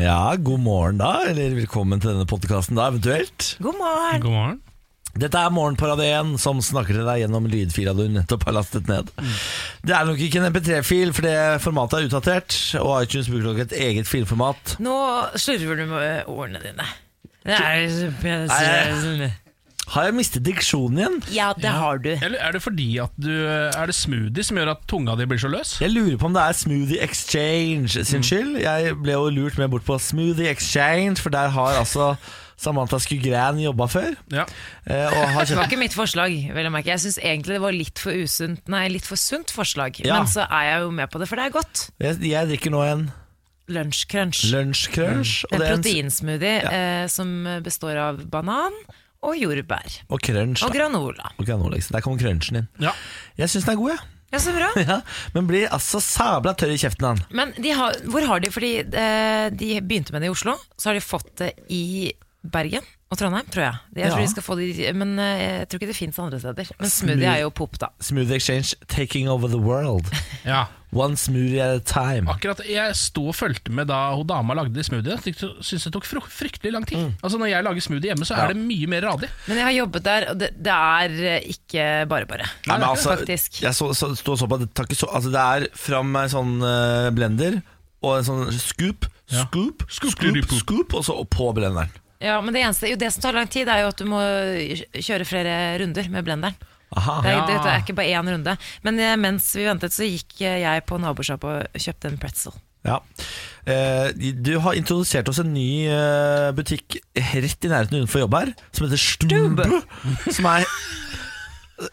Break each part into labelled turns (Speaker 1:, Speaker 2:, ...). Speaker 1: Ja, god morgen da, eller velkommen til denne podkasten da, eventuelt.
Speaker 2: God morgen!
Speaker 3: God morgen.
Speaker 1: Dette er Morgenparadien som snakker til deg gjennom lydfila du nettopp har lastet ned. Det er nok ikke en MP3-fil, for det formatet er utdatert, og iTunes bruker nok et eget filformat.
Speaker 2: Nå slurver du med ordene dine. Det er
Speaker 1: Har jeg mistet diksjonen igjen?
Speaker 2: sånn- Ja, det har du.
Speaker 3: Eller er det fordi at du Er det smoothie som gjør at tunga di blir så løs?
Speaker 1: Jeg lurer på om det er Smoothie Exchange sin skyld. Jeg ble jo lurt med bort på Smoothie Exchange, for der har altså Samantha Skugran jobba før.
Speaker 3: Ja.
Speaker 1: eh, Og har
Speaker 2: Det var
Speaker 1: kjøpt
Speaker 2: ikke mitt forslag. vel å merke. Jeg syns egentlig det var litt for usunt Nei, litt for sunt forslag.
Speaker 1: Ja.
Speaker 2: Men så er jeg jo med på det, for det er godt.
Speaker 1: Jeg, jeg drikker nå en
Speaker 2: Lunsjcrunch.
Speaker 1: lunsjcrunch.
Speaker 2: Mm. En
Speaker 1: det er en-
Speaker 2: proteinsmoothie eh, som består av banan og jordbær.
Speaker 1: Og crunch.
Speaker 2: Og
Speaker 1: da.
Speaker 2: granola.
Speaker 1: Og granola, ikke sant? Der kommer crunchen inn.
Speaker 3: ja.
Speaker 1: Jeg syns den er god, jeg.
Speaker 2: Ja, så bra.
Speaker 1: Ja. Men blir altså sabla tørr i kjeften av den.
Speaker 2: Men de har, hvor har de Fordi eh, de begynte med det i Oslo, så har de fått det i Bergen og Trondheim, tror jeg. Jeg tror
Speaker 1: Ja.
Speaker 2: de skal få det, i- men eh, jeg tror ikke det fins andre steder. Men
Speaker 1: Smoothie.
Speaker 2: smoothie er jo pop, da.
Speaker 1: Smoothie Exchange taking over the world.
Speaker 3: ja.
Speaker 1: One smoothie at a time.
Speaker 3: Akkurat Jeg sto og fulgte med da hun dama lagde smoothie. Jeg syns det tok fru- fryktelig lang tid. Altså Når jeg lager smoothie hjemme, så er det mye mer radig.
Speaker 2: Men jeg har jobbet der, og det, det er eh, ikke bare bare.
Speaker 1: Nei, men altså,
Speaker 2: Faktisk.
Speaker 1: Jeg så, så, sto og så på at det tar ikke så Altså, det er fram med en sånn eh, blender og en sånn scoop,
Speaker 3: Ja.
Speaker 1: scoop, scoop,
Speaker 3: Scoop,
Speaker 1: scoop,
Speaker 3: scoop.
Speaker 1: og så på blenderen.
Speaker 2: Ja, men det eneste jo, Det som tar lang tid, er jo at du må kjøre flere runder med blenderen.
Speaker 1: Aha.
Speaker 2: Det er,
Speaker 3: Ja.
Speaker 2: det, det er ikke bare én runde. Men eh, mens vi ventet, så gikk eh, jeg på nabosjappa og kjøpte en pretzel.
Speaker 1: Ja. Eh, du har introdusert oss en ny eh, butikk rett i nærheten utenfor jobb her, som heter Stube. Som er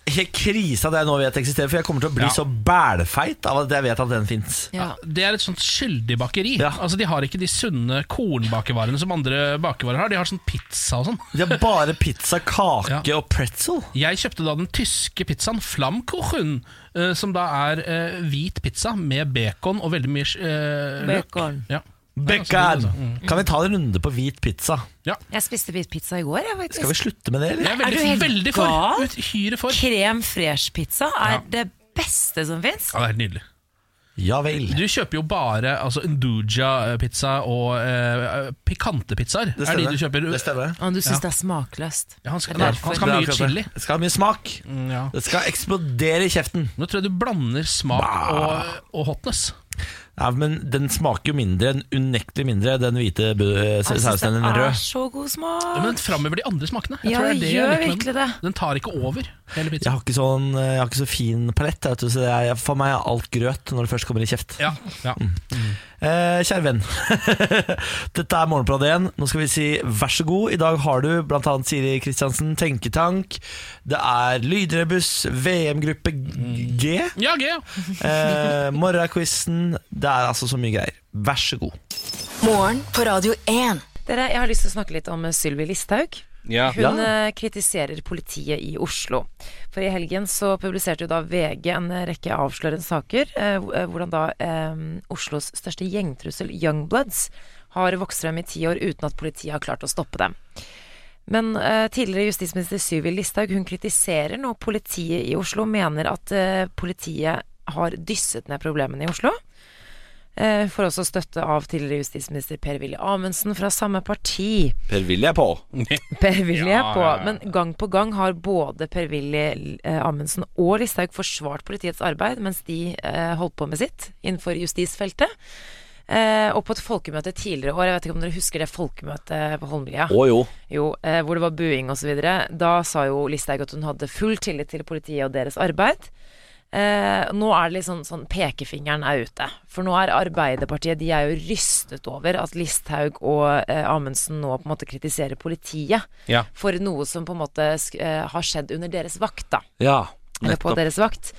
Speaker 1: helt krise av det jeg nå vet eksisterer, for jeg kommer til å bli
Speaker 3: Ja.
Speaker 1: så bælfeit av at jeg vet at den fins.
Speaker 2: Ja.
Speaker 3: Det er et sånt skyldig bakeri.
Speaker 1: Ja.
Speaker 3: Altså De har ikke de sunne kornbakevarene som andre bakevarer har. De har sånn pizza og sånn.
Speaker 1: De har bare pizza, kake og pretzel.
Speaker 3: Jeg kjøpte da den tyske pizzaen Flammkuchen, eh, som da er eh, hvit pizza med bacon og veldig mye eh, løk.
Speaker 2: Bacon.
Speaker 3: Ja.
Speaker 1: Bacon!
Speaker 3: Ja, altså,
Speaker 1: Kan vi ta en runde på hvit pizza?
Speaker 2: Jeg spiste hvit pizza i går, jeg, faktisk.
Speaker 1: Skal vi slutte med det,
Speaker 3: Jeg
Speaker 1: eller?
Speaker 3: er
Speaker 2: Er du
Speaker 3: veldig,
Speaker 2: helt
Speaker 3: veldig
Speaker 2: gal?
Speaker 3: for. Uthyre for.
Speaker 2: Krem fresh-pizza er
Speaker 3: Ja.
Speaker 2: det beste som fins.
Speaker 3: Ja, det er helt nydelig.
Speaker 1: Ja vel.
Speaker 3: Du kjøper jo bare altså, Nduja-pizza og eh, pikante pizzaer.
Speaker 1: Det
Speaker 3: Er de
Speaker 1: stemmer.
Speaker 3: du kjøper
Speaker 1: Det stemmer.
Speaker 2: Og du
Speaker 3: Ja.
Speaker 2: syns det er smakløst.
Speaker 3: Ja, han skal-
Speaker 2: Det er
Speaker 3: han
Speaker 2: derfor.
Speaker 3: skal- mye
Speaker 1: Det er akkurat
Speaker 3: chili.
Speaker 1: Det Det skal ha mye smak.
Speaker 3: Mm, ja.
Speaker 1: Det skal eksplodere i kjeften.
Speaker 3: Nå tror jeg du blander smak og, og hotness.
Speaker 1: Ja, men den smaker jo mindre, en unektelig mindre, den hvite bu- eh,
Speaker 2: Jeg synes
Speaker 1: sausen enn den
Speaker 2: det Ah,
Speaker 1: rød.
Speaker 2: er så god
Speaker 3: Ja, men den
Speaker 2: smak.
Speaker 3: framhever de andre smakene. Jeg
Speaker 2: Ja,
Speaker 3: tror
Speaker 2: det
Speaker 3: det liksom er det jeg liker med
Speaker 2: gjør
Speaker 3: den.
Speaker 2: virkelig det.
Speaker 3: Den tar ikke over hele
Speaker 1: Jeg
Speaker 3: pizzaen.
Speaker 1: har ikke, sånn, eh, jeg har ikke så fin palett. jeg vet du, så det er, for meg er alt grøt når det først kommer i kjeft.
Speaker 3: Ja, ja.
Speaker 1: Eh, kjære venn, dette er Morgenbladet igjen. Nå skal vi si vær så god. I dag har du bl.a. Siri Kristiansen, Tenketank. Det er Lydrebuss, VM-gruppe G.
Speaker 3: ja gøy. ja.
Speaker 1: Eh, Morgenquizen. Det er altså så mye greier. Vær så god.
Speaker 4: Morgen på Radio 1.
Speaker 2: Dere, jeg har lyst til å snakke litt om eh, Sylvi Listhaug. Hun
Speaker 1: Ja.
Speaker 2: eh, kritiserer politiet i Oslo. For i helgen så publiserte jo da VG en eh, rekke avslørende saker. eh, hvor- eh, Hvordan da eh, Oslos største gjengtrussel, Youngbloods, har vokst frem i ti år uten at politiet har klart å stoppe dem. Men eh, tidligere justisminister Syvi Listhaug hun kritiserer nå politiet i Oslo. Mener at eh, politiet har dysset ned problemene i Oslo. Eh, får også støtte av tidligere justisminister Per-Willy Amundsen fra samme parti. Per-Willy er på, men gang på gang har både Per-Willy eh, Amundsen og Listhaug forsvart politiets arbeid mens de eh, holdt på med sitt innenfor justisfeltet. Eh, og på et folkemøte tidligere i år, jeg vet ikke om dere husker det folkemøtet på Holmlia? Jo, eh, hvor det var buing osv. Da sa jo Listhaug at hun hadde full tillit til politiet og deres arbeid. Eh, nå er det litt sånn, sånn pekefingeren er ute. For nå er Arbeiderpartiet De er jo rystet over at Listhaug og eh, Amundsen nå på en måte kritiserer politiet
Speaker 3: Ja.
Speaker 2: for noe som på en måte sk- eh, har skjedd under deres vakt, da.
Speaker 1: Ja,
Speaker 2: Eller på deres vakt.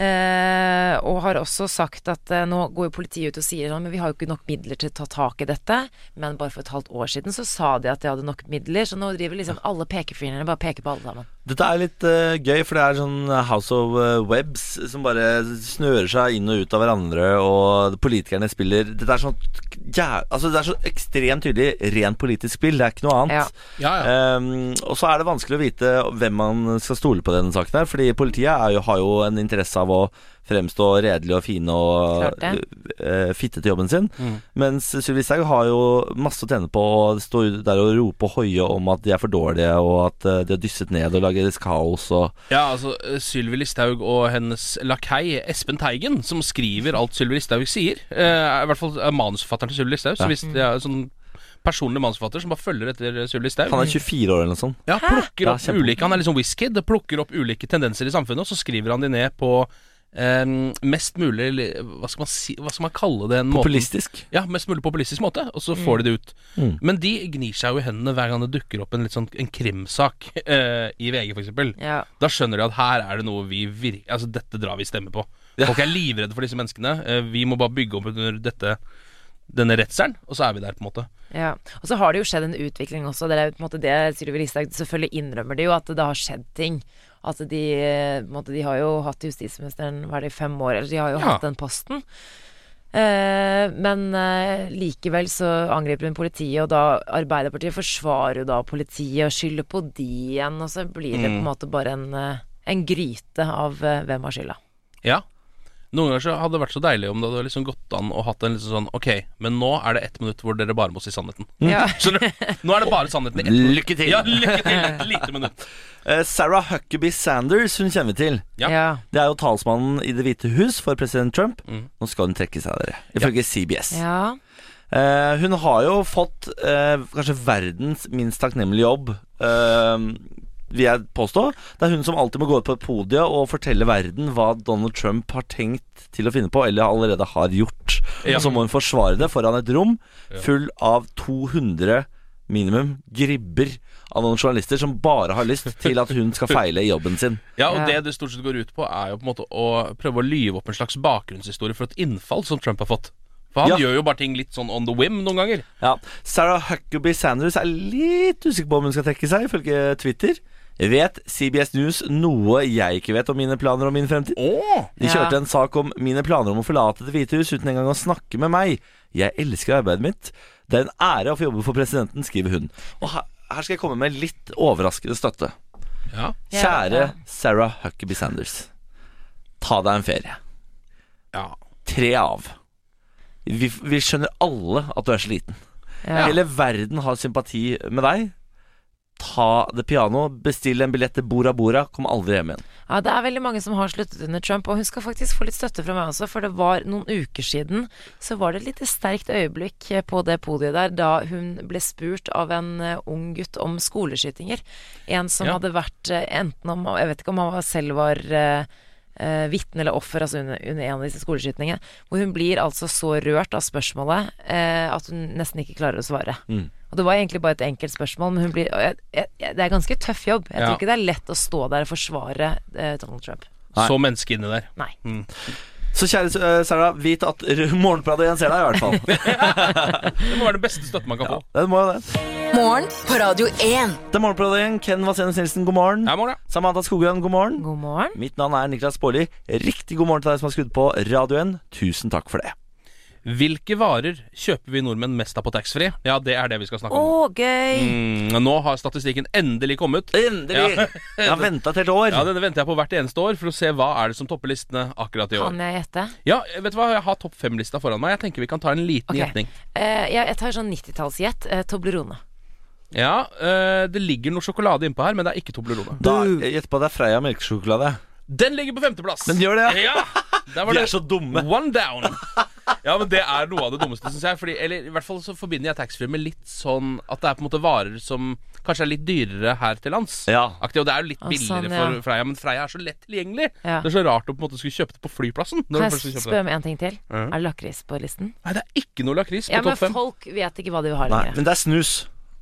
Speaker 2: Eh, og har også sagt at eh, nå går jo politiet ut og sier sånn, men vi har jo ikke nok midler til å ta tak i dette. Men bare for et halvt år siden så sa de at de hadde nok midler, så nå driver liksom alle pekefingrene bare peker på alle sammen.
Speaker 5: Dette er litt eh, gøy, for det er sånn House of eh, Webs som bare snører seg inn og ut av hverandre, og politikerne spiller Dette er sånn ja, altså Det er så ekstremt tydelig rent politisk spill, det er ikke noe
Speaker 2: Ja.
Speaker 5: annet.
Speaker 3: Ja, ja.
Speaker 5: Ehm, og så er det vanskelig å vite hvem man skal stole på i denne saken her, fordi politiet er jo, har jo en interesse av å fremstå redelige og fine og
Speaker 2: Klart
Speaker 5: eh, fitte til jobben sin. Mens Sylvi Listhaug har jo masse å tjene på å stå der og rope og hoie om at de er for dårlige, og at eh, de har dysset ned og lager kaos og
Speaker 6: Ja, altså eh, Sylvi Listhaug og hennes lakei Espen Teigen, som skriver alt Sylvi Listhaug sier. eh, er I hvert fall er manusforfatteren til Sylvi Listhaug. Så hvis det er en sånn personlig manusforfatter som bare følger etter eh, Sylvi Listhaug
Speaker 5: Han er 24 år eller noe sånt.
Speaker 6: ja, plukker
Speaker 5: Ja,
Speaker 6: opp
Speaker 5: kjempe-
Speaker 6: ulike Han er liksom Wizkid, plukker opp ulike tendenser i samfunnet, og så skriver han de ned på eh, mest mulig li- Hva skal man, si, hva skal man kalle det? en måte-
Speaker 5: Populistisk.
Speaker 6: Ja, mest mulig populistisk måte, og så får de det ut.
Speaker 5: Mm.
Speaker 6: Men de gnir seg jo i hendene hver gang det dukker opp en, litt sånn, en krimsak eh, i VG, for eksempel.
Speaker 2: Ja.
Speaker 6: Da skjønner de at her er det noe vi vir- Altså, dette drar vi stemme på. Folk er livredde for disse menneskene. Eh, vi må bare bygge opp under dette, denne redselen, og så er vi der, på en måte.
Speaker 2: Ja, og så har det jo skjedd en utvikling også. Det er jo på en måte det Sylvi Listhaug selvfølgelig innrømmer det jo, at det har skjedd ting. At de, eh, på en måte, de har jo hatt justisministeren hva er det, i fem år, eller de har jo
Speaker 6: Ja.
Speaker 2: hatt den posten. Eh, men eh, likevel så angriper hun politiet, og da Arbeiderpartiet forsvarer jo da politiet og skylder på de igjen, og så blir det på
Speaker 6: Mm.
Speaker 2: en måte bare en, eh, en gryte av eh, hvem har skylda.
Speaker 6: Ja. Noen ganger så hadde det vært så deilig om det hadde liksom gått an å hatt en liksom sånn Ok, men nå er det ett minutt hvor dere bare må si sannheten.
Speaker 2: Ja.
Speaker 6: Skjønner du? Nå er det bare sannheten i ett minutt.
Speaker 5: Lykke til!
Speaker 6: Ja, lykke til! Et lite minutt.
Speaker 5: Eh, Sarah Huckaby Sanders, hun kjenner vi til.
Speaker 6: Ja.
Speaker 2: ja.
Speaker 5: Det er jo talsmannen i Det hvite hus for president Trump. Nå skal hun trekke seg, dere. Ifølge CBS.
Speaker 2: ja.
Speaker 5: Eh, hun har jo fått eh, kanskje verdens minst takknemlige jobb, eh, vil jeg påstå. Det er hun som alltid må gå ut på podiet og fortelle verden hva Donald Trump har tenkt til å finne på, eller allerede har gjort.
Speaker 6: Ja.
Speaker 5: Og så må hun forsvare det foran et rom full av 200 minimum gribber av noen journalister som bare har lyst til at hun skal feile i jobben sin.
Speaker 6: Ja, og
Speaker 2: Ja.
Speaker 6: det det stort sett går ut på, er jo på en måte å prøve å lyve opp en slags bakgrunnshistorie for et innfall som Trump har fått. For han
Speaker 5: Ja.
Speaker 6: gjør jo bare ting litt sånn on the whim noen ganger.
Speaker 5: Ja, Sarah Huckaby Sanders er litt usikker på om hun skal trekke seg, ifølge Twitter. Vet CBS News noe jeg ikke vet om mine planer og min fremtid?
Speaker 6: Åh.
Speaker 5: De kjørte
Speaker 2: Ja.
Speaker 5: en sak om mine planer om å forlate Det hvite hus uten engang å snakke med meg. Jeg elsker arbeidet mitt. Det er en ære å få jobbe for presidenten, skriver hun. Og her, her skal jeg komme med litt overraskende støtte.
Speaker 6: Ja.
Speaker 2: Ja,
Speaker 5: Kjære
Speaker 2: ja.
Speaker 5: Sarah Huckaby Sanders. Ta deg en ferie.
Speaker 6: ja.
Speaker 5: Tre av. Vi, vi skjønner alle at du er sliten.
Speaker 2: Ja.
Speaker 5: Hele verden har sympati med deg. Ta det piano, bestill en billett til Bora Bora, kom aldri hjem igjen.
Speaker 2: Ja, det er veldig mange som har sluttet under Trump, og hun skal faktisk få litt støtte fra meg også, for det var noen uker siden så var det et lite sterkt øyeblikk eh, på det podiet der da hun ble spurt av en eh, ung gutt om skoleskytinger. En som
Speaker 6: Ja.
Speaker 2: hadde vært eh, enten om Jeg vet ikke om han var- selv var eh, eh, vitne eller offer altså under, under en av disse skoleskytingene, hvor hun blir altså så rørt av spørsmålet eh, at hun nesten ikke klarer å svare. Og det var egentlig bare et enkelt spørsmål, men hun blir, og jeg, jeg, jeg, det er ganske tøff jobb. Jeg
Speaker 6: Ja.
Speaker 2: tror ikke det er lett å stå der og forsvare eh, Donald Trump.
Speaker 5: Nei.
Speaker 6: Så menneske inni der.
Speaker 2: Nei.
Speaker 5: Så kjære eh, Sarah, vit at r- Morgenbladet igjen ser deg, i hvert fall.
Speaker 6: Det må være den beste støtten man kan få.
Speaker 5: Den må jo det.
Speaker 4: Morgen på Radio 1.
Speaker 5: Det er Morgenbladet igjen. Ken Vasenus Nilsen, god morgen.
Speaker 6: Ja, Morgan.
Speaker 5: Samantha Skogran, god morgen.
Speaker 2: God morgen.
Speaker 5: Mitt navn er Niklas Baarli. Riktig god morgen til deg som har skrudd på Radio 1. Tusen takk for det.
Speaker 6: Hvilke varer kjøper vi nordmenn mest av på taxfree? Ja, det er det vi skal snakke
Speaker 2: Å,
Speaker 6: om.
Speaker 2: gøy!
Speaker 6: Mm, nå har statistikken endelig kommet.
Speaker 5: Endelig!
Speaker 6: Ja.
Speaker 5: Jeg har venta et helt år.
Speaker 6: Ja, Denne venter jeg på hvert eneste år for å se hva er det som topper listene akkurat i år.
Speaker 2: Mm. Kan jeg gjette?
Speaker 6: Ja, vet du hva? Jeg har topp fem-lista foran meg. Jeg tenker vi kan ta en liten
Speaker 2: Ok.
Speaker 6: gjetning.
Speaker 2: Eh, jeg, jeg tar sånn 90-tallsgjett. Eh, Toblerone.
Speaker 6: Ja, eh, Det ligger noe sjokolade innpå her, men det er ikke Toblerone.
Speaker 5: Da jeg gjetter på at det er Freia melkesjokolade.
Speaker 6: Den ligger på femteplass.
Speaker 5: Den gjør det,
Speaker 6: ja! Der var
Speaker 5: Vi
Speaker 6: det
Speaker 5: er så dumme.
Speaker 6: One down. Ja, men Det er noe av det dummeste, syns jeg. Fordi, eller I hvert fall så forbinder jeg taxfree med litt sånn at det er på en måte varer som kanskje er litt dyrere her til lands.
Speaker 5: Ja.
Speaker 6: Aktig, og det er jo litt
Speaker 2: Ah,
Speaker 6: billigere
Speaker 2: sånn, ja.
Speaker 6: for Freia, men Freia er så lett tilgjengelig.
Speaker 2: Ja.
Speaker 6: Det er så rart å på en måte skulle kjøpe det på flyplassen. Når
Speaker 2: Kan
Speaker 6: du først
Speaker 2: jeg
Speaker 6: skal kjøpe
Speaker 2: spørre
Speaker 6: det.
Speaker 2: om en ting til?
Speaker 6: Mhm.
Speaker 2: Er det lakris på listen?
Speaker 6: Nei, det er ikke noe lakris på
Speaker 2: Ja, men
Speaker 6: topp fem.
Speaker 2: folk vet ikke hva de vil ha
Speaker 5: Nei,
Speaker 2: lenger.
Speaker 5: men det er snus.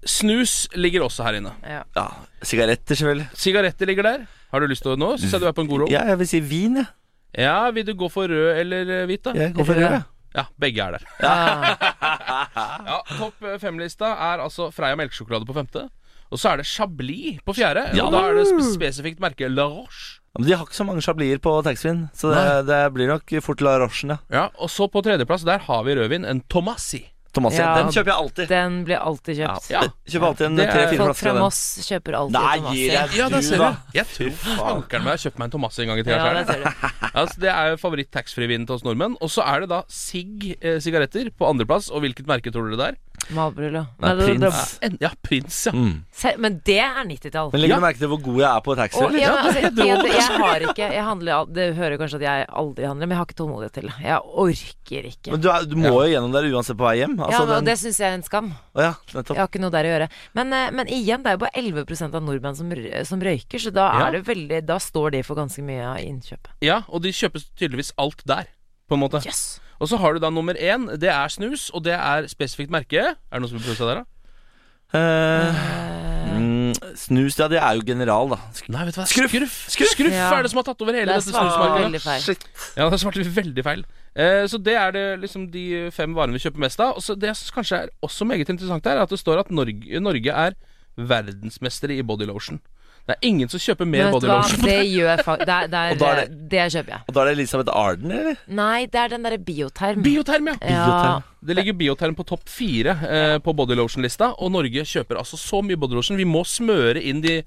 Speaker 6: Snus ligger også her inne.
Speaker 2: Ja.
Speaker 5: Ja, Sigaretter, selvfølgelig.
Speaker 6: Sigaretter ligger der. Har du lyst til å nå? Syns jeg du er på en god roll.
Speaker 5: Ja, jeg vil si vin, jeg.
Speaker 6: Ja, vil du gå for rød eller eh, hvit, da?
Speaker 5: Jeg går for
Speaker 2: Rød.
Speaker 5: rød. jeg.
Speaker 6: Ja, begge er der.
Speaker 2: Ah,
Speaker 6: Ja, Topp eh, fem-lista er altså Freia melkesjokolade på femte. Og så er det Chablis på fjerde.
Speaker 5: Ja.
Speaker 6: Og da er det sp- spesifikt merket La Roche.
Speaker 5: Ja, Men de har ikke så mange chablier på taxfree-en, så det, det blir nok fort La Rochen, ja.
Speaker 6: Ja, Og så på tredjeplass, der har vi rødvin. En Tomassi.
Speaker 5: Tomasia.
Speaker 2: Ja,
Speaker 5: den kjøper jeg alltid.
Speaker 2: Den blir alltid kjøpt.
Speaker 6: Ja.
Speaker 5: Kjøper alltid en
Speaker 6: Det er-
Speaker 5: tre-fire
Speaker 2: Folk
Speaker 5: flasker
Speaker 2: fra
Speaker 5: av den.
Speaker 2: Moss kjøper alltid
Speaker 5: Nei, gir
Speaker 2: Tomasia.
Speaker 5: jeg
Speaker 6: Ja, der
Speaker 5: du,
Speaker 6: ser
Speaker 5: da.
Speaker 6: du. Jeg tror fankeren meg jeg har kjøpt meg en Tomassi en gang i tida.
Speaker 2: Ja,
Speaker 6: selv.
Speaker 2: der ser du.
Speaker 6: altså, det er jo favoritt-taxfree-vinen til oss nordmenn. Og så er det da Sig eh, sigaretter på andreplass. Og hvilket merke tror dere det er?
Speaker 2: Malbrullo.
Speaker 5: Nei,
Speaker 2: Men det- det-
Speaker 5: prins.
Speaker 6: En, ja, Prins, ja.
Speaker 2: Se- Men det er 90-tall.
Speaker 5: Men legger
Speaker 6: Ja.
Speaker 5: du merke til hvor god jeg er på taxi?
Speaker 2: Og,
Speaker 5: eller?
Speaker 2: ja, men, altså, jeg, jeg har ikke jeg handler, al- Det hører kanskje at jeg aldri handler, men jeg har ikke tålmodighet til det. Jeg orker ikke.
Speaker 5: Men du, er, du må jo gjennom der uansett på vei hjem.
Speaker 2: Ja,
Speaker 5: Altså,
Speaker 2: men, og
Speaker 5: den,
Speaker 2: det syns jeg er en skam.
Speaker 5: Å ja, nettopp.
Speaker 2: Jeg har ikke noe der å gjøre. Men, eh, men igjen, det er jo bare 11 av nordmenn som, r- som røyker, så da,
Speaker 6: Ja.
Speaker 2: er det veldig, da står de for ganske mye av innkjøpet.
Speaker 6: ja. Og de kjøpes tydeligvis alt der, på en måte.
Speaker 2: Yes.
Speaker 6: Og så har du da nummer én. Det er snus, og det er spesifikt merke. Er det noen som vil prøve seg der, da?
Speaker 5: Eh, mm, snus, ja, det er jo general, da.
Speaker 6: Nei, vet du hva. Skruff! Skruff,
Speaker 2: Ja.
Speaker 6: er det som har tatt over hele
Speaker 2: Der
Speaker 6: dette
Speaker 2: svarte
Speaker 6: snusmarkedet.
Speaker 2: veldig feil.
Speaker 6: Ja, der svarte vi veldig feil. Eh, så det er det liksom de fem varene vi kjøper mest av. Og så det som kanskje er også meget interessant her, er at det står at Norge, Norge er verdensmestere i body lotion. Det er ingen som kjøper mer
Speaker 2: Men vet du
Speaker 6: body
Speaker 2: hva,
Speaker 6: lotion.
Speaker 2: det gjør jeg faktisk. Der,
Speaker 5: Og da er
Speaker 2: der, det,
Speaker 5: det-
Speaker 2: kjøper jeg.
Speaker 5: Og da er det Elisabeth Arden, eller?
Speaker 2: Nei, det er den derre bioterm.
Speaker 6: Bioterm, ja.
Speaker 2: ja.
Speaker 6: Det ligger Bioterm på topp fire eh, på body lotion-lista, og Norge kjøper altså så mye body lotion. Vi må smøre inn de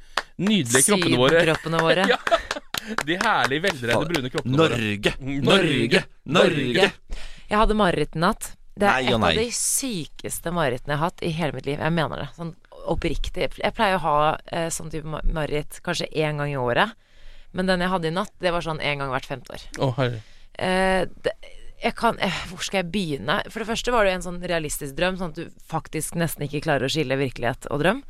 Speaker 6: nydelige kroppene våre.
Speaker 2: Sydkroppene våre.
Speaker 6: Ja. De herlig velreide brune kroppene våre.
Speaker 5: Norge! Norge! Norge!
Speaker 2: Jeg hadde mareritt i natt. Det er
Speaker 5: Nei
Speaker 2: et
Speaker 5: og nei.
Speaker 2: av de sykeste marerittene jeg har hatt i hele mitt liv. Jeg mener det. Sånn oppriktig. Jeg pleier å ha eh, sånn type ma- mareritt kanskje én gang i året. Men den jeg hadde i natt, det var sånn én gang hvert femte år.
Speaker 6: Å, herre.
Speaker 2: Eh, det, jeg kan, eh, hvor skal jeg begynne? For det første var det jo en sånn realistisk drøm, sånn at du faktisk nesten ikke klarer å skille virkelighet og drøm.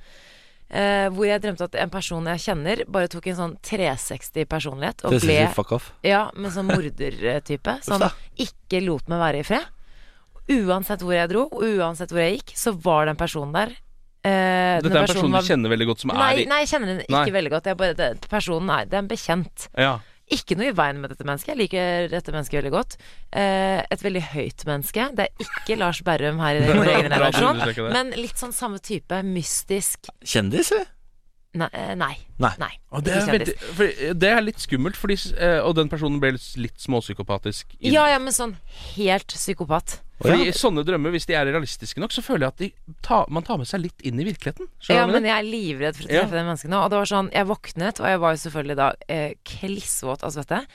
Speaker 2: Eh, hvor jeg drømte at en person jeg kjenner, bare tok en sånn 360 personlighet og
Speaker 5: Det
Speaker 2: ble
Speaker 5: synes vi fuck off.
Speaker 2: ja, men sånn mordertype. Som
Speaker 5: da.
Speaker 2: ikke lot meg være i fred. Uansett hvor jeg dro, og uansett hvor jeg gikk, så var den personen der. Eh, den
Speaker 6: Dette er en person
Speaker 2: var-
Speaker 6: du kjenner veldig godt, som
Speaker 2: Nei,
Speaker 6: er i
Speaker 2: nei, jeg kjenner den ikke
Speaker 6: Nei.
Speaker 2: veldig godt. Jeg bare, det, personen er, det er en bekjent.
Speaker 6: ja.
Speaker 2: Ikke noe i veien med dette mennesket. Jeg liker dette mennesket veldig godt. Eh, et veldig høyt menneske. Det er ikke Lars Berrum her i vår egen
Speaker 6: Bra at du
Speaker 2: redaksjon,
Speaker 6: understreker det.
Speaker 2: men litt sånn samme type. Mystisk.
Speaker 5: Kjendis, eller?
Speaker 2: Nei. eh, nei.
Speaker 5: Nei.
Speaker 2: nei.
Speaker 6: Og det, er
Speaker 2: Ikke kjendis.
Speaker 6: veldig, for det er litt skummelt, fordi, s- eh, og den personen ble litt- litt småpsykopatisk. i-
Speaker 2: Ja, ja, men sånn helt psykopat.
Speaker 6: Fordi Sånne drømmer, hvis de er realistiske nok, så føler jeg at de tar, man tar med seg litt inn i virkeligheten.
Speaker 2: Ja,
Speaker 6: Skjønner du hva jeg
Speaker 2: men
Speaker 6: mener?
Speaker 2: jeg er livredd for å
Speaker 6: Ja.
Speaker 2: treffe det mennesket nå. Og det var sånn, jeg våknet, og jeg var jo selvfølgelig da eh, klissvåt av svette.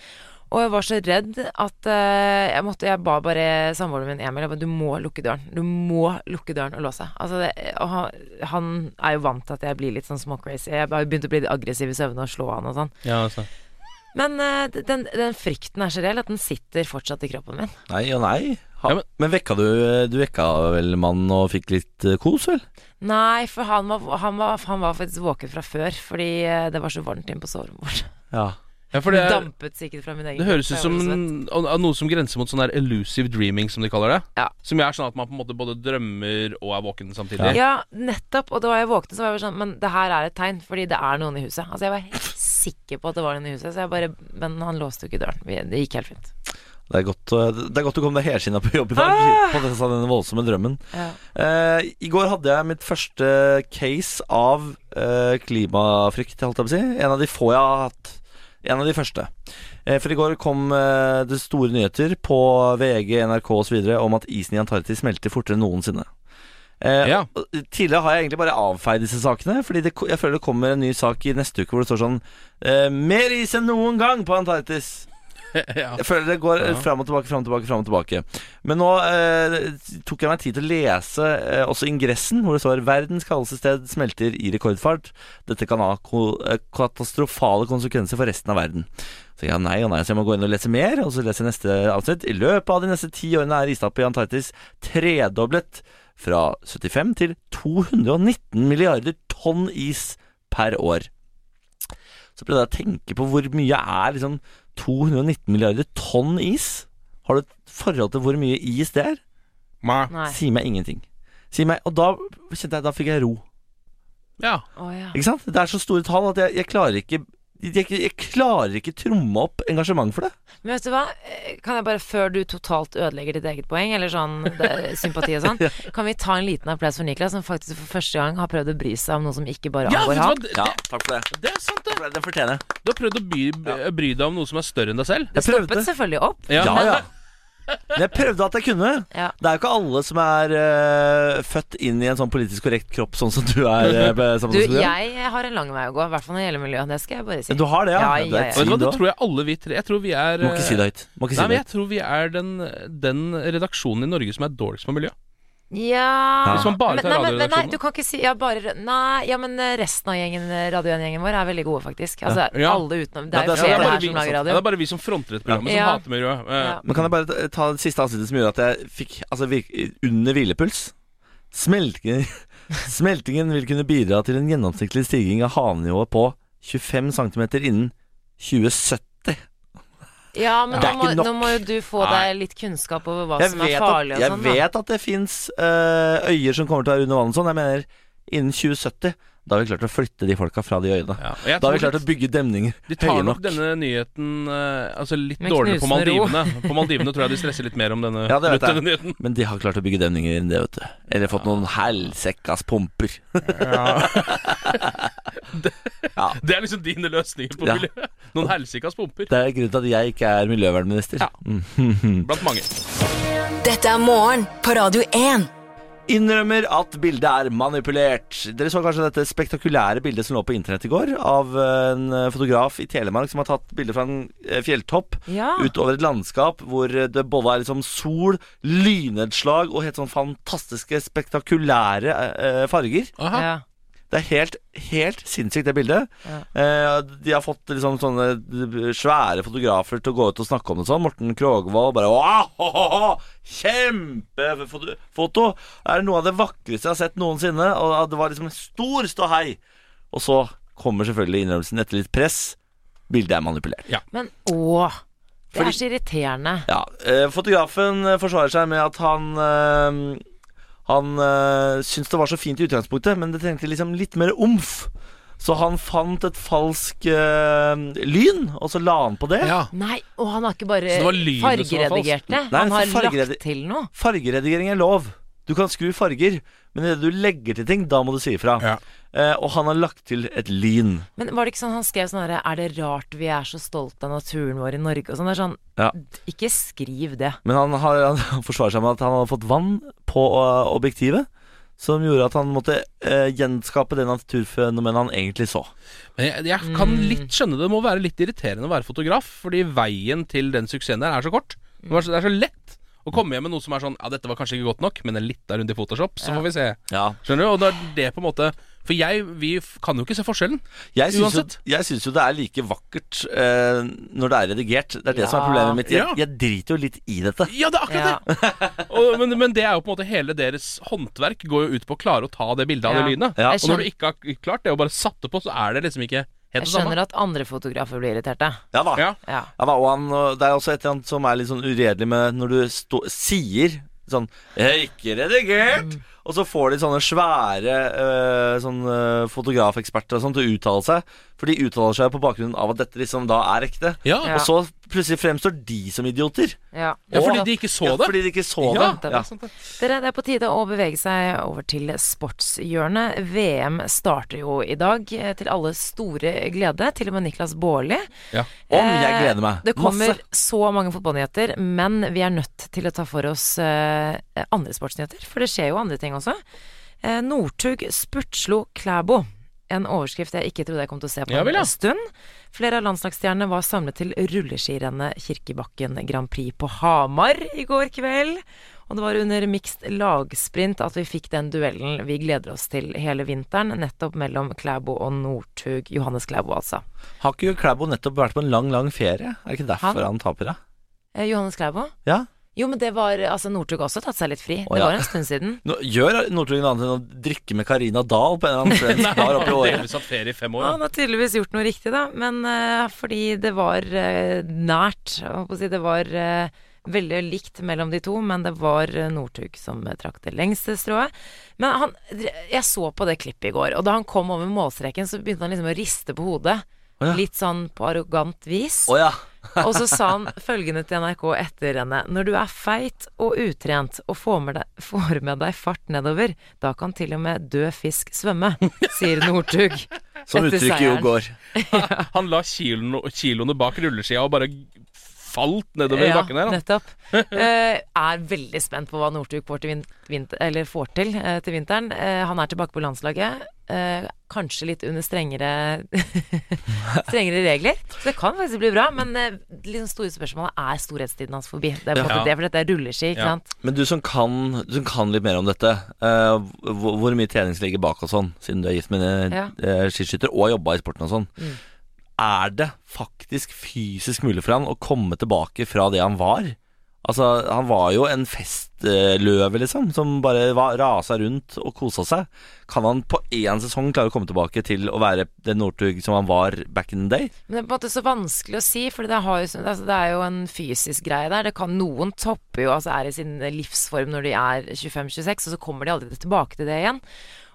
Speaker 2: Og jeg var så redd at eh, jeg måtte Jeg ba bare samboeren min Emil jeg ba, Du må lukke døren. Du må lukke døren og låse. Altså det, og han, han er jo vant til at jeg blir litt sånn småcrazy. Jeg har jo begynt å bli litt aggressiv i søvne og slå han og sånn.
Speaker 6: Ja, altså.
Speaker 2: Men eh, den, den frykten er så reell at den sitter fortsatt i kroppen min.
Speaker 5: Nei og nei. Ha.
Speaker 6: Ja, men-
Speaker 5: men, vekka du Du vekka vel mannen og fikk litt eh, kos, vel?
Speaker 2: Nei, for han var, han var, han var faktisk våken fra før, fordi eh, det var så varmt inne på soverommet vårt.
Speaker 5: Ja.
Speaker 6: ja, for
Speaker 2: Det
Speaker 6: det, er-
Speaker 2: dampet sikkert fra min egen
Speaker 6: det høres ut
Speaker 2: kropp,
Speaker 6: som
Speaker 2: jeg var så svett.
Speaker 6: en- av noe som grenser mot sånn der elusive dreaming, som de kaller det.
Speaker 2: Ja.
Speaker 6: Som er sånn at man på en måte både drømmer og er våken samtidig.
Speaker 2: Ja, nettopp. Og da jeg våknet, så var jeg bare sånn Men det her er et tegn, fordi det er noen i huset. Altså, jeg var helt sikker på at det var noen i huset, så jeg bare Men han låste jo ikke døren. Vi- Det gikk helt fint.
Speaker 5: Det er godt, eh, det er godt du kom deg helskinna på jobb i dag,
Speaker 6: Ah!
Speaker 5: på denne, denne voldsomme drømmen.
Speaker 2: Ja.
Speaker 5: Eh, I går hadde jeg mitt første case av eh, klimafrykt, holdt jeg på å si. En av de få jeg har hatt. En av de første. Eh, for i går kom eh, det store nyheter på VG, NRK osv. om at isen i Antarktis smelter fortere enn noensinne. Eh,
Speaker 6: Ja.
Speaker 5: og Tidligere har jeg egentlig bare avfeid disse sakene, Fordi det, ko- jeg føler det kommer en ny sak i neste uke hvor det står sånn eh, Mer is enn noen gang på Antarktis!
Speaker 6: ja.
Speaker 5: Jeg føler det går
Speaker 6: Ja.
Speaker 5: ja. fram og tilbake, fram og tilbake, fram og tilbake. Men nå eh, tok jeg meg tid til å lese eh, også ingressen, hvor det står 'Verdens kaldeste sted smelter i rekordfart'. Dette kan ha ko eh, katastrofale konsekvenser for resten av verden. Så ja, nei og nei, så jeg må gå inn og lese mer, og så leser jeg neste avsnitt. I løpet av de neste ti årene er istappet i Antarktis tredoblet fra 75 til 219 milliarder tonn is per år. Så prøvde jeg å tenke på hvor mye er liksom 219 milliarder tonn is. Har du et forhold til hvor mye is det er?
Speaker 6: Ma.
Speaker 2: Nei.
Speaker 5: Si meg ingenting. Si meg, og da kjente jeg, da fikk jeg ro.
Speaker 6: ja.
Speaker 2: Å ja.
Speaker 5: Ikke sant? Det er så store tall at jeg, jeg klarer ikke jeg, jeg klarer ikke tromme opp engasjement for det.
Speaker 2: Men vet du hva? Eh, Kan jeg bare, før du totalt ødelegger ditt eget poeng, eller sånn det, sympati og sånn, kan vi ta en liten applaus for Niklas, som faktisk for første gang har prøvd å bry seg om noe som ikke bare
Speaker 6: ja,
Speaker 2: angår
Speaker 6: vet du hva?
Speaker 2: han.
Speaker 6: Det,
Speaker 5: takk for det.
Speaker 6: det er sant, det.
Speaker 5: Det fortjener jeg.
Speaker 6: eh, Du har prøvd å bry, bry deg om noe som er større enn deg selv.
Speaker 2: Det
Speaker 5: Jeg prøvde.
Speaker 2: stoppet selvfølgelig opp.
Speaker 6: Ja.
Speaker 5: Ja, ja. Men jeg prøvde at jeg kunne.
Speaker 2: Ja.
Speaker 5: Det er jo ikke alle som er eh, født inn i en sånn politisk korrekt kropp, sånn som du er. eh,
Speaker 2: Du,
Speaker 5: Samson Sugden.
Speaker 2: jeg har en lang vei å gå, i hvert fall når det gjelder miljø. Det skal jeg bare si.
Speaker 5: Du har det, ja?
Speaker 2: Ja,
Speaker 5: Du
Speaker 2: ja,
Speaker 5: er
Speaker 2: ja.
Speaker 6: Og vet du hva,
Speaker 5: et svin,
Speaker 6: det
Speaker 5: da.
Speaker 6: tror jeg alle vi tre Jeg tror vi er
Speaker 5: Må ikke si det høyt. Må ikke
Speaker 6: Nei,
Speaker 5: si
Speaker 6: men
Speaker 5: det
Speaker 6: jeg tror vi er den, den redaksjonen i Norge som er dårligst på miljø.
Speaker 2: Ja
Speaker 6: Hvis man bare
Speaker 2: Men- nei,
Speaker 6: tar
Speaker 2: men, men nei,
Speaker 6: radioredaksjonen.
Speaker 2: du kan ikke si ja, bare, Nei, ja, men eh, resten av gjengen, eh, Radio 1-gjengen vår er veldig gode, faktisk. Altså,
Speaker 6: Ja.
Speaker 2: alle utenom Det
Speaker 5: Ja,
Speaker 2: er jo
Speaker 5: det er sant,
Speaker 2: flere
Speaker 5: det er
Speaker 2: her
Speaker 6: vi,
Speaker 2: som lager
Speaker 6: ja, det
Speaker 2: radio.
Speaker 6: er bare vi som fronter et program som
Speaker 2: Ja.
Speaker 6: hater miljø. Eh,
Speaker 2: Ja.
Speaker 5: Men kan jeg bare ta- ta det siste avsnittet som gjorde at jeg fikk altså, virk, under hvilepuls? Smeltingen, smeltingen vil kunne bidra til en gjennomsnittlig stigning av havnivået på 25 cm innen 2070.
Speaker 2: Ja, men nå
Speaker 5: Det er
Speaker 2: må,
Speaker 5: ikke nok.
Speaker 2: nå må jo du få
Speaker 5: Nei.
Speaker 2: deg litt kunnskap over hva
Speaker 5: Jeg
Speaker 2: som er
Speaker 5: vet at,
Speaker 2: farlig og
Speaker 5: jeg
Speaker 2: sånn. da.
Speaker 5: vet at det fins øyer som kommer til å være under vann og sånn. Jeg mener innen 2070. Da har vi klart å flytte de folka fra de øyene.
Speaker 6: ja. Og jeg
Speaker 5: Da har vi
Speaker 6: tror
Speaker 5: klart å bygge demninger
Speaker 6: De tar
Speaker 5: høye
Speaker 6: nok
Speaker 5: nok.
Speaker 6: denne nyheten eh, altså litt
Speaker 2: Med
Speaker 6: dårligere på
Speaker 2: knusende ro.
Speaker 6: Maldivene. På Maldivene tror jeg de stresser litt mer om denne
Speaker 5: Ja, det vet jeg.
Speaker 6: luttede nyheten.
Speaker 5: Men de har klart å bygge demninger enn det, vet du. Eller fått noen helsekkas pumper. Ja.
Speaker 6: Det er liksom dine løsninger på
Speaker 5: Ja.
Speaker 6: miljøet. Noen helsikas pumper.
Speaker 5: Det er grunnen til at jeg ikke er miljøvernminister.
Speaker 6: Ja.
Speaker 5: Mm.
Speaker 6: Blant mange.
Speaker 4: Dette er morgen på Radio 1.
Speaker 5: Innrømmer at bildet er manipulert. Dere så kanskje dette spektakulære bildet som lå på internett i går, av en eh, fotograf i Telemark som har tatt bilde fra en eh, fjelltopp
Speaker 2: Ja.
Speaker 5: utover et landskap hvor det både er liksom sol, lynnedslag og helt sånn fantastiske, spektakulære eh, eh, farger.
Speaker 6: Aha.
Speaker 2: Ja.
Speaker 5: Det er helt, helt sinnssykt, det bildet. Eh, de har fått liksom sånne svære fotografer til å gå ut og snakke om det sånn. Morten Krogvold bare «Åh, ho, ho, ho! Kjempefoto! Det er noe av det vakreste jeg har sett noensinne. Og det var liksom en stor ståhei. Og så kommer selvfølgelig innrømmelsen etter litt press. Bildet er manipulert.
Speaker 2: Men å! Det
Speaker 5: Fordi-
Speaker 2: er så irriterende.
Speaker 5: Ja, eh, Fotografen eh, forsvarer seg med at han eh, Han eh, syntes det var så fint i utgangspunktet, men det trengte liksom litt mer omf. Så han fant et falsk eh, lyn, og så la han på det.
Speaker 6: Ja.
Speaker 2: Nei, og han har ikke bare
Speaker 6: Så det var lynet som var
Speaker 2: fargeredigert det.
Speaker 5: Nei,
Speaker 2: Han har
Speaker 5: for fargeredi-
Speaker 2: lagt til noe.
Speaker 5: Fargeredigering er lov. Du kan skru farger, men idet du legger til ting, da må du si ifra.
Speaker 6: Ja.
Speaker 5: Eh, og han har lagt til et lyn.
Speaker 2: Men var det ikke sånn han skrev sånn herre Er det rart vi er så stolt av naturen vår i Norge og sånn? Det er sånn
Speaker 5: Ja.
Speaker 2: Ikke skriv det.
Speaker 5: Men han, har, han forsvarer seg med at han hadde fått vann på eh, objektivet, som gjorde at han måtte eh, gjenskape det naturfenomenet han egentlig så.
Speaker 6: Men jeg, jeg kan
Speaker 2: Mm.
Speaker 6: litt skjønne det må være litt irriterende å være fotograf, fordi veien til den suksessen der er så kort. Det var så- det er så lett å komme hjem med noe som er sånn Ja, dette var kanskje ikke godt nok, men en liten runde i Photoshop, så får vi se.
Speaker 5: Ja,
Speaker 6: Skjønner du? Og da er det på en måte For jeg, vi f- kan jo ikke se forskjellen.
Speaker 5: Jeg syns, jo,
Speaker 6: Uansett.
Speaker 5: jeg syns jo det er like vakkert eh, når det er redigert. Det er det
Speaker 2: Ja.
Speaker 5: som er problemet mitt. Jeg,
Speaker 6: Ja.
Speaker 5: jeg driter jo litt i dette.
Speaker 6: Ja, det er akkurat
Speaker 2: Ja.
Speaker 6: det! Og, men, men det er jo på en måte hele deres håndverk går jo ut på å klare å ta det bildet av
Speaker 2: Ja.
Speaker 6: det lynet.
Speaker 5: Ja.
Speaker 2: Jeg
Speaker 6: Og når du ikke har klart det og bare satt det på, så er det liksom ikke helt
Speaker 2: Jeg
Speaker 6: det samme.
Speaker 2: skjønner at andre fotografer blir irriterte.
Speaker 5: Ja da.
Speaker 6: Ja.
Speaker 2: Ja.
Speaker 5: Ja da, og han, og det er også et eller annet som er litt sånn uredelig med når du stå, sier sånn 'Jeg er ikke
Speaker 6: Mm.
Speaker 5: redigert', og så får de sånne svære eh, sånn, eh, fotografeksperter og sånn til å uttale seg. For de uttaler seg på bakgrunn av at dette liksom da er ekte.
Speaker 6: Ja.
Speaker 2: Ja.
Speaker 5: Og så plutselig fremstår de som idioter.
Speaker 2: Ja.
Speaker 6: ja, fordi de ikke så
Speaker 5: Ja,
Speaker 6: det.
Speaker 5: fordi de ikke så
Speaker 6: Ja,
Speaker 5: det.
Speaker 2: det
Speaker 5: Ja.
Speaker 2: var Dere, det er på tide å bevege seg over til sportshjørnet. VM starter jo i dag, eh, til alles store glede. Til og med Niklas Baarli.
Speaker 6: Ja.
Speaker 5: Om jeg gleder meg.
Speaker 2: Eh, Det kommer
Speaker 5: Masse.
Speaker 2: så mange fotballnyheter, men vi er nødt til å ta for oss eh, andre sportsnyheter. For det skjer jo andre ting også. Eh, Northug spurtslo Klæbo. En overskrift jeg ikke trodde jeg kom til å se på
Speaker 6: Ja vel, ja.
Speaker 2: en stund. Flere av landslagsstjernene var samlet til rulleskirennet Kirkebakken Grand Prix på Hamar i går kveld. Og det var under mixed lagsprint at vi fikk den duellen vi gleder oss til hele vinteren. Nettopp mellom Klæbo og Northug. Johannes Klæbo, altså.
Speaker 5: Har ikke Klæbo nettopp vært på en lang, lang ferie? Er det ikke derfor
Speaker 2: Han?
Speaker 5: han taper, da?
Speaker 2: Eh, Johannes Klæbo?
Speaker 5: Ja?
Speaker 2: Jo, men det var Altså, Northug har også tatt seg litt fri.
Speaker 5: Å,
Speaker 2: det
Speaker 5: ja.
Speaker 2: var en stund siden.
Speaker 5: Nå, gjør Northug noe annet enn å drikke med Karina Dahl på en eller annen svensk bar oppi året?
Speaker 6: Delvis hatt ferie i fem
Speaker 2: Og
Speaker 6: år.
Speaker 2: han har tydeligvis gjort noe riktig, da. Men eh, fordi det var eh, nært, jeg holdt på å si. Det var eh, veldig likt mellom de to, men det var uh, Northug som eh, trakk det lengste strået. Men han Jeg så på det klippet i går, og da han kom over målstreken, så begynte han liksom å riste på hodet.
Speaker 5: ja.
Speaker 2: Litt sånn på arrogant vis.
Speaker 5: Å ja.
Speaker 2: Og så sa han følgende til NRK etter henne. Når du er feit og utrent og får med deg, får med deg fart nedover, da kan til og med død fisk svømme, sier Northug.
Speaker 5: Som
Speaker 2: Etter
Speaker 5: uttrykket jo
Speaker 2: seieren.
Speaker 5: går.
Speaker 6: Han la kilo, kiloene bak rulleskia og bare
Speaker 3: falt nedover bakken her. da.
Speaker 2: nettopp. Eh, er veldig spent på hva Northug får til, vin vint- eller får til eh, til vinteren. Eh, han er tilbake på landslaget. eh, kanskje litt under strengere strengere regler. Så det kan faktisk bli bra, men eh, liksom store spørsmålet er storhetstiden hans forbi. Det er på en måte
Speaker 3: Ja.
Speaker 2: det, for dette er rulleski, ikke
Speaker 3: Ja.
Speaker 2: sant.
Speaker 5: Men du som kan, du som kan litt mer om dette, eh, hvor, hvor mye trening som ligger bak og sånn, siden du er gift med en
Speaker 2: Ja. Mm.
Speaker 5: eh, skiskytter og har jobba i sporten og sånn. Er det faktisk fysisk mulig for han å komme tilbake fra det han var? Altså, han var jo en festløve, liksom, som bare var, rasa rundt og kosa seg. Kan han på én sesong klare å komme tilbake til å være den Northug som han var back in the day?
Speaker 2: Men det er på en måte så vanskelig å si, for det, har jo, så- altså det er jo en fysisk greie der. Det kan, noen topper jo, altså er i sin livsform når de er 25-26, og så kommer de aldri tilbake til det igjen.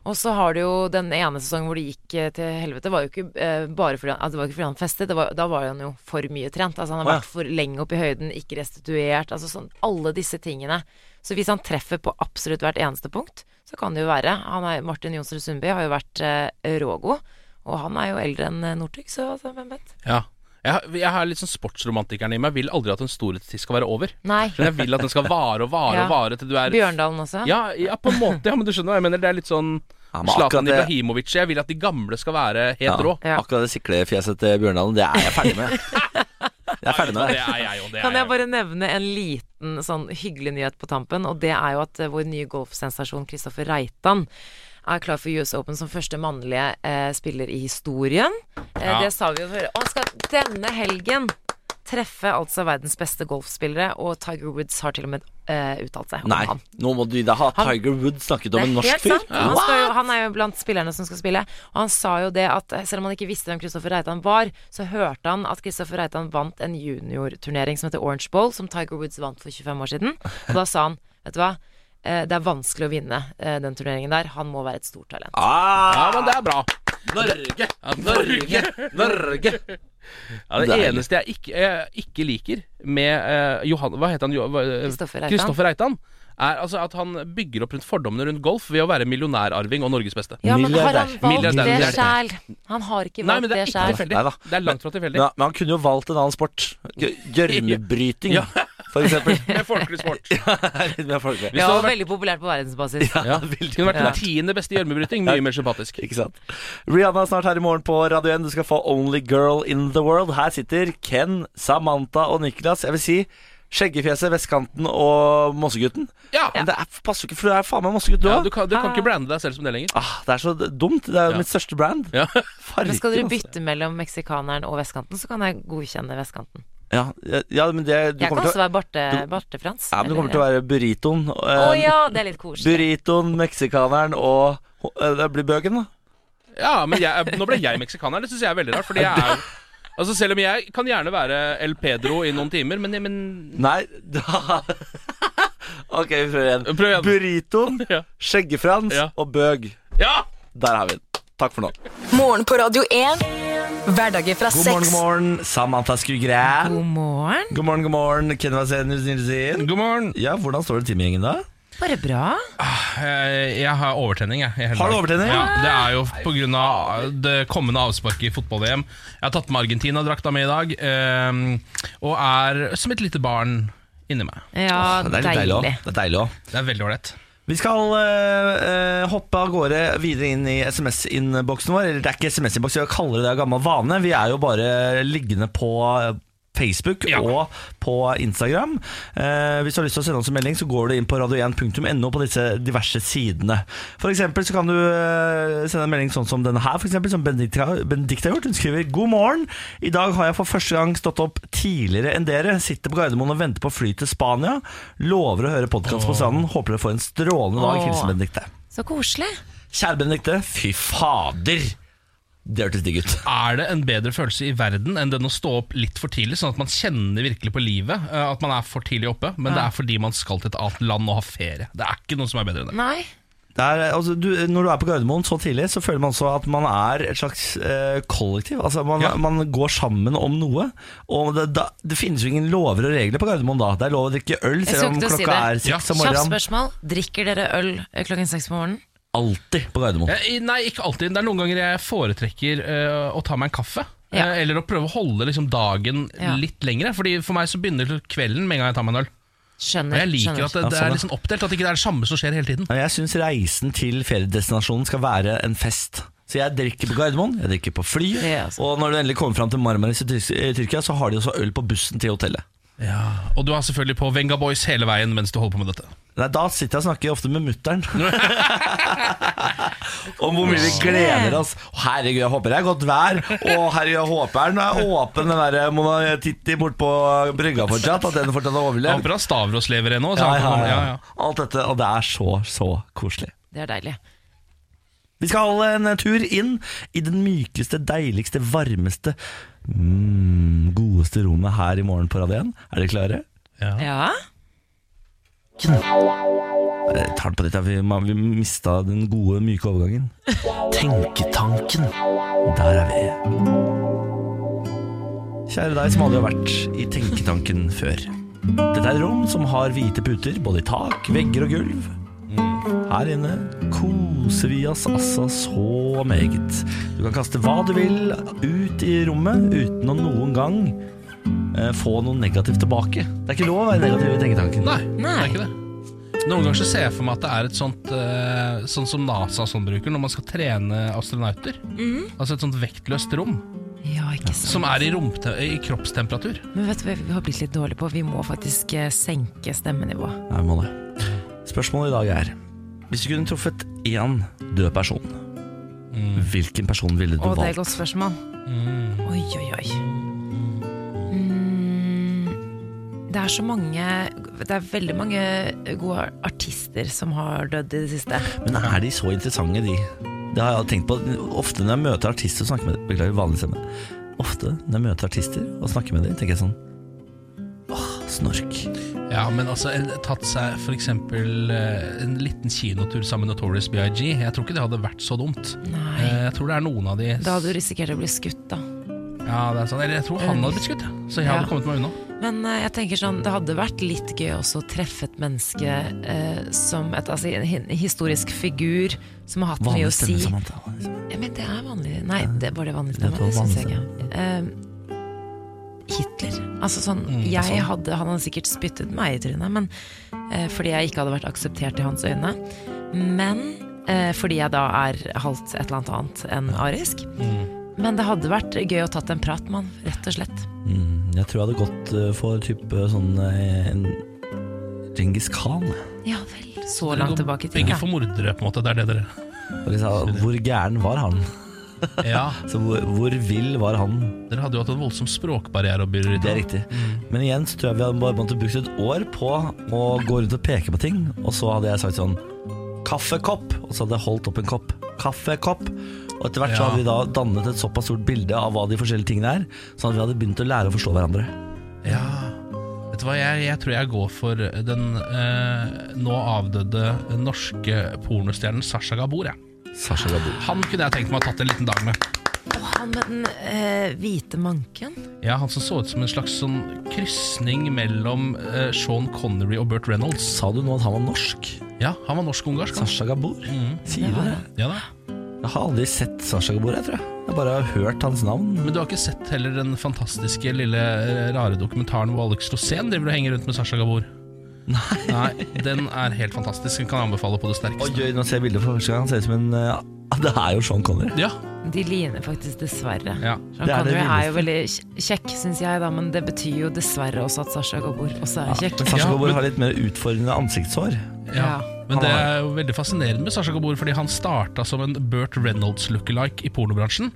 Speaker 2: Og så har du jo den ene sesongen hvor det gikk eh, til helvete, var jo ikke eh, bare fordi han, altså det var ikke fordi han festet, det var, da var han jo for mye trent. Altså han har
Speaker 5: Å, ja.
Speaker 2: vært for lenge oppe i høyden, ikke restituert, altså sånn alle disse tingene. Så hvis han treffer på absolutt hvert eneste punkt, så kan det jo være. Han er, Martin Jonsrud Sundby har jo vært eh, rågod, og han er jo eldre enn eh, Northug, så altså, hvem vet.
Speaker 3: Ja. Jeg, har- jeg har litt sånn sportsromantikeren i meg. Vil aldri at en storhetstid skal være over.
Speaker 2: Nei.
Speaker 3: Men jeg vil at den skal vare og vare
Speaker 2: Ja.
Speaker 3: og vare til du er
Speaker 2: Bjørndalen også?
Speaker 3: Ja, ja, på en måte, ja, men du skjønner hva jeg mener. Det er litt sånn
Speaker 5: Ja, men akkurat
Speaker 3: Zlatan
Speaker 5: det-
Speaker 3: Ibrahimovic. Jeg vil at de gamle skal være helt rå.
Speaker 2: Ja.
Speaker 5: Akkurat det siklefjeset til Bjørndalen, det er jeg ferdig med. Jeg er ferdig med
Speaker 3: Det
Speaker 5: det.
Speaker 3: er jeg jo. Det er
Speaker 2: Kan jeg
Speaker 3: jo.
Speaker 2: bare nevne en liten sånn hyggelig nyhet på tampen, og det er jo at eh, vår nye golfsensasjon Kristoffer Reitan er klar for US Open som første mannlige eh, spiller i historien. Eh,
Speaker 3: Ja.
Speaker 2: Det sa vi jo før. Og han skal denne helgen treffe altså verdens beste golfspillere, og Tiger Woods har til og med eh, uttalt seg om
Speaker 5: Nei,
Speaker 2: han.
Speaker 5: nå må du Da har
Speaker 2: Han-
Speaker 5: Tiger Woods snakket om en
Speaker 2: Det er
Speaker 5: norsk
Speaker 2: helt
Speaker 5: fyr.
Speaker 2: sant. Han, skal jo, han er jo blant spillerne som skal spille. Og han sa jo det at eh, selv om han ikke visste hvem Kristoffer Reitan var, så hørte han at Kristoffer Reitan vant en juniorturnering som heter Orange Bowl, som Tiger Woods vant for 25 år siden. Og da sa han, vet du hva, eh, det er vanskelig å vinne eh, den turneringen der. Han må være et stort talent.
Speaker 3: Ja,
Speaker 5: Ah,
Speaker 3: men det er bra.
Speaker 5: Norge!
Speaker 3: Ja, Norge!
Speaker 5: Norge!
Speaker 3: Ja, det
Speaker 5: Deilig.
Speaker 3: eneste jeg ikke, jeg ikke liker med eh, Johan Hva heter han? Jo- hva- eh,
Speaker 2: Kristoffer Reitan.
Speaker 3: Kristoffer Reitan. Er altså at han bygger opp rundt fordommene rundt golf ved å være millionærarving og Norges beste.
Speaker 2: Ja, men har han
Speaker 5: Milliardær.
Speaker 2: valgt
Speaker 3: Milliardær.
Speaker 2: det sjæl? Han har ikke
Speaker 3: Nei, men
Speaker 2: valgt
Speaker 3: det
Speaker 2: det
Speaker 3: er ikke
Speaker 2: sjæl.
Speaker 3: tilfeldig.
Speaker 5: Neida.
Speaker 3: Det er langt fra tilfeldig.
Speaker 5: Ja, men han kunne jo valgt en annen sport. Gj- Gjørmebryting,
Speaker 3: Ja.
Speaker 5: for eksempel.
Speaker 3: Det er folkelig sport.
Speaker 5: Litt mer
Speaker 2: Ja,
Speaker 5: folkelig.
Speaker 3: det hadde vært-
Speaker 2: veldig populært på verdensbasis.
Speaker 3: Ja, Kunne vært den tiende beste i gjørmebryting. Mye mer sympatisk.
Speaker 5: Ikke sant. Rihanna er snart her i morgen på Radio 1. Du skal få Only Girl in the World. Her sitter Ken, Samantha og Niklas. Jeg vil si Skjeggefjeset, Vestkanten og Mossegutten.
Speaker 3: Ja,
Speaker 5: Men det er, passer jo ikke, for du er faen meg Mossegutt, du
Speaker 3: ja
Speaker 5: òg.
Speaker 3: du, kan, du kan ikke brande deg selv som det lenger.
Speaker 5: ah, det er så dumt. Det er jo
Speaker 3: Ja.
Speaker 5: mitt største brand.
Speaker 3: Ja.
Speaker 5: Farken,
Speaker 2: Men skal dere
Speaker 5: altså.
Speaker 2: bytte mellom meksikaneren og vestkanten, så kan jeg godkjenne vestkanten.
Speaker 5: Ja, ja, ja, men det du
Speaker 2: Jeg kan
Speaker 5: kommer til å
Speaker 2: også være Barte, Barte Frans.
Speaker 5: Ja, men du kommer til
Speaker 2: eller-
Speaker 5: å være burritoen. og,
Speaker 2: Å
Speaker 5: eh,
Speaker 2: ja, det er litt koselig.
Speaker 5: Burritoen, meksikaneren og eh, Det blir bøken, da.
Speaker 3: Ja, men jeg, nå ble jeg meksikaner. Det syns jeg er veldig rart. Fordi jeg er Altså Selv om jeg kan gjerne være El Pedro i noen timer, men, men
Speaker 5: Nei, da Ok, vi prøver igjen.
Speaker 3: Prøv igjen.
Speaker 5: Burritoen,
Speaker 3: Ja.
Speaker 5: skjeggefrans
Speaker 3: Ja.
Speaker 5: og bøg.
Speaker 3: Ja!
Speaker 5: Der har vi den. Takk for nå.
Speaker 4: Morgen på Radio 1. Hverdager fra
Speaker 1: God morgen,
Speaker 4: seks.
Speaker 1: god morgen. Samantha Skugran.
Speaker 2: God morgen.
Speaker 1: God morgen, god morgen. Ken Vasenus Nilsen.
Speaker 3: God morgen.
Speaker 1: Ja, hvordan står det til med gjengen da?
Speaker 2: Bare bra.
Speaker 1: Ah,
Speaker 6: Eh, Jeg har overtenning. jeg i hele
Speaker 1: Har du
Speaker 6: dag.
Speaker 1: overtenning?
Speaker 6: Ja, Det er jo pga. det kommende avsparket i fotball-VM. Jeg har tatt med Argentina-drakta mi i dag, ehm, og er som et lite barn inni meg.
Speaker 2: Ja,
Speaker 1: ah, Det er litt deilig også.
Speaker 2: deilig.
Speaker 1: Det er deilig også.
Speaker 6: Det er veldig ålreit.
Speaker 1: Vi skal eh, eh, hoppe av gårde videre inn i SMS-innboksen vår. Eller det er ikke SMS-innboks, vi kaller det det av gammel vane. Vi er jo bare liggende på eh, Facebook
Speaker 6: Ja.
Speaker 1: og på Instagram. Eh, hvis du har lyst til å sende oss en melding, så går du inn på radio1.no på disse diverse sidene. For eksempel så kan du eh, sende en melding sånn som denne her, for eksempel, som Benedicte har Benedicte har gjort. Hun skriver God morgen. I dag har jeg for første gang stått opp tidligere enn dere. Sitter på Gardermoen og venter på fly til Spania. Lover å høre podkast på stranden. Håper dere får en strålende dag.
Speaker 2: Åh.
Speaker 1: Hilsen Benedicte.
Speaker 2: Så koselig.
Speaker 1: Kjære Benedicte, fy fader! Det hørtes digg ut.
Speaker 6: Er det en bedre følelse i verden enn den å stå opp litt for tidlig, sånn at man kjenner virkelig på livet eh, at man er for tidlig oppe, men det er fordi man skal til et annet land og ha ferie. Det er ikke noe som er bedre enn det.
Speaker 2: Nei.
Speaker 1: Det er, altså, du, når du er på Gardermoen så tidlig, så føler man også at man er et slags eh, kollektiv. Altså, man,
Speaker 6: Ja.
Speaker 1: man går sammen om noe. Og det, da, det finnes jo ingen lover og regler på Gardermoen da. Det er lov å drikke øl selv om
Speaker 2: skulle til å si
Speaker 1: klokka er
Speaker 2: det.
Speaker 1: seks
Speaker 6: Ja.
Speaker 1: om
Speaker 2: Kjapt
Speaker 1: morgenen.
Speaker 2: spørsmål. Drikker dere øl eh, klokken seks på morgenen?
Speaker 1: Alltid på Gardermoen.
Speaker 6: Eh, i- Nei, ikke alltid. Det er noen ganger jeg foretrekker eh, å ta meg en kaffe.
Speaker 2: Ja.
Speaker 6: Eh, Eller å prøve å holde liksom dagen
Speaker 2: Ja.
Speaker 6: litt lengre. Fordi For meg så begynner kvelden med en gang jeg tar meg en øl. Og
Speaker 2: Skjønner.
Speaker 6: jeg liker
Speaker 2: skjønner.
Speaker 6: at det, det
Speaker 1: Ja, sånn,
Speaker 6: er
Speaker 1: ja.
Speaker 6: liksom oppdelt, at ikke det er det samme som skjer hele tiden.
Speaker 1: Ja, Jeg syns reisen til feriedestinasjonen skal være en fest. Så jeg drikker på Gardermoen, jeg drikker på flyet,
Speaker 2: Ja, altså.
Speaker 1: og når du endelig kommer fram til Marmaris i Tyr- i Tyrkia, så har de også øl på bussen til hotellet.
Speaker 6: Og du har selvfølgelig på Venga Boys hele veien mens du holder på med dette.
Speaker 1: Nei, Da sitter jeg og snakker ofte med mutter'n om hvor mye vi gleder oss. Å, Herregud, jeg håper det er godt vær. Og herregud, jeg håper den er åpen, den der eh, Mona Titti bortpå brygga fortsatt. At den fortsatt har
Speaker 6: Jeg
Speaker 1: overlevd.
Speaker 6: håper at Stavros lever ennå. så
Speaker 1: Ja,
Speaker 6: han
Speaker 1: ja,
Speaker 6: kan-
Speaker 1: ja.
Speaker 6: ja, ja.
Speaker 1: Alt dette, og det er så, så koselig.
Speaker 2: Det er deilig.
Speaker 1: Vi skal holde en tur inn i den mykeste, deiligste, varmeste, mm, godeste rommet her i morgen på Radien. Er dere klare? Jeg
Speaker 2: Ja.
Speaker 1: tar den Eh, på ditt, ja, vi, man- vi mista den gode, myke overgangen. Tenketanken. Der er vi. Kjære deg som aldri har vært i Tenketanken før. Dette er et rom som har hvite puter, både i tak, vegger og gulv. Mm. Her inne koser vi oss altså så meget. Du kan kaste hva du vil ut i rommet uten å noen gang eh, få noe negativt tilbake. Det er ikke lov å være negativ i Tenketanken.
Speaker 6: Nei, det er ikke det. Noen ganger så ser jeg for meg at det er et sånt eh, Sånn som NASA og sånn bruker når man skal trene astronauter.
Speaker 2: Mhm.
Speaker 6: Altså et sånt vektløst rom
Speaker 2: Ja, ikke sant.
Speaker 6: som er i, romte i kroppstemperatur.
Speaker 2: Men vet du hva vi har blitt litt dårlige på? Vi må faktisk eh, senke stemmenivået.
Speaker 1: Nei, må det. Spørsmålet i dag er Hvis du kunne truffet én død person,
Speaker 6: Mm.
Speaker 1: hvilken person ville du
Speaker 2: Å, det er et
Speaker 1: valgt?
Speaker 2: godt spørsmål. Oi, oi, oi. Mm, det er så mange Det er veldig mange gode artister som har dødd i det siste.
Speaker 1: Men er de så interessante, de? Det har jeg tenkt på Ofte når jeg møter artister og snakker med dem Beklager, vanlig stemme. Ofte når jeg møter artister og snakker med dem, tenker jeg sånn Åh, snork.
Speaker 6: Ja, men altså en- tatt seg for eksempel eh, en liten kinotur sammen med Notorious BIG. Jeg tror ikke det hadde vært så dumt.
Speaker 2: Nei.
Speaker 6: Eh, Jeg tror det er noen av de
Speaker 2: Da hadde du risikert å bli skutt, da.
Speaker 6: Ja, det er sånn. Eller jeg tror han hadde blitt skutt, ja. så jeg
Speaker 2: Ja.
Speaker 6: hadde kommet meg unna.
Speaker 2: Men eh, jeg tenker sånn, det hadde vært litt gøy også å treffe et menneske eh, som et, altså, en hi- historisk figur som har hatt mye
Speaker 1: Vanlig
Speaker 2: å si.
Speaker 1: stemme, Samantha.
Speaker 2: Ja, men det er vanlig. Nei, det var det vanlig
Speaker 1: Jeg
Speaker 2: stemme.
Speaker 1: tror
Speaker 2: Det syns jeg
Speaker 1: vanlig
Speaker 2: ikke. Eh, Hitler. Altså sånn,
Speaker 1: Mm,
Speaker 2: jeg hadde, Han hadde sikkert spyttet meg i trynet, men eh, fordi jeg ikke hadde vært akseptert i hans øyne. Men eh, fordi jeg da er halvt et eller annet annet enn arisk.
Speaker 6: Mm.
Speaker 2: Men det hadde vært gøy å tatt en prat med han, rett og slett.
Speaker 1: Mm, jeg tror jeg hadde gått eh, for type sånn eh, en Djengis Khan.
Speaker 2: Ja vel. Så langt tilbake i tid.
Speaker 6: Begge
Speaker 2: ja.
Speaker 6: for mordere, på en måte. Det er det dere
Speaker 1: Og liksom, Hvor gæren var han?
Speaker 6: Ja,
Speaker 1: Så hvor, hvor vill var han?
Speaker 6: Dere hadde jo hatt en voldsom språkbarriere å byrde
Speaker 1: Det er riktig. Men igjen så tror jeg vi hadde bare måttet brukt et år på å gå rundt og peke på ting, og så hadde jeg sagt sånn Kaffekopp! Og så hadde jeg holdt opp en kopp. Kaffekopp! Og etter hvert så
Speaker 6: Ja.
Speaker 1: hadde vi da dannet et såpass stort bilde av hva de forskjellige tingene er, sånn at vi hadde begynt å lære å forstå hverandre.
Speaker 6: Ja Vet du hva, jeg, jeg tror jeg går for den eh, nå avdøde norske pornostjernen Sasha Gabor. Jeg.
Speaker 1: Sasha Gabor.
Speaker 6: Han kunne jeg tenkt meg å ha tatt en liten dag med.
Speaker 2: Og han med den eh, hvite manken.
Speaker 6: Ja, Han som så ut som en slags sånn krysning mellom eh, Sean Connery og Burt Reynolds.
Speaker 1: Sa du nå at han var norsk?
Speaker 6: Ja, Han var norsk-ungarsk. han. Mhm.
Speaker 1: Sasha Gabor? Sier du det?
Speaker 6: Ja da
Speaker 1: Jeg har aldri sett Sasha Gabor, jeg tror jeg. Jeg bare har hørt hans navn.
Speaker 6: Men du har ikke sett heller den fantastiske lille eh, rare dokumentaren hvor Alex Rosén driver og henger rundt med Sasha Gabor? Nei. Den er helt fantastisk. Den kan jeg anbefale på det
Speaker 1: Oi,
Speaker 6: sterkeste.
Speaker 1: oi, nå ser jeg bildet for første gang. Han ser ut som en eh, Det er jo Sean Connery.
Speaker 6: Ja,
Speaker 2: De ligner faktisk dessverre.
Speaker 6: ja.
Speaker 2: Sean
Speaker 1: Det er det
Speaker 2: Connery er jo veldig kj- kjekk, syns jeg, da, men det betyr jo dessverre også at Sasha Gabor også er kjekk.
Speaker 1: Men Sasha
Speaker 6: Ja,
Speaker 1: Gabor
Speaker 6: men-
Speaker 1: har litt mer utfordrende ansiktshår.
Speaker 6: Ja,
Speaker 2: Ja.
Speaker 6: men det er jo veldig fascinerende med Sasha Gabor, fordi han starta som en Burt Reynolds lookalike i pornobransjen.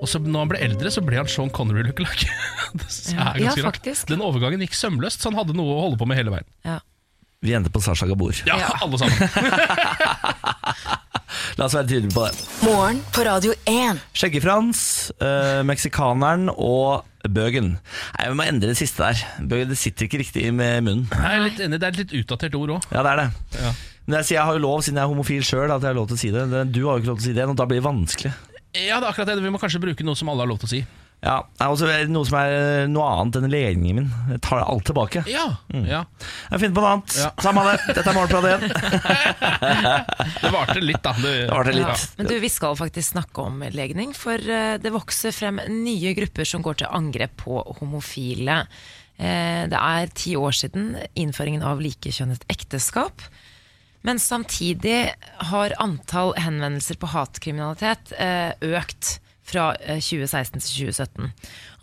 Speaker 6: Og så når han ble eldre, så ble han Sean Connery lookalike. det synes jeg er
Speaker 2: Ja,
Speaker 6: ganske rart.
Speaker 2: faktisk.
Speaker 6: Den overgangen gikk sømløst, så han hadde noe å holde på med hele veien.
Speaker 2: Ja.
Speaker 1: Vi endte på Sasha Gabor.
Speaker 6: Ja,
Speaker 2: Ja.
Speaker 6: alle sammen.
Speaker 1: La oss være tydelige på det.
Speaker 4: Morgen på Radio 1.
Speaker 1: Skjeggefrans, eh, meksikaneren og bøgen. Nei, Vi må endre det siste der. Bøgen, det sitter ikke riktig med munnen.
Speaker 6: Jeg er litt enig, det er et litt utdatert ord òg.
Speaker 1: Ja, det er det.
Speaker 6: Ja.
Speaker 1: Men jeg, sier, jeg har jo lov, siden jeg er homofil sjøl, at jeg har lov til å si det. Det- Du har jo ikke lov til å si det, og da blir det vanskelig.
Speaker 6: Ja, det er akkurat det. Vi må kanskje bruke noe som alle har lov til å si.
Speaker 1: Ja, det er også noe som er noe annet enn legningen min. Jeg tar alt tilbake.
Speaker 6: Ja, ja.
Speaker 1: Jeg finner på noe annet.
Speaker 6: Ja.
Speaker 1: Samme det. Dette er Morgenbladet igjen.
Speaker 6: Det varte litt, da. Det,
Speaker 1: Det var det
Speaker 2: Ja.
Speaker 1: litt.
Speaker 2: Men du, vi skal faktisk snakke om legning, for eh, det vokser frem nye grupper som går til angrep på homofile. Eh, Det er ti år siden innføringen av likekjønnet ekteskap. Men samtidig har antall henvendelser på hatkriminalitet eh, økt fra eh, 2016 til 2017.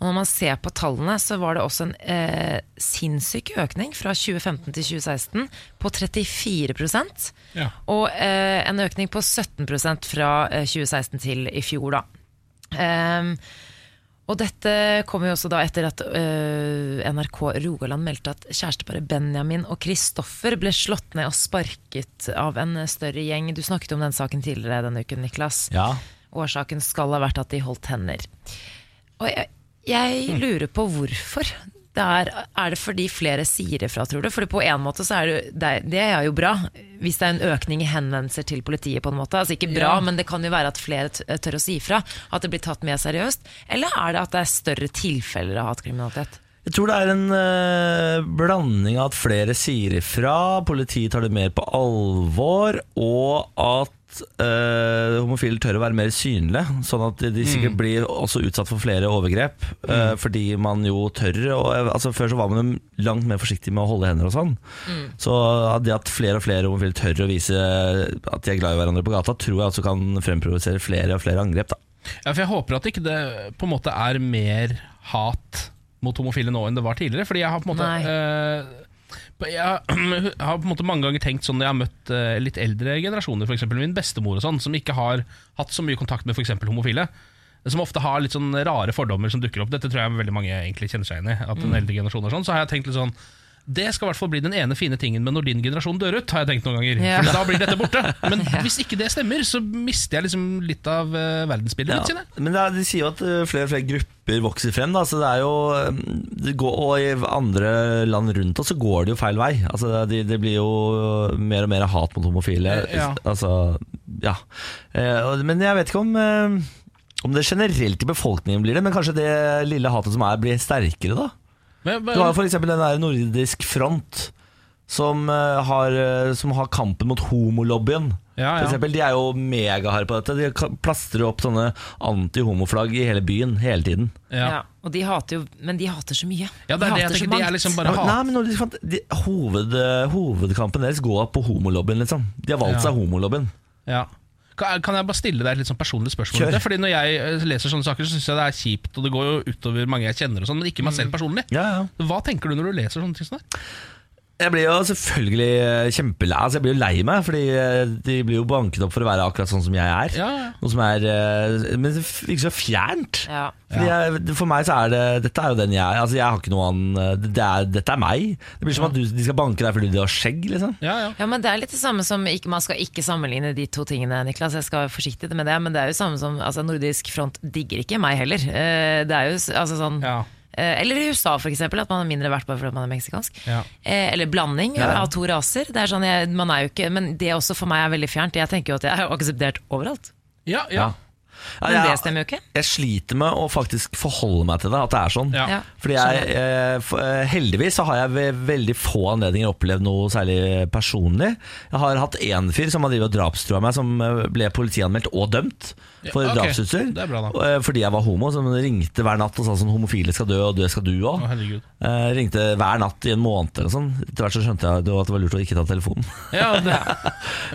Speaker 2: Og når man ser på tallene, så var det også en eh, sinnssyk økning fra 2015 til 2016 på 34
Speaker 6: Ja.
Speaker 2: og eh, en økning på 17 fra eh, 2016 til i fjor, da. Ehm, og dette kommer jo også da etter at øh, NRK Rogaland meldte at kjæresteparet Benjamin og Kristoffer ble slått ned og sparket av en større gjeng. Du snakket om den saken tidligere denne uken, Niklas.
Speaker 1: Ja.
Speaker 2: Årsaken skal ha vært at de holdt hender. Og jeg,
Speaker 6: Hmm.
Speaker 2: jeg lurer på hvorfor. Det er, er det fordi flere sier ifra, tror du? Fordi på en måte så er det, jo- det, er- det er jo bra, hvis det er en økning i henvendelser til politiet. på en måte. Altså Ikke bra, men det kan jo være at flere t- tør å si ifra. At det blir tatt mer seriøst. Eller er det at det er større tilfeller av hatkriminalitet?
Speaker 1: Jeg tror det er en eh, blanding av at flere sier ifra, politiet tar det mer på alvor, og at eh, homofile tør å være mer synlige. Sånn at de, de sikkert blir også utsatt for flere overgrep. eh, fordi man jo tør og, eh, altså Før så var man jo langt mer forsiktig med å holde hender og sånn. Så at det at flere og flere homofile tør å vise at de er glad i hverandre på gata, tror jeg også kan fremprovosere flere og flere angrep. da
Speaker 6: Ja, for jeg håper at ikke det på en måte er mer hat mot homofile nå enn det var tidligere. Fordi jeg har på en måte
Speaker 2: Nei.
Speaker 6: eh, på- jeg har på en måte mange ganger tenkt sånn når jeg har møtt eh, litt eldre generasjoner, f.eks. min bestemor og sånn, som ikke har hatt så mye kontakt med f.eks. homofile. Som ofte har litt sånn rare fordommer som dukker opp. Dette tror jeg veldig mange egentlig kjenner seg igjen i. At den
Speaker 2: Mm.
Speaker 6: eldre generasjonen er sånn Så har jeg tenkt litt sånn Det skal i hvert fall bli den ene fine tingen med når din generasjon dør ut, har jeg tenkt noen ganger.
Speaker 2: Ja.
Speaker 6: For da blir dette borte. Men hvis ikke det stemmer, så mister jeg liksom litt av eh, verdensbildet mitt, kjenner jeg.
Speaker 1: Men det er, de sier jo at eh, flere og flere grupper vokser frem. Da, så det er jo, eh, det går, og i andre land rundt oss så går det jo feil vei. Altså, det- det, det blir jo eh, mer og mer hat mot homofile.
Speaker 6: Eh, ja.
Speaker 1: Altså, ja. Eh, og- Men jeg vet ikke om, eh, om det generelt i befolkningen blir det, men kanskje det lille hatet som er, blir sterkere da?
Speaker 6: Men, men,
Speaker 1: Du har jo f.eks. den der nordisk front. Som eh, har, eh, som har kampen mot homolobbyen.
Speaker 6: Ja, ja.
Speaker 1: For eksempel, de er jo megaharde på dette. De ka- plastrer opp sånne anti-homoflagg i hele byen hele tiden.
Speaker 6: ja.
Speaker 2: Ja, og de hater jo, men de hater så mye. de
Speaker 6: Ja, det er det
Speaker 2: hater så
Speaker 6: jeg tenker. Det
Speaker 2: mangt.
Speaker 6: er liksom
Speaker 1: Ja,
Speaker 6: bare
Speaker 1: men-
Speaker 6: hat.
Speaker 1: Nei, men nordisk front de, hoved, eh, Hovedkampen deres går på homolobbyen, liksom. De har valgt
Speaker 6: Ja.
Speaker 1: seg homolobbyen.
Speaker 6: Ja. Kan kan jeg bare stille deg et litt sånn personlig spørsmål?
Speaker 1: Kjør.
Speaker 6: om det? Fordi Når jeg eh, leser sånne saker, Så syns jeg det er kjipt, og det går jo utover mange jeg kjenner, og sånn men ikke meg selv personlig.
Speaker 1: Ja, ja.
Speaker 6: Hva tenker du når du leser sånne ting? som det?
Speaker 1: Jeg blir jo selvfølgelig eh, kjempelei altså, Jeg blir jo lei meg, fordi eh, de blir jo banket opp for å være akkurat sånn som jeg er.
Speaker 6: Ja, ja.
Speaker 1: Noe som er eh, Men det virker så fjernt.
Speaker 2: Ja.
Speaker 1: Fordi jeg, for meg så er det Dette er jo den jeg er. Altså, jeg har ikke noe annen det er, Dette er meg. Det blir som at du, de skal banke deg fordi du har skjegg, liksom.
Speaker 6: Ja, ja.
Speaker 2: Ja, men det er litt det samme som ikke, Man skal ikke sammenligne de to tingene, Niklas. Jeg skal være forsiktig med det, men det er jo samme som altså, Nordisk front digger ikke meg heller. Eh, Det er jo s- altså sånn
Speaker 6: Ja.
Speaker 2: eh, Eller i USA, for eksempel, at man er mindre verdt bare fordi man er meksikansk.
Speaker 6: Ja.
Speaker 2: Eh, Eller blanding av to raser. Det er sånn, jeg, man er jo ikke, men det også for meg er veldig fjernt. Jeg tenker jo at jeg er jo akseptert overalt.
Speaker 6: Ja, ja.
Speaker 1: Ja.
Speaker 2: Men
Speaker 1: Ja,
Speaker 2: det stemmer jo ikke.
Speaker 1: jeg sliter med å faktisk forholde meg til det, at det er sånn.
Speaker 6: Ja.
Speaker 2: Ja.
Speaker 1: Fordi jeg, eh, f- eh, Heldigvis så har jeg ved veldig få anledninger opplevd noe særlig personlig. Jeg har hatt én fyr som har drevet og drapstrua meg, som eh, ble politianmeldt og dømt for
Speaker 6: Ja, ok.
Speaker 1: drapstrusler.
Speaker 6: Det er bra da.
Speaker 1: Og, eh, Fordi jeg var homo, som ringte hver natt og sa sånn 'homofile skal dø, og det skal du òg'.
Speaker 6: Å, herregud.
Speaker 1: Eh, ringte hver natt i en måned eller sånn. Etter hvert så skjønte jeg at det var- at det var lurt å ikke ta telefonen.
Speaker 6: ja det,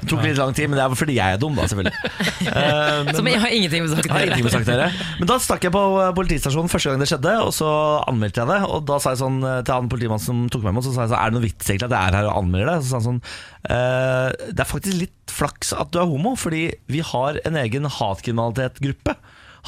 Speaker 1: Det tok litt lang tid, men det er fordi jeg er dum, da, selvfølgelig. Eh, men-
Speaker 2: Som jeg har ingenting med
Speaker 1: jeg har
Speaker 2: saken å
Speaker 1: ingenting med
Speaker 2: gjøre.
Speaker 1: saken å gjøre. Men da stakk jeg på eh, politistasjonen første gang det skjedde, og så anmeldte jeg det. Og da sa jeg sånn eh, til han politimannen som tok meg imot, så sa jeg sånn, er det noe vits egentlig at jeg er her og anmelder det? Så sa han sånn, «Eh, det er faktisk litt flaks at du er homo, fordi vi har en egen hatkriminalitetgruppe.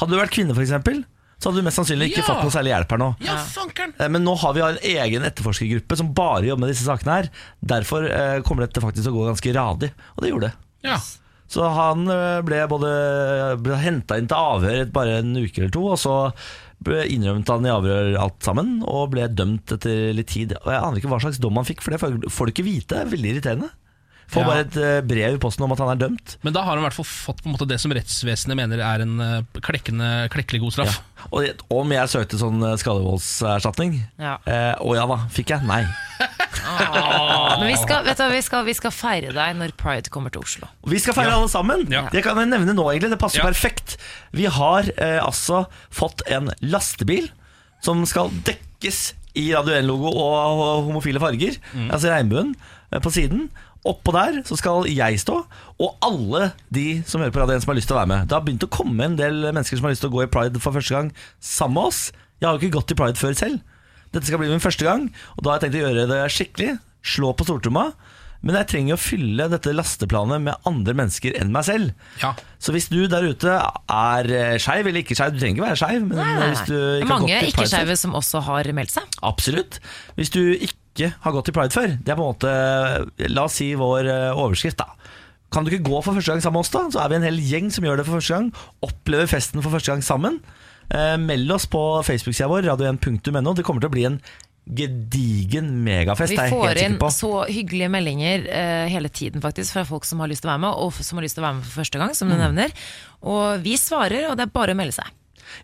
Speaker 1: Hadde du vært kvinne for eksempel, så hadde du mest sannsynlig ikke
Speaker 6: Ja.
Speaker 1: fått noe særlig hjelp her nå.
Speaker 6: ja, fankeren!
Speaker 1: Eh, Men nå har vi en egen etterforskergruppe som bare jobber med disse sakene her. Derfor eh, kommer dette faktisk til å gå ganske radig, og det gjorde det.
Speaker 6: Ja.
Speaker 1: Så han ø, ble både ble henta inn til avhør et- bare en uke eller to, og så ble innrømte han i avhør alt sammen, og ble dømt etter litt tid. Og Jeg aner ikke hva slags dom han fikk, for det får får du ikke vite. Det er veldig irriterende. Får
Speaker 6: Ja.
Speaker 1: bare et eh, brev i posten om at han er dømt.
Speaker 6: Men da har han i hvert fall fått på en måte det som rettsvesenet mener er en eh, klekkende, klekkelig god straff.
Speaker 1: Og det- om jeg søkte sånn eh, skadevoldserstatning
Speaker 2: Ja.
Speaker 1: eh, Å ja da, fikk jeg? Nei.
Speaker 2: Men vi skal, vet du, hva, vi, skal, vi skal feire deg når Pride kommer til Oslo.
Speaker 1: Vi skal feire alle sammen.
Speaker 6: Ja.
Speaker 1: Jeg kan nevne nå, egentlig. Det passer
Speaker 6: Ja.
Speaker 1: perfekt. Vi har eh, altså fått en lastebil som skal dekkes i Radio 1-logo og homofile farger.
Speaker 6: Mm.
Speaker 1: Altså regnbuen eh, på siden. Oppå der så skal jeg stå, og alle de som hører på Radio 1 som har lyst til å være med. Det har begynt å komme en del mennesker som har lyst til å gå i pride for første gang sammen med oss. Jeg har jo ikke gått i pride før selv. Dette skal bli min første gang, og da har jeg tenkt å gjøre det skikkelig. Slå på stortromma. Men jeg trenger å fylle dette lasteplanet med andre mennesker enn meg selv.
Speaker 6: Ja.
Speaker 1: Så hvis du der ute er eh, skeiv eller ikke skeiv, du trenger ikke være skeiv men hvis du
Speaker 2: Det er
Speaker 1: ikke har gått
Speaker 2: mange
Speaker 1: i Pride før-
Speaker 2: ikke-skeive som også har meldt seg.
Speaker 1: Absolutt. Hvis du ikke har gått i pride før, det er på en måte La oss si vår eh, overskrift, da. Kan du ikke gå for første gang sammen med oss, da? Så er vi en hel gjeng som gjør det for første gang. Opplever festen for første gang sammen. Eh, meld oss på Facebook-sida vår, radio1.no. Det kommer til å bli en gedigen megafest.
Speaker 2: Vi
Speaker 1: det er jeg
Speaker 2: får
Speaker 1: helt
Speaker 2: inn
Speaker 1: sikker på.
Speaker 2: så hyggelige meldinger eh, hele tiden faktisk fra folk som har lyst til å være med, og f- som har lyst til å være med for første gang,
Speaker 1: Mm.
Speaker 2: som du nevner. Og vi svarer, og det er bare å melde seg.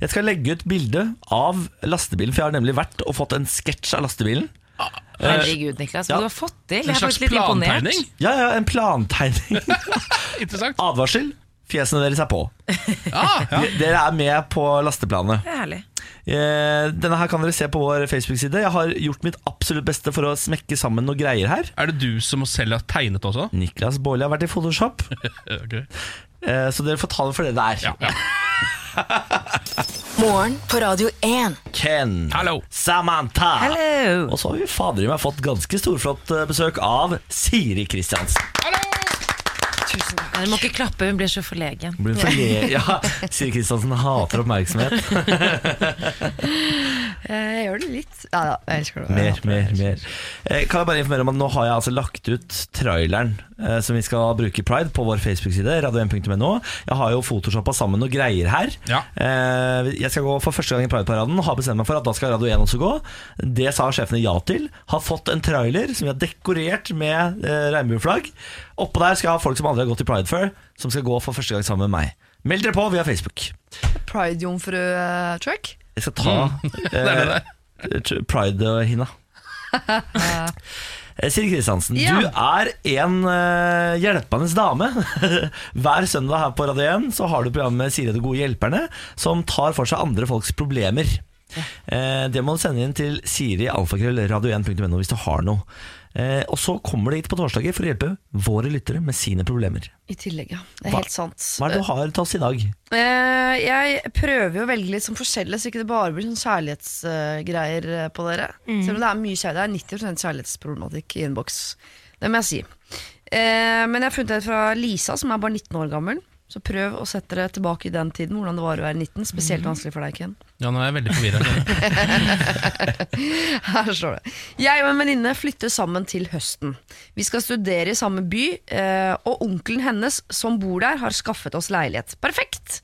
Speaker 1: Jeg skal legge ut bilde av lastebilen, for jeg har nemlig vært og fått en sketsj av lastebilen.
Speaker 2: Herregud, Niklas, hva
Speaker 1: Eh, ja.
Speaker 2: du har fått til.
Speaker 6: En
Speaker 2: Jeg er
Speaker 6: slags
Speaker 2: faktisk litt imponert.
Speaker 6: plantegning.
Speaker 1: Ja, ja, en plantegning.
Speaker 6: Interessant.
Speaker 1: Advarsel. Fjesene deres er på.
Speaker 6: Ja, Ah, ja.
Speaker 1: Dere er med på lasteplanet.
Speaker 2: Det er herlig.
Speaker 1: Eh, Denne her kan dere se på vår Facebook-side. Jeg har gjort mitt absolutt beste for å smekke sammen noen greier her.
Speaker 6: Er det du som selv har tegnet også?
Speaker 1: Niklas Baarli har vært i Photoshop,
Speaker 6: Ok.
Speaker 1: eh, så dere får ta det for det det er.
Speaker 6: Ja, ja.
Speaker 4: Morgen på Radio 1.
Speaker 1: Ken.
Speaker 6: Hallo.
Speaker 1: Samantha.
Speaker 2: Hello!
Speaker 1: Og så har vi fader i meg fått ganske storflott eh, besøk av Siri Kristiansen.
Speaker 2: Tusen takk. Dere må ikke klappe, hun blir så forlegen.
Speaker 1: Blir hun forle- Ja, Siri Kristiansen hater oppmerksomhet.
Speaker 7: Jeg gjør det litt. Ja, ja, jeg elsker det.
Speaker 1: Mer, mer, mer. Eh, Kan jeg bare informere om at nå har jeg altså lagt ut traileren eh, som vi skal bruke i Pride på vår Facebook-side, radio1.no. Jeg har jo photoshoppa sammen noen greier her.
Speaker 6: Ja.
Speaker 1: Eh, Jeg skal gå for første gang i Pride-paraden, har bestemt meg for at da skal Radio 1 også gå. Det sa sjefene ja til. Har fått en trailer som vi har dekorert med eh, regnbueflagg. Oppå der skal jeg ha folk som aldri har gått i Pride før, som skal gå for første gang sammen med meg. Meld dere på via Facebook.
Speaker 7: Pride-jomfru-truck.
Speaker 1: Jeg skal ta
Speaker 7: Mm.
Speaker 1: eh, t- pride-hinna. Eh, Siri Kristiansen,
Speaker 7: Ja.
Speaker 1: du er en eh, hjelpende dame. Hver søndag her på Radio 1 så har du programmet Siri og de gode hjelperne, som tar for seg andre folks problemer. Eh, det må du sende inn til sirialfakrøllradio1.no hvis du har noe. Eh, og så kommer du hit på torsdager for å hjelpe våre lyttere med sine problemer.
Speaker 7: I tillegg, ja. Det er
Speaker 1: Hva-
Speaker 7: helt sant.
Speaker 1: Hva er det du har til oss i dag?
Speaker 7: Eh, jeg prøver jo å velge litt sånn forskjellig, så ikke det bare blir sånn kjærlighetsgreier eh, på dere. Selv om det er mye kjærlighet. Det er 90 kjærlighetsproblematikk i innboks. Det må jeg si. Eh, men jeg har funnet en fra Lisa, som er bare 19 år gammel. Så prøv å sette dere tilbake i den tiden, hvordan det var å være 19. Spesielt vanskelig for deg, Ken.
Speaker 6: Ja, nå er jeg veldig forvirra.
Speaker 7: Her står det. Jeg og en venninne flytter sammen til høsten. Vi skal studere i samme by, eh, og onkelen hennes som bor der, har skaffet oss leilighet. Perfekt!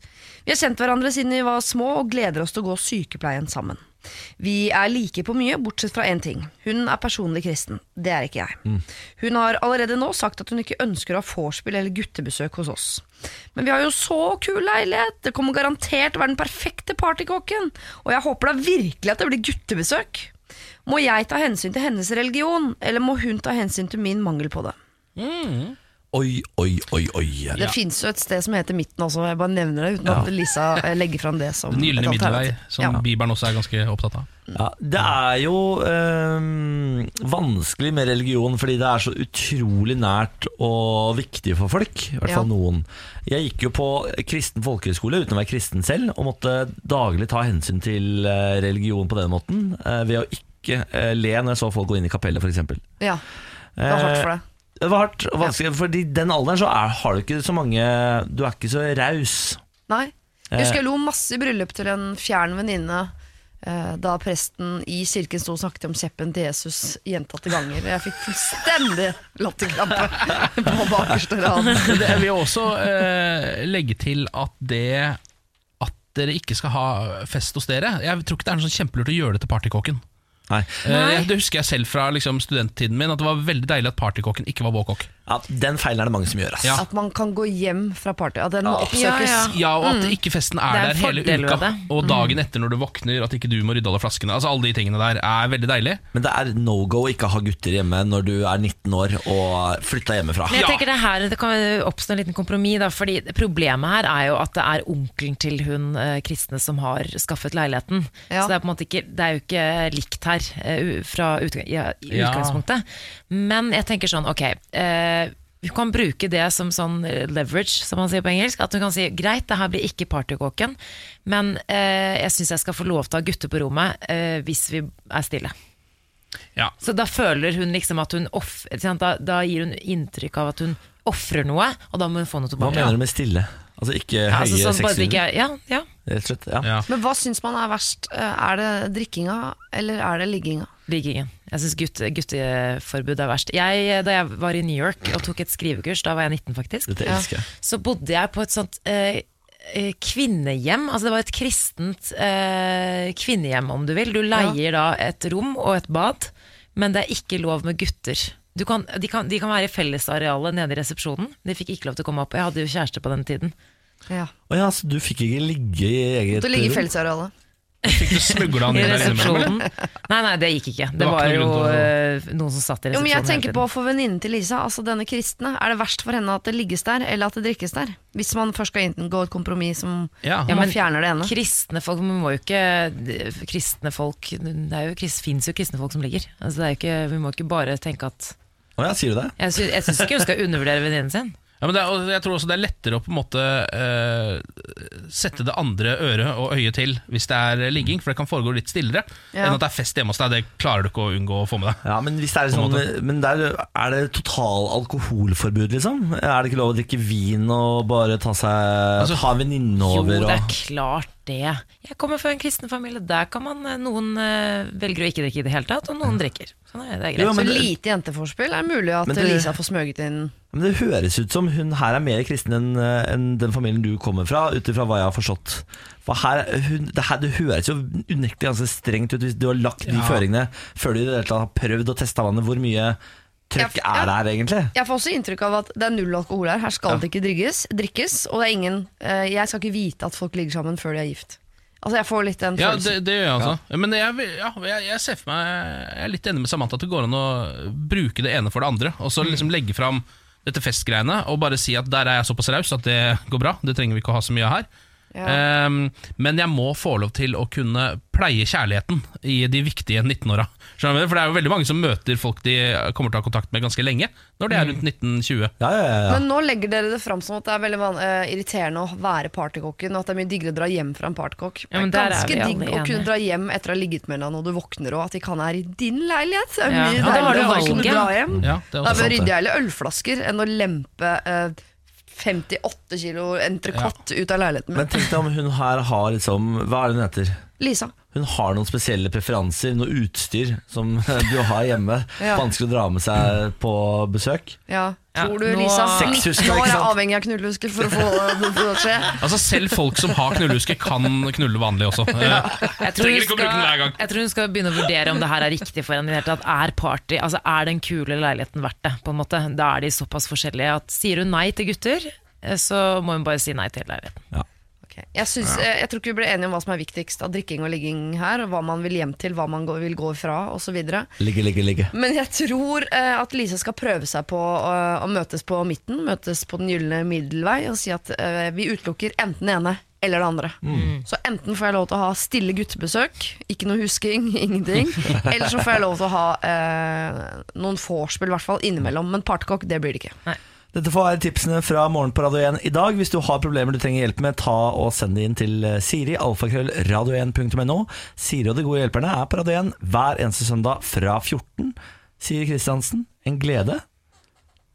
Speaker 7: Vi har kjent hverandre siden vi var små, og gleder oss til å gå sykepleien sammen. Vi er like på mye, bortsett fra én ting. Hun er personlig kristen. Det er ikke jeg. Hun har allerede nå sagt at hun ikke ønsker å ha vorspiel eller guttebesøk hos oss. Men vi har jo så kul leilighet! Det kommer garantert til å være den perfekte partykåken! Og jeg håper da virkelig at det blir guttebesøk! Må jeg ta hensyn til hennes religion, eller må hun ta hensyn til min mangel på det?
Speaker 1: Oi, oi, oi, oi.
Speaker 7: Det fins jo et sted som heter Midten også, jeg bare nevner det uten at Lisa eh, legger fram det som
Speaker 6: Den
Speaker 7: et
Speaker 6: gylne middelvei,
Speaker 7: alternativ.
Speaker 6: som
Speaker 7: Ja.
Speaker 6: Bibelen også er ganske opptatt av.
Speaker 1: Ja, det er jo øhm, vanskelig med religion fordi det er så utrolig nært og viktig for folk. I hvert
Speaker 7: Ja.
Speaker 1: fall noen. Jeg gikk jo på kristen folkehøyskole uten å være kristen selv, og måtte daglig ta hensyn til eh, religion på den måten. eh, Ved å ikke eh, le når jeg så folk gå inn i kapellet, f.eks.
Speaker 7: Ja, det er hardt for
Speaker 6: Eh,
Speaker 7: deg.
Speaker 1: Det var hardt og vanskelig, Fordi i den alderen så er, har du ikke så mange Du er ikke så raus.
Speaker 7: Nei. Jeg husker
Speaker 6: eh,
Speaker 7: jeg lo masse i bryllup til en fjern venninne eh, da presten i kirken sto og snakket om kjeppen til Jesus gjentatte ganger. og Jeg fikk fullstendig latterkrampe på bakerste rad.
Speaker 6: Men det- Jeg vil også eh, legge til at det at dere ikke skal ha fest hos dere Jeg tror ikke det er noe sånn kjempelurt å gjøre det til partykåken.
Speaker 1: Nei.
Speaker 6: Eh, det husker jeg selv fra liksom, studenttiden min, at det var veldig deilig at partykåken ikke var vår kokk.
Speaker 1: Ja, den feilen er det mange som gjør. Ass.
Speaker 6: Ja.
Speaker 7: At man kan gå hjem fra party. At den må
Speaker 2: Ja,
Speaker 7: oppsøkes.
Speaker 2: ja.
Speaker 6: Ja, og at ikke festen
Speaker 2: Mm.
Speaker 6: er,
Speaker 2: Det er en
Speaker 6: der hele
Speaker 2: fordel ved
Speaker 6: uka.
Speaker 2: det. Mm.
Speaker 6: Og dagen etter når du våkner, at ikke du må rydde alle flaskene. Altså Alle de tingene der er veldig deilig.
Speaker 1: Men det er no go å ikke ha gutter hjemme når du er 19 år og flytta hjemmefra.
Speaker 2: Men jeg
Speaker 6: Ja.
Speaker 2: tenker det her det kan oppstå en liten kompromiss, da, fordi problemet her er jo at det er onkelen til hun eh, kristne som har skaffet leiligheten.
Speaker 7: Ja.
Speaker 2: Så det er på en måte ikke, det er jo ikke likt her eh, u- fra utgang, ja, i
Speaker 6: Ja.
Speaker 2: utgangspunktet. Men jeg tenker sånn, ok eh, hun kan bruke det som sånn eh, leverage, som man sier på engelsk. At hun kan si greit, det her blir ikke partykåken, men eh, jeg syns jeg skal få lov til å ha gutter på rommet eh, hvis vi er stille.
Speaker 6: Ja.
Speaker 2: Så da føler hun liksom at hun off, ikke sant? da, da gir hun inntrykk av at hun ofrer noe, og da må hun få noe
Speaker 1: Hva
Speaker 2: tilbake.
Speaker 1: mener du med stille? Altså ikke
Speaker 2: Ja, altså,
Speaker 1: høye
Speaker 2: sånn, bare det
Speaker 1: sexlyder?
Speaker 2: ikke er- ja, ja.
Speaker 1: Rett og slett. Ja.
Speaker 6: Ja.
Speaker 7: Men hva syns man er verst? Eh, Er det drikkinga, eller er det ligginga?
Speaker 2: Liggingen. Jeg syns gutt, gutteforbud er verst. Jeg, da jeg var i New York og tok et skrivekurs, da var jeg 19 faktisk,
Speaker 1: Dette elsker jeg.
Speaker 2: så bodde jeg på et sånt eh, eh, kvinnehjem. Altså det var et kristent eh, kvinnehjem, om du vil. Du leier da et rom og et bad, men det er ikke lov med gutter. Du kan, de, kan, de kan være i fellesarealet nede i resepsjonen. De fikk ikke lov til å komme opp. Jeg hadde jo kjæreste på den tiden.
Speaker 7: Ja.
Speaker 1: Å ja, så du fikk ikke ligge i eget
Speaker 7: Du ligger i
Speaker 1: rom?
Speaker 7: fellesarealet.
Speaker 6: Fikk du smugla han
Speaker 2: I
Speaker 6: inn der innimellom, eller?
Speaker 2: resepsjonen. Nei, nei, det gikk ikke. Det,
Speaker 6: var
Speaker 2: var,
Speaker 6: ikke noe
Speaker 2: jo
Speaker 6: grunn
Speaker 2: eh, noen som satt i
Speaker 7: Jo,
Speaker 2: resepsjonen.
Speaker 7: men jeg tenker
Speaker 2: hele
Speaker 7: på
Speaker 2: tiden.
Speaker 7: for venninnen til Lisa, altså denne kristne. Er det verst for henne at det ligges der, eller at det drikkes der? Hvis man først skal inngå et kompromiss som
Speaker 6: Ja.
Speaker 7: om
Speaker 6: Ja,
Speaker 7: man
Speaker 2: men
Speaker 7: fjerner det ene.
Speaker 2: Kristne folk, man må jo ikke de- Kristne folk Det er jo, krist- finnes jo kristne folk som ligger. Altså, det er jo ikke, vi må ikke bare tenke at
Speaker 1: Å ja, sier du det?
Speaker 2: Jeg sy- jeg syns ikke hun skal undervurdere venninnen sin.
Speaker 6: Ja, men det er, og jeg tror også det er lettere å på en måte eh, sette det andre øret og øyet til hvis det er eh, ligging, for det kan foregå litt stillere
Speaker 7: Ja.
Speaker 6: enn at det er fest hjemme hos deg. Det klarer du ikke å unngå å få med deg.
Speaker 1: Ja, Men, hvis det er, sånn, men der, er det total alkoholforbud, liksom? Er det ikke lov å drikke vin og bare ta seg
Speaker 6: Altså,
Speaker 1: Ha en venninne
Speaker 2: Jo,
Speaker 1: over
Speaker 2: det er
Speaker 1: og
Speaker 2: klart det. Jeg kommer fra en kristen familie. Der kan man Noen eh, velger å ikke drikke i det hele tatt, og noen drikker. Sånn er det, det er greit.
Speaker 1: Jo,
Speaker 7: Så
Speaker 1: men det-
Speaker 7: lite jenteforspill er mulig at
Speaker 1: Men det-
Speaker 7: Lisa får smøget inn.
Speaker 1: Men det høres ut som hun her er mer kristen enn eh, enn den familien du kommer fra, ut ifra hva jeg har forstått. For her, hun, det, her, det høres jo unektelig ganske strengt ut hvis du har lagt de
Speaker 6: Ja.
Speaker 1: føringene før du i det hele tatt har prøvd og testa vannet. Hvor mye trøkk
Speaker 7: Ja, ja.
Speaker 1: er det her, egentlig?
Speaker 7: Jeg får også inntrykk av at det er null alkohol her. Her skal det ikke drikkes, drikkes. Og det er ingen eh, Jeg skal ikke vite at folk ligger sammen før de er gift. Altså Jeg får litt den
Speaker 6: Ja,
Speaker 7: følelsen.
Speaker 6: det, det gjør jeg altså. Men jeg, vil- ja, jeg, jeg ser for meg Jeg er litt enig med Samantha at det går an å bruke det ene for det andre, og så liksom legge fram dette festgreiene og bare si at der er jeg såpass raus at det går bra, det trenger vi ikke å ha så mye av her. Ehm, men jeg må få lov til å kunne pleie kjærligheten i de viktige 19-åra. Skjønner du hva jeg mener? For det er jo veldig mange som møter folk de kommer til å ha kontakt med ganske lenge, når
Speaker 2: Mm.
Speaker 6: de er rundt 1920.
Speaker 1: Ja, ja, ja, ja.
Speaker 7: Men nå legger dere det fram som at det er veldig van- eh, irriterende å være partykokken, og at det er mye diggere å dra hjem fra en partykokk.
Speaker 2: Ja, men
Speaker 7: det
Speaker 2: der
Speaker 7: er
Speaker 2: er
Speaker 7: ganske
Speaker 2: vi alle
Speaker 7: digg å
Speaker 2: enige.
Speaker 7: kunne dra hjem etter å ha ligget med noen, og du våkner, og at de kan være i din leilighet. Det er
Speaker 2: Ja.
Speaker 7: mye
Speaker 2: Ja, da har du
Speaker 7: deiligere å kunne
Speaker 2: valget.
Speaker 7: dra hjem.
Speaker 6: Ja, det er
Speaker 7: Da
Speaker 6: også sant,
Speaker 7: bør
Speaker 6: det.
Speaker 7: rydde jeg heller ølflasker enn å lempe eh, 58 kilo entrecôte ut av leiligheten
Speaker 1: Men
Speaker 7: min.
Speaker 1: tenk deg om hun her har liksom Hva er det hun heter?
Speaker 7: Lisa.
Speaker 1: Hun har noen spesielle preferanser, noe utstyr som du har hjemme.
Speaker 7: Ja.
Speaker 1: Vanskelig å dra med seg på besøk.
Speaker 7: Ja.
Speaker 2: Ja,
Speaker 7: Tror du
Speaker 2: nå-
Speaker 7: Lisa
Speaker 1: Sexhusker,
Speaker 7: 19 år
Speaker 1: ikke
Speaker 7: er
Speaker 1: sant?
Speaker 7: avhengig av knullehusker for å få det til å skje?
Speaker 6: Altså Selv folk som har knullehuske, kan knulle vanlig også.
Speaker 2: Jeg tror,
Speaker 6: Trenger
Speaker 2: hun
Speaker 6: ikke å bruke den hver
Speaker 2: skal,
Speaker 6: gang.
Speaker 2: jeg tror hun skal begynne å vurdere om det her er riktig for henne. i det hele tatt. Er party, altså er den kule leiligheten verdt det? på en måte? Da er de såpass forskjellige at sier hun nei til gutter, eh, så må hun bare si nei til hele leiligheten.
Speaker 7: Ok. Jeg, syns, eh, jeg tror ikke vi ble enige om hva som er viktigst av drikking og ligging her, og hva man vil hjem til, hva man går, vil gå ifra osv.
Speaker 1: Ligge, ligge, ligge.
Speaker 7: Men jeg tror eh, at Lisa skal prøve seg på eh, å møtes på midten, møtes på den gylne middelvei, og si at eh, vi utelukker enten det ene eller det andre. Så enten får jeg lov til å ha stille guttebesøk, ikke noe husking, ingenting. Eller så får jeg lov til å ha eh, noen vorspiel, i hvert fall innimellom. Men partykokk, det blir det ikke.
Speaker 1: Dette får være tipsene fra Morgen på Radio 1 i dag. Hvis du har problemer du trenger hjelp med, ta og send det inn til eh, Siri, alfakrøll, radio1.no. Siri og de gode hjelperne er på Radio 1 hver eneste søndag fra 14. Siri Kristiansen, en glede.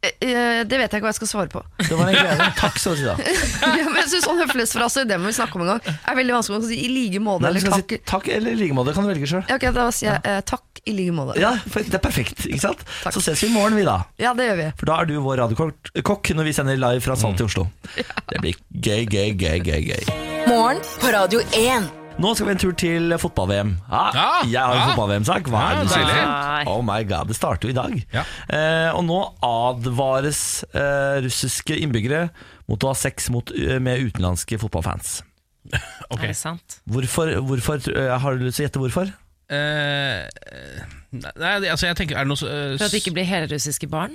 Speaker 7: Eh, eh, det vet jeg ikke hva jeg skal svare på.
Speaker 1: Det var en glede. Takk skal du si, da.
Speaker 7: ja, men jeg synes sånn høflighetsfrase, det må vi snakke om en gang, er veldig vanskelig å si i like måte.
Speaker 1: Nei, du
Speaker 7: Eller
Speaker 1: skal
Speaker 7: takk.
Speaker 1: si takk eller i like måte. Kan du velge sjøl.
Speaker 7: Ja, ok, da sier jeg eh, takk i like måte. Ja.
Speaker 1: Ja, for det er perfekt. ikke sant? Så ses vi i morgen, vi da.
Speaker 7: det gjør vi.
Speaker 1: For da er du vår radiokokk når vi sender live fra Salt i Oslo. Det blir gøy, gøy, gøy, gøy, gøy.
Speaker 4: Morgen på Radio 1.
Speaker 1: Nå skal vi en tur til fotball-VM. Ah,
Speaker 6: Ja,
Speaker 1: jeg har en
Speaker 6: ja.
Speaker 1: fotball-VM-sak. Hva
Speaker 6: Ja,
Speaker 1: er det du sier?
Speaker 2: deilig.
Speaker 1: Oh my god, det starter jo i dag.
Speaker 6: Ja.
Speaker 1: Eh, og nå advares eh, russiske innbyggere mot å ha sex mot, eh, med utenlandske fotballfans.
Speaker 6: Ok.
Speaker 2: Er det sant?
Speaker 1: Hvorfor, hvorfor eh, Har du lyst til å gjette hvorfor?
Speaker 6: Eh, nei, det- altså jeg tenker Er det noe så- eh,
Speaker 2: For at det ikke blir helrussiske barn?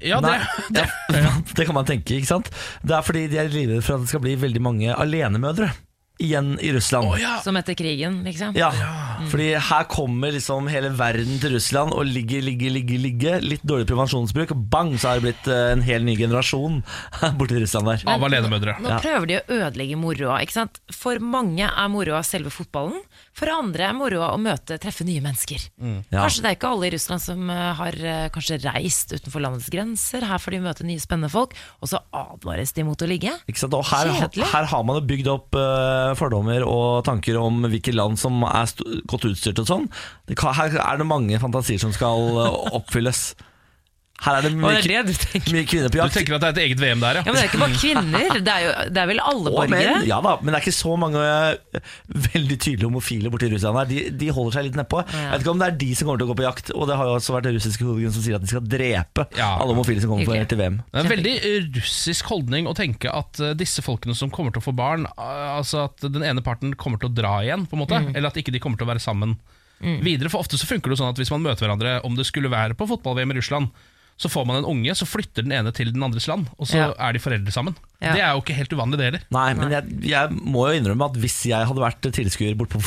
Speaker 6: Ja, det,
Speaker 1: Nei, ja, det kan man tenke, ikke sant? Det er fordi de er livredde for at det skal bli veldig mange alenemødre igjen i Russland.
Speaker 6: Å, ja.
Speaker 2: Som etter krigen, liksom?
Speaker 1: Ja, Mm. fordi her kommer liksom hele verden til Russland og ligge, ligge, ligge, ligge. Litt dårlig prevensjonsbruk, og bang, så har det blitt eh, en hel ny generasjon borti Russland der.
Speaker 6: Av alenemødre.
Speaker 2: Nå prøver de å ødelegge moroa. ikke sant? For mange er moroa selve fotballen. For andre er moroa å møte, treffe nye mennesker.
Speaker 1: Ja.
Speaker 2: Kanskje det er ikke alle i Russland som eh, har eh, kanskje reist utenfor landets grenser. Her får de møte nye spennende folk, og så advares de mot å ligge.
Speaker 1: Ikke sant? Og her,
Speaker 2: Kjedelig.
Speaker 1: her har man jo bygd opp eh, fordommer og tanker om hvilke land som er st godt utstyrt og sånn. Det kan, her er det mange fantasier som skal eh, oppfylles. Her er det
Speaker 2: Og
Speaker 1: mye,
Speaker 2: det er det du tenker.
Speaker 1: mye kvinner på
Speaker 6: Du
Speaker 1: jakt.
Speaker 6: tenker at det er et eget VM der,
Speaker 2: Ja, men det er ikke bare kvinner, det er, jo, det er vel alle
Speaker 1: Og
Speaker 2: borgere.
Speaker 1: menn, ja da, men det er ikke så mange eh, veldig tydelige homofile borti Russland her. De, de holder seg litt nedpå. Jeg vet ikke om det er de som kommer til å gå på jakt. Og det har jo også vært det russiske hovedgrunnen som sier at de skal drepe
Speaker 6: Ja.
Speaker 1: alle homofile som kommer
Speaker 2: Hyggelig.
Speaker 1: for- til VM.
Speaker 6: Det er en veldig russisk holdning å tenke at eh, disse folkene som kommer til å få barn, eh, altså at den ene parten kommer til å dra igjen, på en måte, eller at ikke de kommer til å være sammen videre. For ofte så funker det jo sånn at hvis man møter hverandre, om det skulle være på fotball-VM i Russland, så får man en unge, så flytter den ene til den andres land, og så
Speaker 2: Ja.
Speaker 6: er de foreldre sammen.
Speaker 2: Ja.
Speaker 6: Det er jo ikke helt uvanlig, det heller.
Speaker 1: Nei, men jeg, jeg må jo innrømme at hvis jeg hadde vært tilskuer bort på,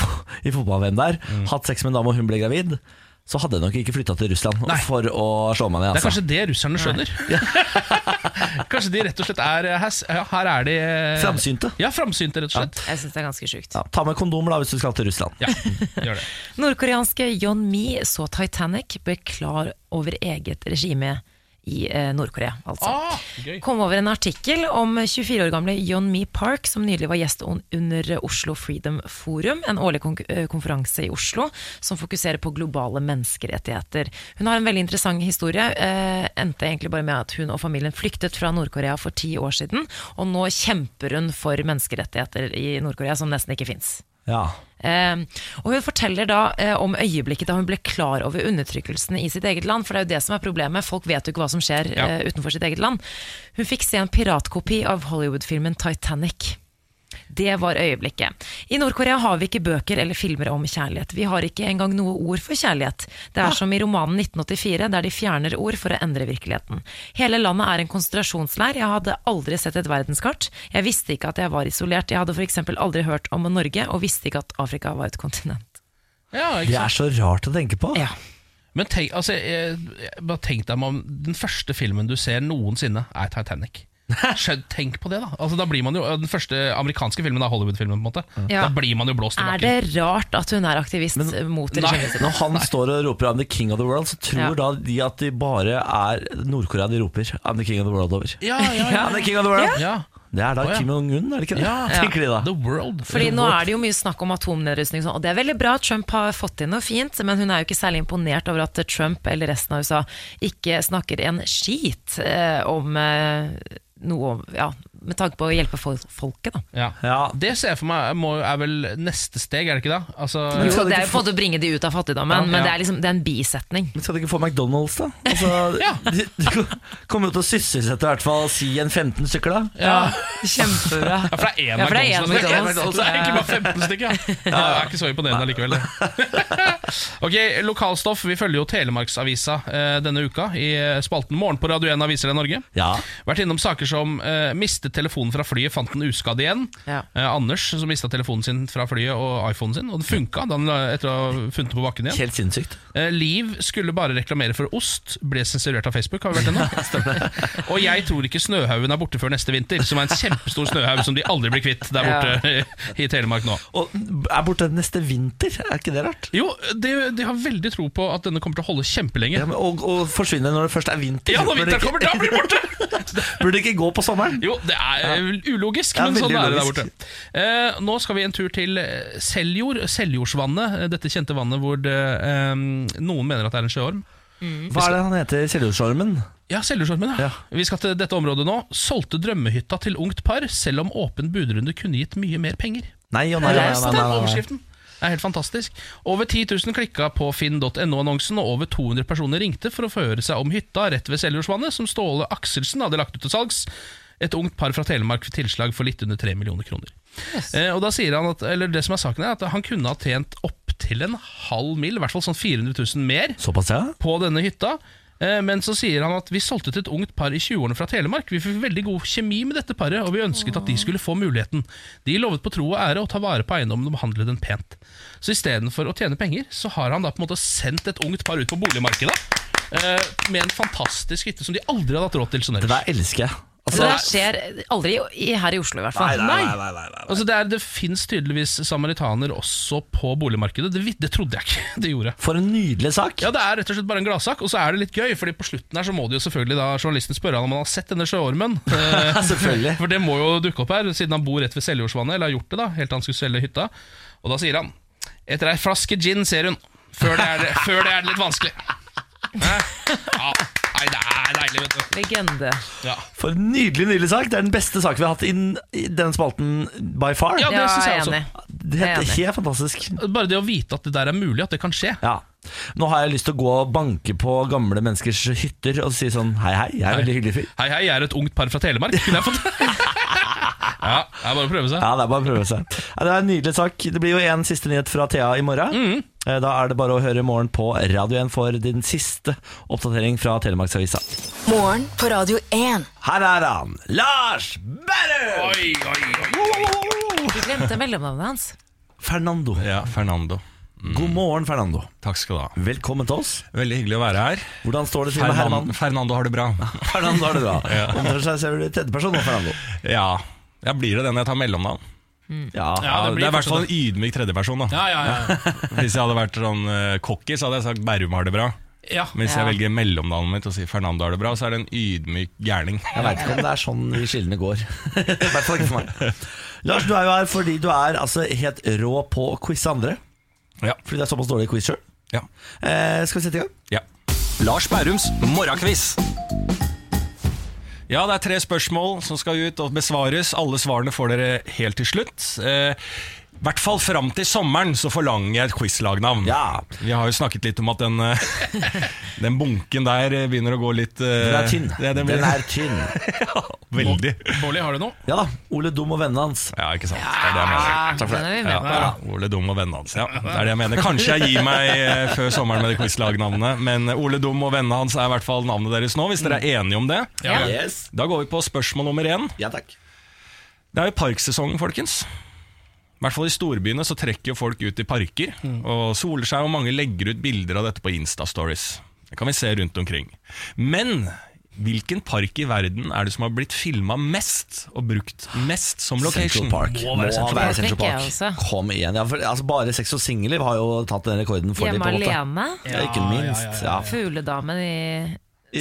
Speaker 1: i fotball-VM der,
Speaker 6: Mm.
Speaker 1: hatt sex med en dame og hun ble gravid, så hadde jeg nok ikke flytta til Russland
Speaker 6: Nei.
Speaker 1: for å slå meg ned.
Speaker 6: Det er
Speaker 1: Altså.
Speaker 6: kanskje det russerne skjønner. kanskje de rett og slett er eh, her, ja, her er de eh,
Speaker 1: Framsynte.
Speaker 6: Ja, framsynte, rett og slett.
Speaker 2: Jeg syns det er ganske sjukt.
Speaker 1: Ja, ta med kondomer da hvis du skal til Russland.
Speaker 6: Ja, gjør det.
Speaker 2: Nordkoreanske John Mi så Titanic, ble klar over eget regime i eh, Nord-Korea, altså.
Speaker 6: Ah, gøy.
Speaker 2: Kom over en artikkel om 24 år gamle John Mi Park, som nylig var gjest on- under Oslo Freedom Forum, en årlig konk- eh, konferanse i Oslo som fokuserer på globale menneskerettigheter. Hun har en veldig interessant historie. Eh, endte egentlig bare med at hun og familien flyktet fra Nord-Korea for ti år siden, og nå kjemper hun for menneskerettigheter i Nord-Korea som nesten ikke fins.
Speaker 1: Ja.
Speaker 2: Eh, og hun forteller da eh, om øyeblikket da hun ble klar over undertrykkelsen i sitt eget land, for det er jo det som er problemet, folk vet jo ikke hva som skjer
Speaker 6: Ja.
Speaker 2: eh, utenfor sitt eget land. Hun fikk se en piratkopi av Hollywood-filmen Titanic. Det var øyeblikket. I Nord-Korea har vi ikke bøker eller filmer om kjærlighet. Vi har ikke engang noe ord for kjærlighet. Det er som i romanen 1984, der de fjerner ord for å endre virkeligheten. Hele landet er en konsentrasjonsleir. Jeg hadde aldri sett et verdenskart. Jeg visste ikke at jeg var isolert. Jeg hadde f.eks. aldri hørt om Norge, og visste ikke at Afrika var et kontinent.
Speaker 6: Ja, ikke
Speaker 1: Det
Speaker 6: sant?
Speaker 1: er så rart å tenke på.
Speaker 2: Ja.
Speaker 6: Men tenk, altså, jeg, jeg, bare tenk deg om den første filmen du ser noensinne, er Titanic. Skjønn, tenk på det, da. Altså, da blir man jo, Den første amerikanske filmen er Hollywood-filmen. på en måte
Speaker 2: Ja.
Speaker 6: Da blir man jo blåst i
Speaker 2: Er
Speaker 6: bakken.
Speaker 2: det rart at hun er aktivist mot regimet sitt?
Speaker 1: Når han står og roper 'I'm the king of the world', så tror
Speaker 2: Ja.
Speaker 1: da de at de bare er Nord-Korea de roper 'I'm the king of the world' over.
Speaker 6: Ja, ja, ja.
Speaker 1: I'm the king of the world
Speaker 6: ja.
Speaker 1: Det er da
Speaker 6: Å, ja.
Speaker 1: Kim Jong-un, er det ikke det?
Speaker 6: Ja.
Speaker 1: Tenker de da.
Speaker 6: The World.
Speaker 2: Fordi nå er det jo mye snakk om atomnedrustning, og sånn, og det er veldig bra at Trump har fått til noe fint, men hun er jo ikke særlig imponert over at Trump eller resten av USA ikke snakker en skit eh, om eh, noe om, ja, med tanke på å hjelpe fol folket, da.
Speaker 6: ja.
Speaker 1: Ja.
Speaker 6: Det ser jeg for meg må, er vel neste steg, er det ikke det? Altså,
Speaker 1: Men
Speaker 2: Jo,
Speaker 1: skal
Speaker 2: det
Speaker 1: det
Speaker 2: er
Speaker 1: ikke
Speaker 2: jo på en måte å bringe de ut av fattigdommen,
Speaker 6: Ja, ja.
Speaker 2: men det er liksom det er en bisetning.
Speaker 1: Men skal de ikke få McDonald's, da? Altså,
Speaker 6: Ja.
Speaker 1: de, de kommer jo til å sysselsette i hvert fall si en 15 stykker, da.
Speaker 6: ja.
Speaker 2: Kjempebra.
Speaker 6: ja, for det er én
Speaker 2: Ja, for det er én
Speaker 6: McDonald's. det er
Speaker 2: McDonald's.
Speaker 6: én McDonald's, det er egentlig bare 15 stykker. Ja. Ja, det er ikke så imponerende allikevel. ok, Lokalstoff. Vi følger jo Telemarksavisa eh, denne uka i eh, spalten Morgen på Radio 1 Aviser i Norge.
Speaker 1: Ja.
Speaker 6: Vært innom saker som eh, mistet telefonen fra flyet, fant den uskadd igjen.
Speaker 2: Ja.
Speaker 6: Eh, Anders som mista telefonen sin fra flyet og iPhonen sin, og den funka da han la- etter å ha funnet den på bakken igjen.
Speaker 1: Helt sinnssykt.
Speaker 6: Eh, Liv skulle bare reklamere for ost, ble sensurert av Facebook, har vi vært ennå. og jeg tror ikke snøhaugen er borte før neste vinter, som er en kjempestor snøhaug som de aldri blir kvitt der borte i Telemark nå.
Speaker 1: Og er borte neste vinter, er ikke det rart?
Speaker 6: Jo, de, de har veldig tro på at denne kommer til å holde kjempelenge.
Speaker 1: Ja, men, og, og forsvinne når det først er vinter.
Speaker 6: Ja, når
Speaker 1: Burde
Speaker 6: vinteren
Speaker 1: ikke-
Speaker 6: kommer, da blir den borte!
Speaker 1: Burde ikke gå på sommeren.
Speaker 6: Jo, det er eh, ulogisk,
Speaker 1: Ja,
Speaker 6: men sånn
Speaker 1: veldig
Speaker 6: er det der borte.
Speaker 1: ulogisk.
Speaker 6: Eh, nå skal vi en tur til eh, Seljord, Seljordsvannet. eh, Dette kjente vannet hvor det, eh, noen mener at det er en sjøorm.
Speaker 1: Hva er det han heter? Seljordsormen?
Speaker 6: Ja, Seljordsormen, ja.
Speaker 1: Ja.
Speaker 6: Vi skal til dette området nå. Solgte drømmehytta til ungt par, selv om åpen budrunde kunne gitt mye mer penger.
Speaker 1: Nei og nei. nei, nei, nei, nei, nei.
Speaker 6: Overskriften er helt fantastisk. Over 10 000 klikka på finn.no-annonsen, og over 200 personer ringte for å få høre seg om hytta rett ved Seljordsvannet, som Ståle Akselsen hadde lagt ut til salgs. Et ungt par fra Telemark fikk tilslag for litt under 3 millioner kroner. Eh, og da sier han at, eller Det som er saken er at han kunne ha tjent opptil en halv mill., i hvert fall sånn 400 000 mer,
Speaker 1: Såpass, ja?
Speaker 6: på denne hytta. Eh, Men så sier han at vi solgte til et ungt par i 20-årene fra Telemark. Vi fikk veldig god kjemi med dette paret, og vi ønsket at de skulle få muligheten. De lovet på tro og ære å ta vare på eiendommen og behandle den pent. Så istedenfor å tjene penger, så har han da på en måte sendt et ungt par ut på boligmarkedet eh, med en fantastisk hytte som de aldri hadde hatt råd til sånn
Speaker 1: Det
Speaker 6: ellers.
Speaker 1: der elsker jeg.
Speaker 2: Så det skjer aldri i, her i Oslo, i hvert fall.
Speaker 1: nei, nei, nei.
Speaker 6: Altså det, er- det fins tydeligvis samaritaner også på boligmarkedet. Det, vi- det trodde jeg ikke det gjorde.
Speaker 1: For en nydelig sak.
Speaker 6: Ja, Det er rett og slett bare en gladsak, og så er det litt gøy. Fordi på slutten her så må de jo selvfølgelig da journalisten spørre han om han har sett denne sjøormen. Eh,
Speaker 1: Selvfølgelig.
Speaker 6: For det må jo dukke opp her, siden han bor rett ved Seljordsvannet. Eller har gjort det, da, helt til han skulle selge hytta. Og da sier han Etter ei flaske gin, ser hun. Før det er det, før det, er det litt vanskelig. Hæ? Ja, nei, det er deilig, vet du.
Speaker 2: Legende.
Speaker 6: Ja,
Speaker 1: For en nydelig, nydelig sak. Det er den beste saken vi har hatt i den- i denne spalten by far.
Speaker 6: ja det
Speaker 2: Ja,
Speaker 6: synes
Speaker 2: jeg
Speaker 6: jeg
Speaker 2: er
Speaker 6: også.
Speaker 2: enig.
Speaker 1: Det
Speaker 2: jeg er
Speaker 1: er
Speaker 2: enig.
Speaker 1: helt fantastisk.
Speaker 6: Bare det å vite at det der er mulig, at det kan skje.
Speaker 1: Ja. Nå har jeg lyst til å gå og banke på gamle menneskers hytter og si sånn Hei, hei, jeg er en veldig hyggelig fyr.
Speaker 6: Hei, hei, jeg er et ungt par fra Telemark. Kunne jeg fått Ja, det er bare å prøve seg.
Speaker 1: Ja, det er bare å prøve seg. Ja, det er en nydelig sak. Det blir jo en siste nyhet fra Thea i morgen. Eh, Da er det bare å høre i morgen på Radio 1 for din siste oppdatering fra Telemarksavisa.
Speaker 4: Morgen på Radio 1.
Speaker 1: Her er han, Lars Berrum!
Speaker 6: Oi, oi, oi.
Speaker 2: Du glemte mellomnavnet hans.
Speaker 1: Fernando.
Speaker 8: Ja, Fernando.
Speaker 1: God morgen, Fernando.
Speaker 8: Takk skal du ha.
Speaker 1: Velkommen til oss.
Speaker 8: Veldig hyggelig å være her.
Speaker 1: Hvordan står det til med
Speaker 8: Fernan-
Speaker 1: Herman?
Speaker 8: Fernando har det bra.
Speaker 1: Fernando har det bra. Omtrent seg ser du i tredjeperson nå, Fernando.
Speaker 8: Ja, jeg blir det den jeg tar mellomnavn.
Speaker 1: Ja.
Speaker 8: Ja,
Speaker 6: det
Speaker 8: det,
Speaker 6: blir
Speaker 8: er i hvert
Speaker 6: kanskje
Speaker 8: fall en ydmyk tredjeperson. da
Speaker 6: Ja, ja, ja.
Speaker 8: Hvis jeg hadde vært sånn eh, cocky, så hadde jeg sagt Berrum har det bra.
Speaker 6: ja.
Speaker 8: Mens
Speaker 2: Ja.
Speaker 8: jeg velger mellomnavnet mitt og sier Fernando har det bra, så er det en ydmyk gærning.
Speaker 1: Jeg veit ikke om det er sånn de skillene går. I hvert fall ikke for meg. Lars, du er jo her fordi du er altså helt rå på å quize andre.
Speaker 8: Ja.
Speaker 1: Fordi det er såpass dårlig quiz sjøl.
Speaker 8: Ja.
Speaker 1: Eh, skal vi sette i gang?
Speaker 8: ja. Lars Berrums morgenkviss. Ja, det er tre spørsmål som skal ut og besvares. Alle svarene får dere helt til slutt. Eh, I hvert fall fram til sommeren så forlanger jeg et quizlagnavn.
Speaker 1: Ja.
Speaker 8: Vi har jo snakket litt om at den, eh, den bunken der eh, begynner å gå litt eh,
Speaker 1: Den er tynn.
Speaker 8: det- Den,
Speaker 1: Den
Speaker 8: blir,
Speaker 1: er tynn.
Speaker 8: Veldig.
Speaker 6: Bårli, har du noe?
Speaker 1: Ja da. Ole Dum og vennene hans.
Speaker 8: Ja, ikke sant. Det er det jeg mener.
Speaker 2: Den er vi med på.
Speaker 8: Ja, Ole Dum og vennene hans. Ja, det er det jeg mener. Kanskje jeg gir meg eh, før sommeren med de quizlagnavnene, men Ole Dum og vennene hans er i hvert fall navnet deres nå, hvis dere er enige om det.
Speaker 2: Ja.
Speaker 1: Yes.
Speaker 8: Da går vi på spørsmål nummer én.
Speaker 1: Ja takk.
Speaker 8: Det er jo parksesongen, folkens. I hvert fall i storbyene så trekker jo folk ut i parker og soler seg, og mange legger ut bilder av dette på Insta-stories. Det kan vi se rundt omkring. Men hvilken park i verden er det som har blitt filma mest og brukt mest som
Speaker 1: Central
Speaker 8: location?
Speaker 1: Park. Må være Central Park.
Speaker 2: Tenker jeg også.
Speaker 1: Kom igjen. Ja, for, altså, bare sex og singelliv har jo tatt den rekorden for dem.
Speaker 2: Hjemme
Speaker 1: på en måte.
Speaker 2: alene.
Speaker 1: Ja, ikke minst. Ja,
Speaker 2: Fugledamen i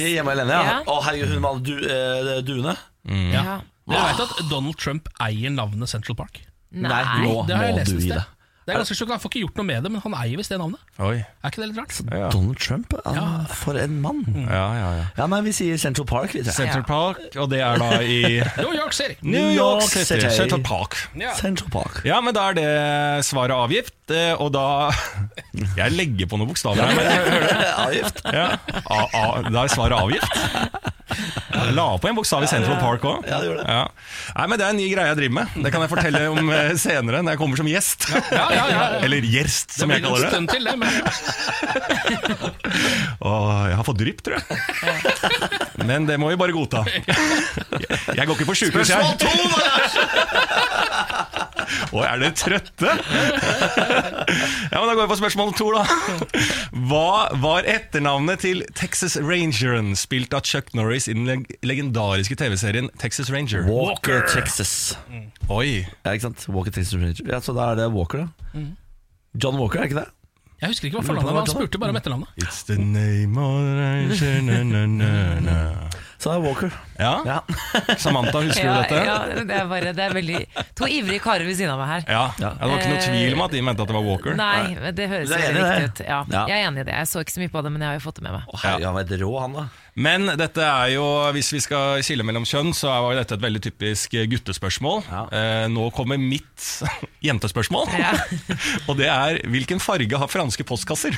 Speaker 1: Hjemme alene, ja.
Speaker 2: Ja.
Speaker 1: Å herregud, hun med alle du, eh, duene.
Speaker 8: Mm.
Speaker 2: Ja.
Speaker 6: Dere vet at Donald Trump eier navnet Central Park.
Speaker 1: Nei, nå
Speaker 6: det har jeg
Speaker 1: må
Speaker 6: lest
Speaker 1: du
Speaker 6: et
Speaker 1: gi
Speaker 6: sted.
Speaker 1: det.
Speaker 6: Det er ganske sjukt, Han får ikke gjort noe med det, men han eier visst det navnet.
Speaker 8: Oi.
Speaker 6: Er ikke det litt rart?
Speaker 8: Ja.
Speaker 1: Donald Trump, ja, for en mann.
Speaker 8: Ja, ja, ja.
Speaker 1: Ja, nei, Vi sier Central Park. Litt, ja.
Speaker 8: Central Park, og det er da i
Speaker 6: New York City.
Speaker 8: New York City. Central Park.
Speaker 6: Ja.
Speaker 1: Central Park.
Speaker 8: Ja, men da er det svaret avgitt, eh, og da Jeg legger på noen bokstaver her, men
Speaker 1: Avgift.
Speaker 8: Ja. A, a, da er svaret avgift. Jeg la på en bokstav i Central Park òg.
Speaker 1: Ja, det gjorde det.
Speaker 8: Nei, men det er en ny greie jeg driver med. Det kan jeg fortelle om eh, senere, når jeg kommer som gjest.
Speaker 6: Ja, ja, ja, ja.
Speaker 8: Eller gjerst,
Speaker 6: Det
Speaker 8: som jeg
Speaker 6: blir en
Speaker 8: kaller det.
Speaker 6: stund til, det. Men
Speaker 8: Åh, jeg har fått drypp, tror jeg. Men det må vi bare godta. Jeg går ikke på sjukehus, jeg. Spørsmål to, Å, er dere trøtte? Ja, men Da går vi på spørsmål to, da. Hva var etternavnet til Texas Rangeren, spilt av Chuck Norris i den leg legendariske TV-serien Texas Ranger?
Speaker 1: Walker, Texas.
Speaker 8: Oi,
Speaker 1: Ja, ikke sant? Walker, Texas Ranger. Ja, Så da er det Walker, da.
Speaker 2: Mm.
Speaker 1: John Walker, er ikke det?
Speaker 6: jeg husker ikke hva fornavnet var. Han spurte bare om etternavnet.
Speaker 8: It's the name of the ranger na, na, na, na.
Speaker 1: Så det er Walker.
Speaker 8: Ja,
Speaker 1: Ja.
Speaker 8: Samantha, husker
Speaker 2: ja,
Speaker 8: du dette?
Speaker 2: ja, det er bare Det er veldig To ivrige karer ved siden av meg her.
Speaker 8: Ja. ja, Det var ikke noe tvil om at de mente at det var Walker.
Speaker 2: Nei, men det høres
Speaker 1: Du
Speaker 2: jo
Speaker 1: er
Speaker 2: veldig
Speaker 1: enig i
Speaker 2: riktig ut.
Speaker 1: det?
Speaker 2: Ja,
Speaker 1: Ja.
Speaker 2: Jeg er enig i det. Jeg så ikke så mye på det, men jeg har jo fått det med meg.
Speaker 1: Å, herregud, han var et rå, han, da.
Speaker 8: Men dette er jo, hvis vi skal skille mellom kjønn, så var jo dette et veldig typisk guttespørsmål. Eh, nå kommer mitt jentespørsmål.
Speaker 2: Ja.
Speaker 8: Og det er hvilken farge har franske postkasser?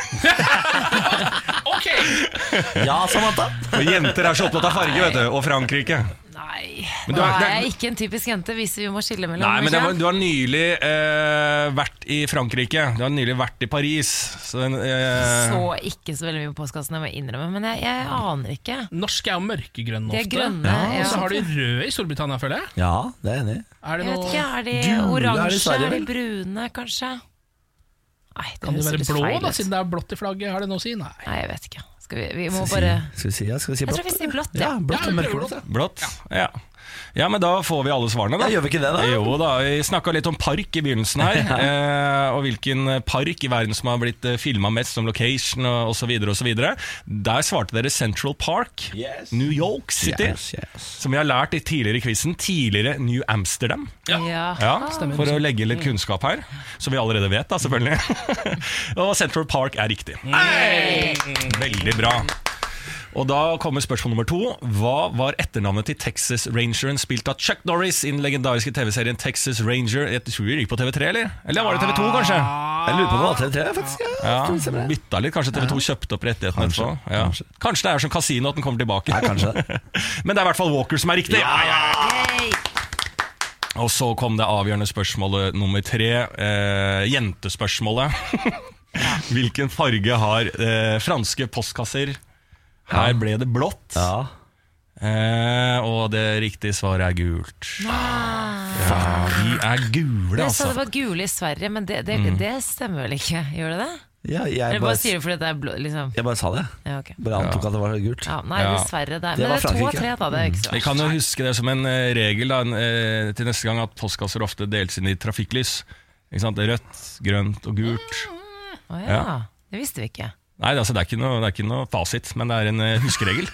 Speaker 1: Ja, Samantha.
Speaker 8: For jenter er så opptatt av farge, vet du. Og Frankrike.
Speaker 2: Nei,
Speaker 8: Men du
Speaker 2: da
Speaker 8: er-
Speaker 2: er
Speaker 8: det er-
Speaker 2: jeg ikke en typisk jente, hvis vi må skille mellom
Speaker 8: Nei, men det var,
Speaker 2: kjønn.
Speaker 8: du har nylig eh, vært i Frankrike. Du har nylig vært i Paris. Så, den, eh,
Speaker 2: Så ikke så veldig mye på postkassen, jeg må innrømme, men jeg, jeg aner ikke.
Speaker 6: Norsk er jo mørkegrønn
Speaker 2: De
Speaker 6: ofte.
Speaker 2: er grønne, ja.
Speaker 6: Og så har de rød i Storbritannia, føler jeg.
Speaker 1: Ja, det er jeg enig i.
Speaker 6: Er det
Speaker 2: Jeg vet
Speaker 6: noe,
Speaker 2: ikke, er de
Speaker 1: Gule er det
Speaker 2: oransje,
Speaker 1: Sverige,
Speaker 2: er de
Speaker 1: vel?
Speaker 2: brune, kanskje? Nei, det
Speaker 6: kan det
Speaker 2: høres
Speaker 6: være
Speaker 2: litt
Speaker 6: blå,
Speaker 2: feil
Speaker 6: da,
Speaker 2: ut.
Speaker 6: siden det er blått i flagget? Har det noe å si? Nei.
Speaker 2: Nei, jeg vet ikke. Skal vi, vi må bare
Speaker 1: Skal vi si, ja? Skal vi si
Speaker 2: Jeg
Speaker 1: blått?
Speaker 2: tror vi sier blått,
Speaker 1: ja.
Speaker 2: ja.
Speaker 1: blått og
Speaker 6: Ja, vi prøver
Speaker 1: mørkeblått. ja.
Speaker 8: blått? Ja. ja, men da får vi alle svarene, da.
Speaker 1: Ja, gjør vi ikke det, da?
Speaker 8: Jo da, Vi snakka litt om park i begynnelsen her. eh, og hvilken park i verden som har blitt filma mest som location og osv. Der svarte dere Central Park,
Speaker 1: Yes.
Speaker 8: New York City.
Speaker 1: Yes, yes.
Speaker 8: Som vi har lært i tidligere i quizen, tidligere New Amsterdam.
Speaker 2: Ja.
Speaker 8: Ja, For å legge litt kunnskap her, som vi allerede vet, da, selvfølgelig. og Central Park er riktig. Veldig bra. Og da kommer spørsmål nummer to. Hva var etternavnet til Texas Rangeren spilt av Chuck Norris i den legendariske TV-serien Texas Ranger? Jeg tror vi gikk på TV3, eller? Eller var det TV2, kanskje?
Speaker 1: Jeg lurer på om det var TV3, jeg, faktisk. Ja.
Speaker 8: Ja, Bytta litt, kanskje TV2 kjøpte opp rettighetene
Speaker 1: Kanskje,
Speaker 8: etterpå. Ja.
Speaker 1: kanskje.
Speaker 8: Kanskje det er som kasino at den kommer tilbake.
Speaker 1: Nei, kanskje det.
Speaker 8: Men det er i hvert fall Walker som er riktig. Ja, ja, ja. Og så kom det avgjørende spørsmålet nummer tre. Eh, jentespørsmålet. Hvilken farge har eh, franske postkasser? Her ble det blått,
Speaker 1: Ja.
Speaker 8: eh, og det riktige svaret er gult. Ja, de er gule,
Speaker 2: Jeg sa
Speaker 8: altså.
Speaker 2: Ah. det var gule i Sverige, men det, det, det stemmer vel ikke? Gjør det det?
Speaker 1: ja jeg,
Speaker 2: Eller bare sier
Speaker 1: bare,
Speaker 2: du fordi det er blå, liksom?
Speaker 1: jeg bare sa det. jeg.
Speaker 2: Ja, ok.
Speaker 1: Bare antok at det var gult.
Speaker 2: Ja, nei,
Speaker 8: Ja.
Speaker 2: dessverre. Det, er-
Speaker 1: Det
Speaker 2: men det
Speaker 1: var
Speaker 2: er to av
Speaker 1: Frankrike.
Speaker 2: tre, da. Det er ikke så
Speaker 8: Mm. Vi kan jo huske det som en eh, regel da, en, eh, til neste gang at postkasser ofte deles inn i trafikklys. Ikke sant? Rødt, grønt og gult.
Speaker 2: Mm. Å ja.
Speaker 8: Ja.
Speaker 2: Det visste vi ikke.
Speaker 8: Nei, altså, det, er ikke noe, det er ikke noe fasit, men det er en eh, huskeregel.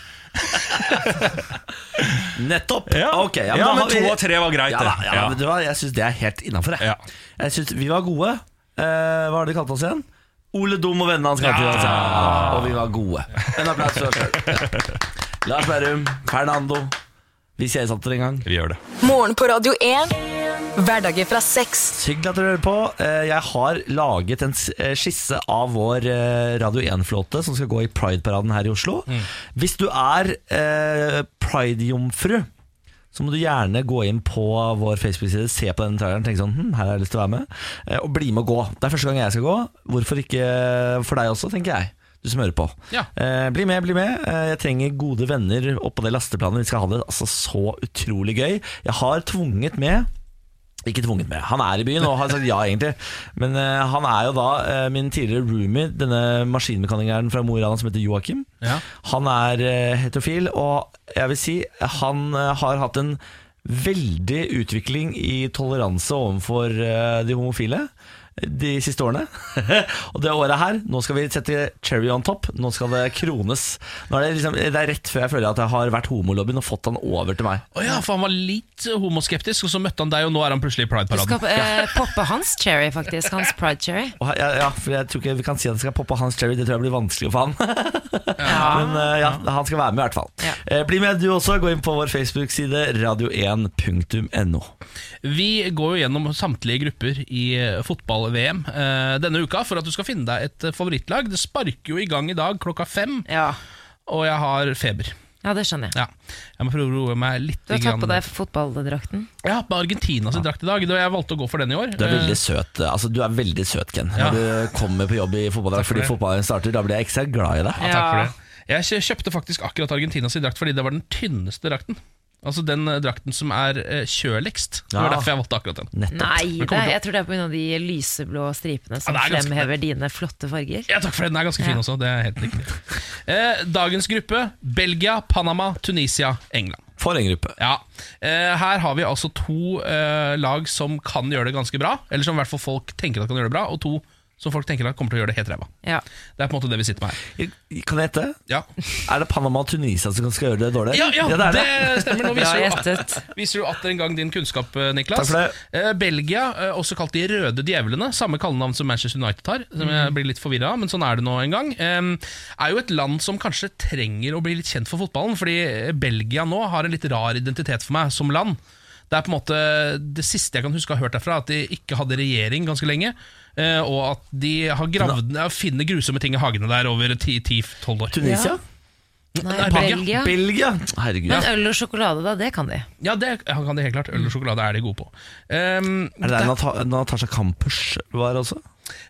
Speaker 1: Nettopp!
Speaker 8: Ja,
Speaker 1: Ok,
Speaker 8: ja,
Speaker 1: da
Speaker 8: men,
Speaker 1: har vi-
Speaker 8: to av tre var greit,
Speaker 1: Ja, da,
Speaker 8: det.
Speaker 1: ja,
Speaker 8: Ja.
Speaker 1: Men det var, jeg syns det er helt innafor.
Speaker 8: Ja.
Speaker 1: Jeg synes vi var gode. Eh, hva har de kalt oss igjen? Ole Dum og vennene hans kalte vi oss. Ja, og vi var gode. En applaus for oss sjøl. Lars Berrum, Fernando. Vi ses atter en gang.
Speaker 8: Vi gjør det.
Speaker 4: Morgen på Radio 1. Hverdager fra seks.
Speaker 1: Så Hyggelig at dere hører på. Eh, Jeg har laget en s- eh, skisse av vår eh, Radio 1-flåte som skal gå i Pride-paraden her i Oslo. Hvis du er eh, Pride-jomfru, så må du gjerne gå inn på vår Facebook-side, se på denne traileren, tenke sånn hm, her har jeg lyst til å være med, eh, og bli med og gå. Det er første gang jeg skal gå. Hvorfor ikke eh, for deg også, tenker jeg. Du som hører på.
Speaker 6: Ja.
Speaker 1: Eh, bli med, bli med. Eh, jeg trenger gode venner oppå det lasteplanet. Vi skal ha det altså så utrolig gøy. Jeg har tvunget med ikke tvunget med. Han er i byen og har sagt ja, egentlig. Men eh, han er jo da eh, min tidligere roomie, denne maskinmekanikeren fra Mo i Rana som heter Joakim.
Speaker 6: Ja.
Speaker 1: Han er eh, heterofil, og jeg vil si han eh, har hatt en veldig utvikling i toleranse overfor eh, de homofile de siste årene. og det året her, nå skal vi sette cherry on top. Nå skal det krones. Nå er det, liksom, det er rett før jeg føler at jeg har vært homolobbyen og fått han over til meg.
Speaker 6: Å ja, for han var litt homoskeptisk, og så møtte han deg, og nå er han plutselig i
Speaker 2: Du
Speaker 6: Pride-paraden.
Speaker 2: skal eh, poppe hans cherry, faktisk. Hans pride cherry.
Speaker 1: Og her- ja, ja, for jeg tror ikke vi kan si at det skal poppe hans cherry. Det tror jeg blir vanskelig for han. Men eh, ja, han skal være med i hvert fall.
Speaker 2: Ja.
Speaker 1: Eh, bli med du også. Gå inn på vår Facebook-side radio1.no.
Speaker 6: Vi går jo gjennom samtlige grupper i eh, fotball-VM eh, denne uka for at du skal finne deg et eh, favorittlag. Det sparker jo i gang i dag klokka fem,
Speaker 2: Ja.
Speaker 6: og jeg har feber.
Speaker 2: ja, det skjønner jeg.
Speaker 6: Ja. Jeg må prøve å roe meg litt.
Speaker 2: Du har tatt på
Speaker 6: grann.
Speaker 2: deg fotballdrakten.
Speaker 6: Jeg har på Argentina sin drakt i dag. da Jeg valgte å gå for den i år.
Speaker 1: Du er
Speaker 6: Eh,
Speaker 1: veldig søt, eh, altså, du er veldig søt Ken. Når
Speaker 6: Ja.
Speaker 1: du kommer på jobb i fotballdrakt fordi fotballen starter, da blir jeg ekstra glad i deg.
Speaker 6: ja, Eh, takk for det. Jeg kjø- kjøpte faktisk akkurat Argentina sin drakt fordi det var den tynneste drakten. Altså den eh, drakten som er eh, kjøligst. Det var
Speaker 1: Ja.
Speaker 6: derfor jeg valgte akkurat den.
Speaker 2: Nei, det,
Speaker 6: kommer til-
Speaker 2: jeg tror det er pga. de lyseblå stripene som
Speaker 6: Ja, det er ganske-
Speaker 2: fremhever dine flotte farger.
Speaker 6: Ja, takk for det. Den er ganske fin
Speaker 2: Ja.
Speaker 6: også. Det er helt riktig. Eh, dagens gruppe Belgia, Panama, Tunisia, England.
Speaker 1: For en gruppe.
Speaker 6: Ja, eh, Her har vi altså to eh, lag som kan gjøre det ganske bra, eller som i hvert fall folk tenker at kan gjøre det bra, og to som folk tenker at kommer til å gjøre det helt ræva.
Speaker 2: Ja.
Speaker 6: Det er på en måte det vi sitter med her.
Speaker 1: Kan jeg gjette?
Speaker 6: Ja,
Speaker 1: Er det Panama og Tunisia som skal gjøre det dårlig?
Speaker 6: ja, ja,
Speaker 1: det er
Speaker 6: det,
Speaker 1: det.
Speaker 6: stemmer. Nå
Speaker 2: Bra
Speaker 6: viser du, at,
Speaker 2: gjettet.
Speaker 6: viser du atter en gang din kunnskap, eh,
Speaker 1: Takk
Speaker 6: Niklas.
Speaker 1: for det.
Speaker 6: Eh, Belgia, eh, også kalt de røde djevlene, samme kallenavn som Manchester United har, som
Speaker 1: Mm.
Speaker 6: jeg blir litt forvirra av, men sånn er det nå en gang, eh, er jo et land som kanskje trenger å bli litt kjent for fotballen, fordi eh, Belgia nå har en litt rar identitet for meg som land. Det er på en måte det siste jeg kan huske å ha hørt derfra, at de ikke hadde regjering ganske lenge, eh, og at de har gravd, ja, finner grusomme ting i hagene der over 10-12 år.
Speaker 1: Tunisia?
Speaker 2: Nei,
Speaker 6: Nei, Belgia.
Speaker 2: Belgia.
Speaker 1: Belgia? Herregud.
Speaker 2: Men øl og sjokolade, da, det kan de.
Speaker 6: Ja, det kan de helt klart. Øl og sjokolade er de gode på. Um,
Speaker 1: Mm. Er det der Nata Natasha Kampusch var også?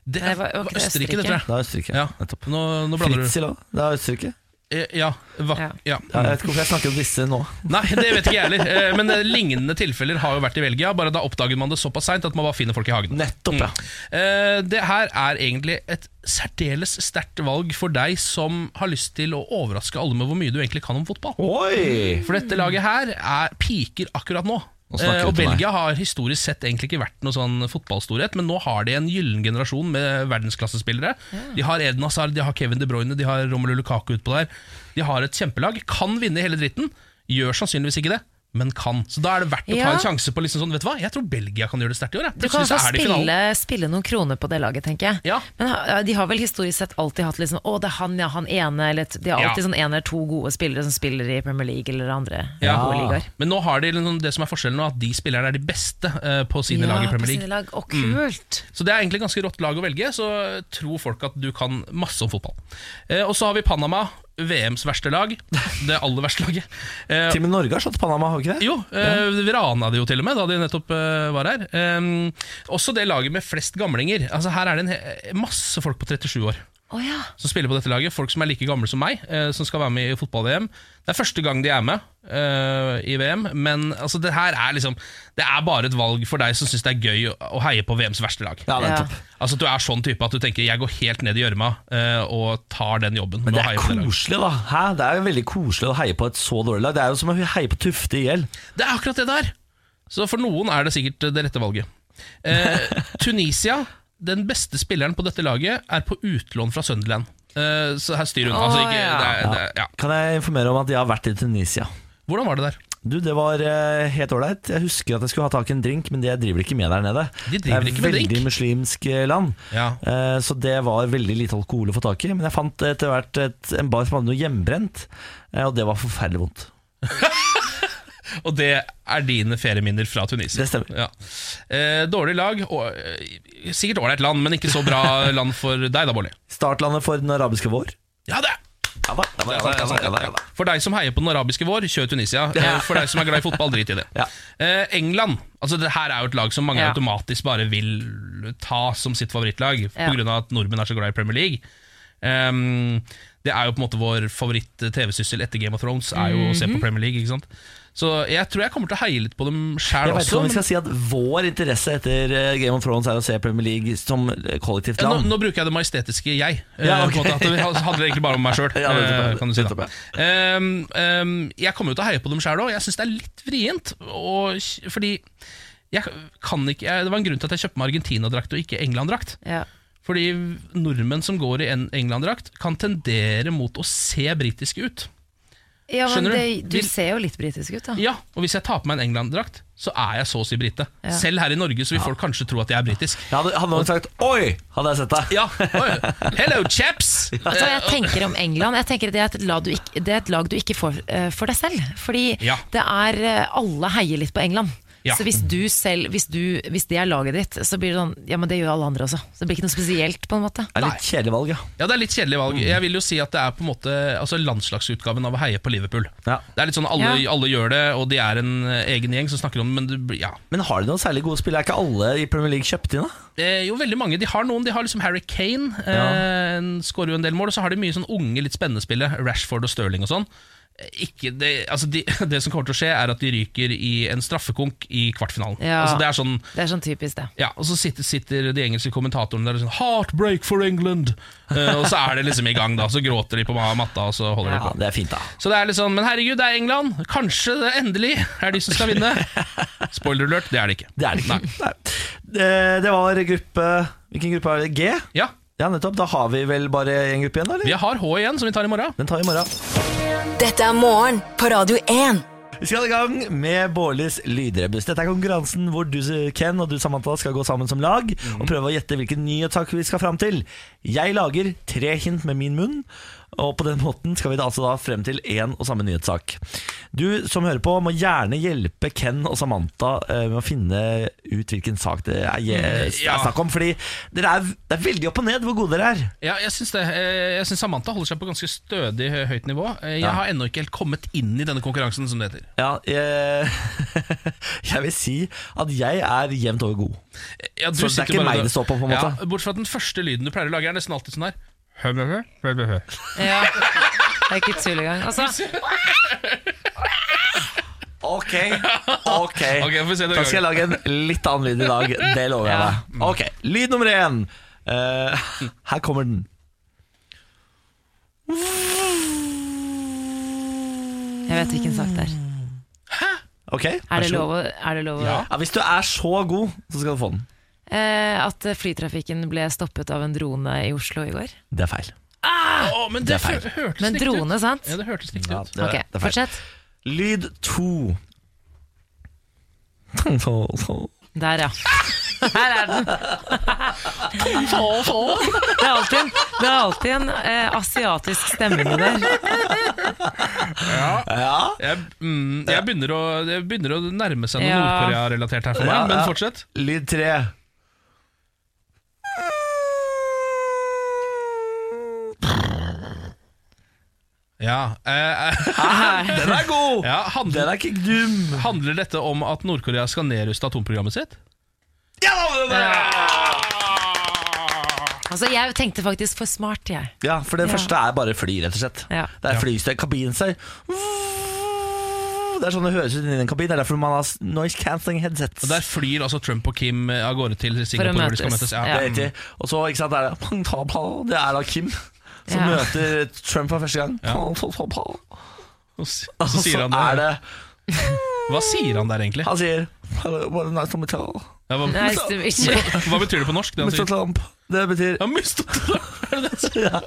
Speaker 6: det
Speaker 2: Nei,
Speaker 6: er
Speaker 2: var- var ikke det
Speaker 6: Østerrike, det tror jeg.
Speaker 1: Det er Østerrike.
Speaker 6: Ja,
Speaker 1: Nettopp.
Speaker 6: nå, nå blander du.
Speaker 1: Fritzel òg. Det er Østerrike.
Speaker 6: Eh, Ja, va,
Speaker 2: Ja.
Speaker 6: ja.
Speaker 1: Ja, jeg vet ikke hvorfor jeg snakker om disse nå.
Speaker 6: Nei, det vet ikke jeg heller. Eh, Men eh, lignende tilfeller har jo vært i Belgia. Bare da oppdager man det såpass seint at man bare finner folk i hagen.
Speaker 1: Nettopp, ja.
Speaker 6: Eh, Det her er egentlig et særdeles sterkt valg for deg som har lyst til å overraske alle med hvor mye du egentlig kan om fotball.
Speaker 1: Oi!
Speaker 6: For dette laget her er piker akkurat nå.
Speaker 5: Nå snakker
Speaker 6: Eh,
Speaker 5: du
Speaker 6: og
Speaker 5: til meg.
Speaker 6: Belgia har historisk sett egentlig ikke vært noe sånn fotballstorhet, men nå har de en gyllen generasjon med verdensklassespillere. De har Eden Hazard, de har Kevin De Bruyne, de har Romelu Lukaku utpå der. De har et kjempelag. Kan vinne hele dritten. Gjør sannsynligvis ikke det, men kan. Så da er det verdt å
Speaker 2: Ja.
Speaker 6: ta en sjanse på liksom sånn, vet du hva, jeg tror Belgia kan gjøre det sterkt i år. jeg.
Speaker 2: Du kan i
Speaker 6: Plutselig
Speaker 2: hvert
Speaker 6: så er
Speaker 2: fall
Speaker 6: de i finalen.
Speaker 2: spille, spille noen kroner på det laget, tenker jeg.
Speaker 6: Ja.
Speaker 2: Men ha- de har vel historisk sett alltid hatt liksom, å, det er han, ja, han ene, eller et- de har
Speaker 6: Ja.
Speaker 2: alltid sånn en eller to gode spillere som spiller i Premier League eller andre
Speaker 6: Ja.
Speaker 2: gode ligaer.
Speaker 6: Men nå har de liksom det som er forskjellen nå, at de spillerne er de beste eh, på sine lag i
Speaker 2: på
Speaker 6: Premier League. Mm.
Speaker 2: sine lag. Å, kult!
Speaker 6: Så det er egentlig ganske rått lag å velge, så tror folk at du kan masse om fotball. Eh, og så har vi Panama, VMs verste lag. Det aller verste laget. Eh,
Speaker 1: Til og med Norge har slått Panama, har vi ikke det?
Speaker 6: jo, eh, vi rana det jo til og med da de nettopp eh, var her. Eh, også det laget med flest gamlinger. Altså Her er det en he masse folk på 37 år
Speaker 2: Å ja.
Speaker 6: som spiller på dette laget. Folk som er like gamle som meg, eh, som skal være med i fotball-VM. Det er første gang de er med eh, i VM, men altså, det her er liksom Det er bare et valg for deg som syns det er gøy å, å heie på VMs verste lag.
Speaker 1: Ja,
Speaker 2: ja.
Speaker 1: nettopp.
Speaker 6: Altså at du er sånn type at du tenker 'jeg går helt ned i gjørma eh, og tar den jobben'.
Speaker 1: Men
Speaker 6: Nå
Speaker 1: det
Speaker 6: har
Speaker 1: er
Speaker 6: jeg på det laget.
Speaker 1: koselig, da. Hæ? Det er jo veldig koselig å heie på et så dårlig lag. Det er jo som å heie på Tufte i hjel.
Speaker 6: det er akkurat det der! Så for noen er det sikkert det rette valget. Eh, Tunisia, den beste spilleren på dette laget, er på utlån fra Sunderland. Eh, så her styrer hun. altså
Speaker 2: Å,
Speaker 6: ikke,
Speaker 2: ja.
Speaker 6: det er, det er, ja.
Speaker 1: Kan jeg informere om at jeg har vært i Tunisia?
Speaker 6: Hvordan var det der?
Speaker 1: Du, Det var eh, helt ålreit. Jeg husker at jeg skulle ha tak i en drink, men det driver ikke med der nede.
Speaker 6: De driver
Speaker 1: det er
Speaker 6: ikke med
Speaker 1: veldig
Speaker 6: drink?
Speaker 1: muslimsk eh, land,
Speaker 6: Ja.
Speaker 1: Eh, så det var veldig lite alkohol å få tak i. Men jeg fant etter hvert et, en bar som hadde noe hjemmebrent, eh, og det var forferdelig vondt.
Speaker 6: Og det er dine ferieminner fra Tunisia.
Speaker 1: Det stemmer.
Speaker 6: Ja. Eh, dårlig lag, og, eh, sikkert ålreit land, men ikke så bra land for deg da, Bolli.
Speaker 1: Startlandet for den arabiske vår.
Speaker 6: Ja, det!
Speaker 1: Ja da, ja da, ja da, ja da, ja da, ja da.
Speaker 6: For deg som heier på den arabiske vår, kjør Tunisia. Eh, For deg som er glad i fotball, drit i det.
Speaker 1: Ja.
Speaker 6: Eh, England altså det her er jo et lag som mange
Speaker 2: Ja.
Speaker 6: automatisk bare vil ta som sitt favorittlag,
Speaker 2: Ja.
Speaker 6: pga. at nordmenn er så glad i Premier League. Ehm, det er jo på en måte vår favoritt-TV-syssel etter Game of Thrones, er jo å se
Speaker 1: Mhm.
Speaker 6: på Premier League. ikke sant? Så jeg tror jeg kommer til å heie litt på dem sjæl
Speaker 1: Jeg vet ikke
Speaker 6: også.
Speaker 1: om
Speaker 6: men-
Speaker 1: vi skal si at vår interesse etter eh, Game of Thrones er å se Premier League som eh, kollektivt
Speaker 6: Ja, nå,
Speaker 1: land.
Speaker 6: nå bruker jeg det majestetiske jeg.
Speaker 1: Ja,
Speaker 6: Eh,
Speaker 1: ok.
Speaker 6: på en måte, at det handler egentlig bare om meg sjøl.
Speaker 1: Ja, nettopp, ja.
Speaker 6: kan du si da.
Speaker 1: Nettopp,
Speaker 6: Ehm, ehm, jeg kommer jo til å heie på dem sjøl òg. Jeg syns det er litt vrient. Og, fordi jeg kan ikke, jeg, Det var en grunn til at jeg kjøpte meg Argentina-drakt og ikke England-drakt.
Speaker 2: ja.
Speaker 6: Fordi nordmenn som går i en England-drakt, kan tendere mot å se britiske ut.
Speaker 2: ja men
Speaker 6: Skjønner du?
Speaker 2: det, du
Speaker 6: De-
Speaker 2: ser jo litt britisk ut, da.
Speaker 6: Ja, Og hvis jeg tar på meg en England-drakt, så er jeg så å si brite.
Speaker 2: Ja.
Speaker 6: Selv her i Norge så vil folk kanskje tro at jeg er britisk.
Speaker 1: Jeg hadde, hadde noen sagt 'oi', hadde jeg sett deg.
Speaker 6: Ja, oi, Hello, chaps!
Speaker 2: Vet du hva Altså,
Speaker 1: Eh,
Speaker 2: jeg tenker om England? Jeg tenker Det er et lag du ikke, det er et lag du ikke får eh, for deg selv. Fordi
Speaker 6: Ja.
Speaker 2: det er eh, Alle heier litt på England.
Speaker 6: Ja.
Speaker 2: Så hvis du selv hvis, du, hvis det er laget ditt, så blir det sånn Ja, men det gjør alle andre også. Så det blir ikke noe spesielt, på en måte.
Speaker 1: Det er litt kjedelig valg, ja.
Speaker 6: Ja, det er litt kjedelig valg. Jeg vil jo si at det er på en måte altså landslagsutgaven av å heie på Liverpool.
Speaker 1: Ja.
Speaker 6: Det er litt sånn alle,
Speaker 2: Ja.
Speaker 6: alle gjør det, og de er en eh, egen gjeng som snakker om det, men du, blir- ja.
Speaker 1: Men har de noen særlig gode spillere? Er ikke alle i Premier League kjøpt inn, da?
Speaker 6: Eh, jo, veldig mange. De har noen. De har liksom Harry Kane, eh, en- skårer jo en del mål, og så har de mye sånn unge, litt spennende spillere. Rashford og Sterling og sånn. Eh, Ikke det, altså de, det som kommer til å skje, er at de ryker i en straffekonk i kvartfinalen.
Speaker 2: Ja.
Speaker 6: Altså det er sånn
Speaker 2: Det er sånn typisk, det.
Speaker 6: Ja, Og så sitter, sitter de engelske kommentatorene der og sånn 'Heartbreak for England!' Eh, og så er det liksom i gang, da. Så gråter de på ma- matta, og så holder de på.
Speaker 1: Ja, det er fint, da.
Speaker 6: Så det er litt sånn, Men herregud, det er England! Kanskje det endelig er de som skal vinne! Spoiler alert, det er det ikke.
Speaker 1: Det er det ikke. Nei. Det, det var gruppe Hvilken gruppe er det? G?
Speaker 6: Ja,
Speaker 1: Ja, nettopp. Da har vi vel bare en gruppe igjen, da, eller?
Speaker 6: Vi har H igjen, som vi tar i morgen.
Speaker 1: Den tar vi i morgen.
Speaker 4: Dette er morgen på Radio 1.
Speaker 1: Vi skal i gang med Bårlis lydrebus. Dette er konkurransen hvor du, Ken, og du, Samantha, skal gå sammen som lag og prøve å gjette hvilken nyhetssak vi skal fram til. Jeg lager tre hint med min munn, og på den måten skal vi da altså da frem til én og samme nyhetssak. Du som hører på, må gjerne hjelpe Ken og Samantha eh, med å finne ut hvilken sak det er, er
Speaker 6: Ja.
Speaker 1: snakk om, fordi dere er, det er veldig opp og ned hvor gode dere er.
Speaker 6: Ja, jeg syns det. Eh, Jeg synes Samantha holder seg på ganske stødig hø- høyt nivå. Eh, Jeg har ennå ikke helt kommet inn i denne konkurransen, som det heter.
Speaker 1: Ja, jeg, jeg vil si at jeg er jevnt over god.
Speaker 6: Ja, du
Speaker 1: Så det er
Speaker 6: sitter
Speaker 1: ikke
Speaker 6: bare
Speaker 1: meg
Speaker 6: der.
Speaker 1: det står på, på en måte?
Speaker 6: Ja, bortsett fra at den første lyden du pleier å lage, er nesten alltid sånn her. Hø, hø, hø, hø, hø, hø.
Speaker 2: Ja. Det er ikke tull engang. Altså,
Speaker 1: Ok, ok
Speaker 6: Ok, vi får se det
Speaker 1: Da skal jeg lage en litt annen lyd i dag Det lover jeg deg Ok, lyd nummer én Eh, Her kommer den
Speaker 2: jeg vet hvilken sak det er.
Speaker 1: Ok,
Speaker 2: Er
Speaker 1: vær
Speaker 2: det
Speaker 1: så god.
Speaker 2: lov å, er det lov å
Speaker 1: Ja, hvis du er så god, så skal du få den
Speaker 2: eh, At flytrafikken ble stoppet av en drone i Oslo i går?
Speaker 1: Det er feil
Speaker 6: Å, men det, fø- hørtes
Speaker 2: Men
Speaker 6: riktig
Speaker 2: drone,
Speaker 6: ut.
Speaker 2: sant?
Speaker 6: Ja, det hørtes riktig
Speaker 1: Ja,
Speaker 6: ut.
Speaker 1: det,
Speaker 2: Ok,
Speaker 1: det er feil
Speaker 2: fortsett.
Speaker 1: Lyd to
Speaker 2: Der, ja. Her er den. Det er alltid en, det er alltid en eh, asiatisk stemme inni der.
Speaker 6: Jeg, mm, jeg, begynner å, jeg begynner å nærme seg noe
Speaker 2: Ja.
Speaker 6: Nord-Korea-relatert her for meg,
Speaker 1: Ja,
Speaker 6: men
Speaker 1: ja.
Speaker 6: fortsett.
Speaker 1: Lyd tre
Speaker 6: Ja, eh, eh,
Speaker 1: Den er god
Speaker 6: ja
Speaker 1: Den
Speaker 6: handler,
Speaker 1: er ikke dum
Speaker 6: handler dette om at Nord-Korea skal nedruste atomprogrammet sitt?
Speaker 1: Ja, den er
Speaker 2: Altså, jeg tenkte faktisk for smart, jeg.
Speaker 1: Ja, for den
Speaker 2: Ja.
Speaker 1: første er bare fly, rett og slett.
Speaker 2: Ja.
Speaker 1: Det er flystøy. Kabinen seg Det er sånn det høres ut inni en kabin. Det er derfor man har noise cancelling headsets.
Speaker 6: Og Der flyr altså Trump og Kim eh, av gårde til
Speaker 2: For å
Speaker 6: Singapore. Hvor de skal
Speaker 2: møtes,
Speaker 6: møtes ja.
Speaker 1: Det er riktig. Og så, ikke sant, er det pang, ta, pa, Det er da Kim som
Speaker 2: Ja.
Speaker 1: møter Trump for første gang.
Speaker 6: Ja.
Speaker 1: Pa, pa, pa, pa.
Speaker 6: Og s-
Speaker 1: Og
Speaker 6: så sier han det.
Speaker 1: er det
Speaker 6: Hva sier han der, egentlig?
Speaker 1: Han sier "Hello, what a nice to meet you,
Speaker 6: Ja, hva,
Speaker 2: Nice to meet you.
Speaker 6: hva betyr det på norsk? Det han
Speaker 1: Mr.
Speaker 6: sier?
Speaker 1: Trump. Det betyr
Speaker 6: Ja, Mr. Trump, er det det han sier?
Speaker 1: ja,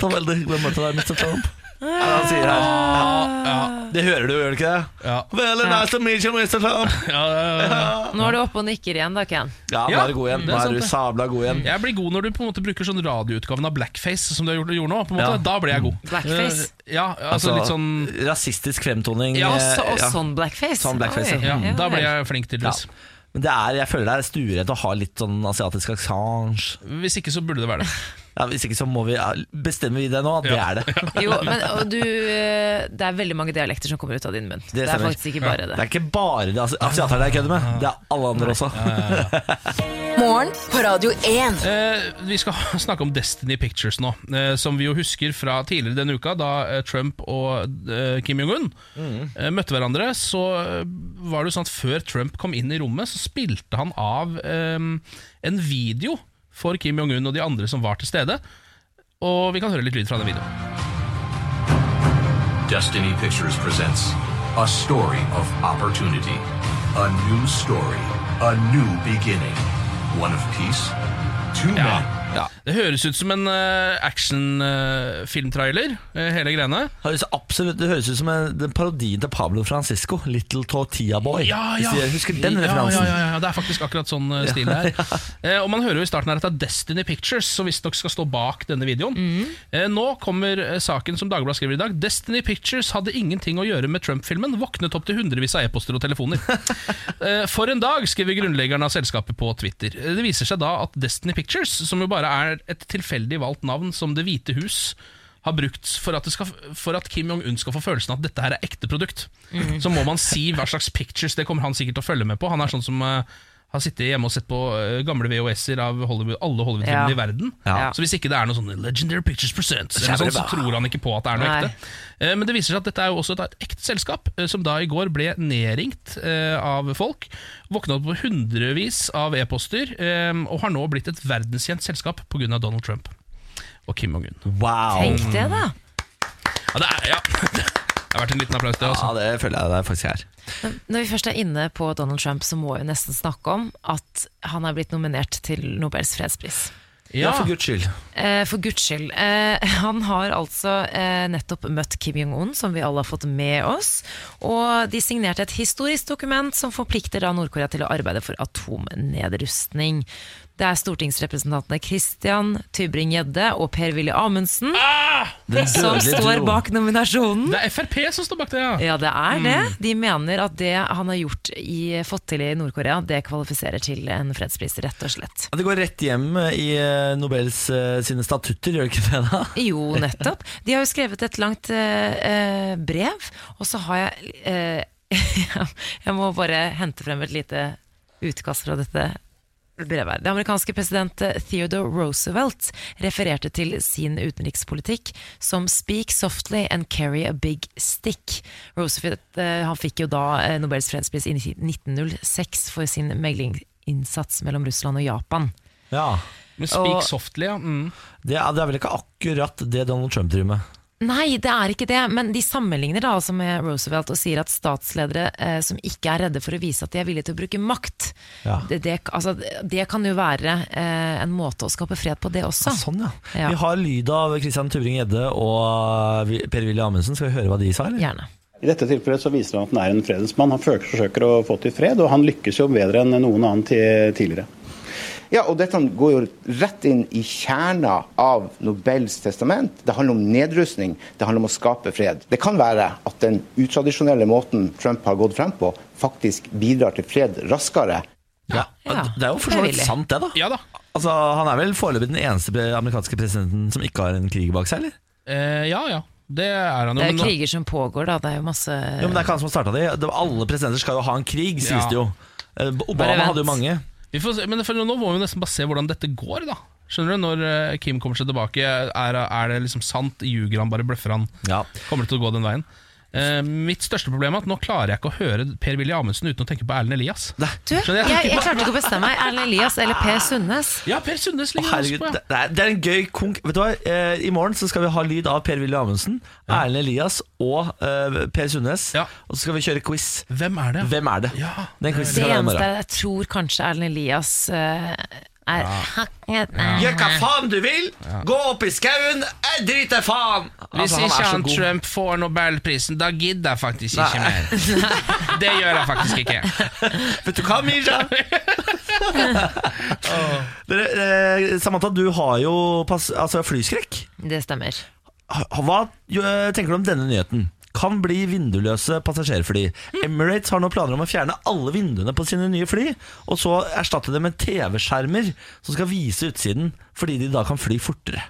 Speaker 1: Det var veldig hyggelig å møte deg, Mr. Trump. Det er det han sier her.
Speaker 2: Ah.
Speaker 6: Ja,
Speaker 1: Det hører du, gjør du ikke det?
Speaker 6: ja,
Speaker 1: Veldig
Speaker 2: Ja.
Speaker 1: nice to meet you, Mr. Trump.
Speaker 6: ja, ja, ja.
Speaker 2: Nå er du oppe og nikker igjen, da, Ken.
Speaker 1: Ja, nå
Speaker 6: Ja,
Speaker 1: er du god igjen.
Speaker 6: det er
Speaker 1: Nå
Speaker 6: sant
Speaker 1: er du
Speaker 6: det.
Speaker 1: sabla god igjen.
Speaker 6: Jeg blir god når du på en måte bruker sånn radioutgaven av blackface, som du har gjort, gjorde nå. på en måte
Speaker 1: Ja.
Speaker 6: Da blir jeg god.
Speaker 2: Blackface?
Speaker 6: Eh, Ja, altså, litt sånn
Speaker 1: Rasistisk fremtoning.
Speaker 6: Ja,
Speaker 1: eh,
Speaker 2: Så, og
Speaker 1: ja.
Speaker 2: sånn blackface.
Speaker 1: Sånn blackface,
Speaker 2: Oi,
Speaker 6: ja, Da blir
Speaker 2: vel.
Speaker 6: jeg flink, tydeligvis.
Speaker 1: Ja. Men det er, jeg føler det er stuerent å ha litt sånn asiatisk aksent.
Speaker 6: Hvis ikke, så burde det være det.
Speaker 1: Ja, hvis ikke så må vi ja, bestemmer vi det nå. at Det
Speaker 6: Ja.
Speaker 1: er det.
Speaker 2: Jo, men og du, eh, Det er veldig mange dialekter som kommer ut av din munn. Det, er
Speaker 1: stemmer.
Speaker 2: faktisk ikke bare
Speaker 1: Det
Speaker 2: det.
Speaker 1: er ikke bare de asi- asiaterne jeg kødder med,
Speaker 6: Ah.
Speaker 1: det er alle andre også.
Speaker 4: Morgen på Radio 1.
Speaker 6: Eh, vi skal snakke om Destiny Pictures nå, eh, som vi jo husker fra tidligere denne uka, da eh, Trump og eh, Kim Jong-un eh, møtte hverandre. Så eh, var det jo sånn at før Trump kom inn i rommet, så spilte han av eh, en video for Kim Jong-un og de andre som var til stede. Og vi kan høre litt lyd fra den videoen.
Speaker 9: Destiny Pictures presents a story of opportunity, a new story, a new beginning. One of peace, two men.
Speaker 6: Ja. Det høres ut som en eh, actionfilmtrailer, eh, hele greiene.
Speaker 1: Det høres absolutt, det høres ut som en, den parodien til Pablo Francisco, 'Little Tortilla Boy'. Hvis dere husker den referansen.
Speaker 6: Ja, ja, ja, ja, Det er faktisk akkurat sånn eh, stil det er. Eh, og Man hører jo i starten her at det er Destiny Pictures som visstnok skal stå bak denne videoen.
Speaker 1: Mhm.
Speaker 6: Eh, nå kommer eh, saken som Dagbladet skriver i dag. Destiny Pictures hadde ingenting å gjøre med Trump-filmen. Våknet opp til hundrevis av e-poster og telefoner. Eh, For en dag, skriver grunnleggeren av selskapet på Twitter. Eh, Det viser seg da at Destiny Pictures, som jo bare er et tilfeldig valgt navn som Det hvite hus har brukt for at, det skal, for at Kim Jong-un skal få følelsen av at dette her er ekte produkt.
Speaker 2: Mm.
Speaker 6: Så må man si hva slags pictures, det kommer han sikkert til å følge med på. Han er sånn som eh, har sittet hjemme og sett på eh, gamle VHS-er av Hollywood, alle Hollywood-filmer
Speaker 2: Ja.
Speaker 6: i verden.
Speaker 2: Ja.
Speaker 6: Så hvis ikke det er noe sånn Legendary Pictures Presents, eller noe sånt, så tror han ikke på at det er noe
Speaker 2: Nei.
Speaker 6: ekte. Eh, Men det viser seg at dette er jo også et et ekte selskap, eh, som da i går ble nedringt eh, av folk. Våkna opp på hundrevis av e-poster, eh, og har nå blitt et verdenskjent selskap pga. Donald Trump og Kim Jong-un.
Speaker 1: Wow.
Speaker 2: Tenk det, da.
Speaker 6: Ja, det er, ja. Det har vært en liten applaus, det.
Speaker 5: Ja,
Speaker 6: altså
Speaker 5: det føler jeg det faktisk er.
Speaker 2: Når vi først er inne på Donald Trump, så må vi nesten snakke om at han er blitt nominert til Nobels fredspris.
Speaker 1: Ja, for guds skyld.
Speaker 2: Eh, for guds skyld. Eh, han har altså eh, nettopp møtt Kim Jong-un, som vi alle har fått med oss. Og de signerte et historisk dokument som forplikter da Nord-Korea til å arbeide for atomnedrustning. Det er stortingsrepresentantene Christian Tybring-Gjedde og Per-Willy Amundsen som står bak nominasjonen.
Speaker 6: Det er Frp som står bak det, ja.
Speaker 2: Ja, det er det. De mener at det han har gjort i, fått til i Nord-Korea, det kvalifiserer til en fredspris, rett og slett.
Speaker 1: Ja, Det går rett hjem i eh, Nobels eh, sine statutter, gjør det ikke det? da?
Speaker 2: Jo, nettopp. De har jo skrevet et langt eh, eh, brev, og så har jeg eh, Jeg må bare hente frem et lite utkast fra dette brevet. her. Det amerikanske president eh, Theodore Roosevelt refererte til sin utenrikspolitikk som 'speak softly and carry a big stick'. Roosevelt eh, han fikk jo da eh, Nobels fredspris i 1906 for sin meglingsinnsats mellom Russland og Japan.
Speaker 1: Ja.
Speaker 6: Men speak
Speaker 2: Og-
Speaker 6: softly, ja. Mm.
Speaker 1: Det er, det er vel ikke akkurat det Donald Trump driver med.
Speaker 2: Nei, det er ikke det, men de sammenligner da altså med Roosevelt og sier at statsledere eh, som ikke er redde for å vise at de er villige til å bruke makt,
Speaker 1: Ja.
Speaker 2: det, det, altså, det kan jo være eh, en måte å skape fred på det også.
Speaker 1: Sånn, ja.
Speaker 2: Ja.
Speaker 1: Vi har lyd av Christian Tubring-Gjedde og Per-Willy Amundsen. Skal vi høre hva de sa, eller?
Speaker 2: Gjerne.
Speaker 10: I dette tilfellet så viser han at han er en fredens mann. Han forsøker, forsøker å få til fred, og han lykkes jo bedre enn noen annen ti- tidligere.
Speaker 11: Ja, og dette går jo rett inn i kjerna av Nobels testament. Det handler om nedrustning, det handler om å skape fred. Det kan være at den utradisjonelle måten Trump har gått frem på, faktisk bidrar til fred raskere
Speaker 1: Ja.
Speaker 2: Ja.
Speaker 1: Det er jo for så vidt
Speaker 2: Det er villig.
Speaker 1: sant, det, da.
Speaker 6: Ja da.
Speaker 1: Altså, Han er vel foreløpig den eneste pre- amerikanske presidenten som ikke har en krig bak seg, eller?
Speaker 6: Eh, ja ja. Det er han jo.
Speaker 2: Det er
Speaker 6: men
Speaker 2: jo
Speaker 6: nå-
Speaker 2: kriger som pågår, da. Det er jo masse
Speaker 1: Jo, men det er ikke han som har starta det. Det var- Alle presidenter skal jo ha en krig, sies
Speaker 6: Ja.
Speaker 1: det jo. Eh,
Speaker 2: Bare
Speaker 1: Obama
Speaker 2: vent.
Speaker 1: hadde jo mange.
Speaker 6: Vi får se, men for nå må vi nesten bare se hvordan dette går, da. Skjønner du, Når eh, Kim kommer seg tilbake, er, er det liksom sant? Ljuger han, bare bløffer han?
Speaker 1: Ja.
Speaker 6: Kommer det til å gå den veien? Eh, mitt største problem er at nå klarer jeg ikke å høre Per-Willy Amundsen uten å tenke på Erlend Elias.
Speaker 2: Du, jeg,
Speaker 6: Skjønner jeg?
Speaker 2: jeg klarte ikke å bestemme meg. Erlend Elias eller Per Sundnes?
Speaker 6: Ja, Per Sundnes
Speaker 1: Å,
Speaker 6: ligger også
Speaker 1: herregud,
Speaker 6: på, ja.
Speaker 1: det er, det er en gøy konk... Vet du hva, eh, I morgen så skal vi ha lyd av Per-Willy Amundsen, Erlend Elias og eh, Per Sundnes.
Speaker 6: Ja.
Speaker 1: Og så skal vi kjøre quiz.
Speaker 6: Hvem er det?
Speaker 1: Hvem er det?
Speaker 6: Ja.
Speaker 1: Den quizen
Speaker 2: Det
Speaker 1: skal vi ha i
Speaker 2: eneste
Speaker 1: morgen.
Speaker 2: er jeg tror kanskje Erlend Elias eh, er hakket
Speaker 1: Gjør hva faen du vil! Gå opp i skauen! Jeg driter faen!
Speaker 6: Hvis
Speaker 1: Altså, han
Speaker 6: ikke
Speaker 1: er så
Speaker 6: han
Speaker 1: god.
Speaker 6: Trump får Nobelprisen, da gidder jeg faktisk ikke
Speaker 1: Nei.
Speaker 6: mer. Det gjør jeg faktisk ikke.
Speaker 1: Vet du hva, Mirja? Dere, eh, Samantha, du har jo pass, altså flyskrekk.
Speaker 2: Det stemmer.
Speaker 1: Ha- Hva eh, tenker du om denne nyheten? Kan bli vinduløse passasjerfly. Emirates har nå planer om å fjerne alle vinduene på sine nye fly, og så erstatte det med TV-skjermer som skal vise utsiden, fordi de da kan fly fortere.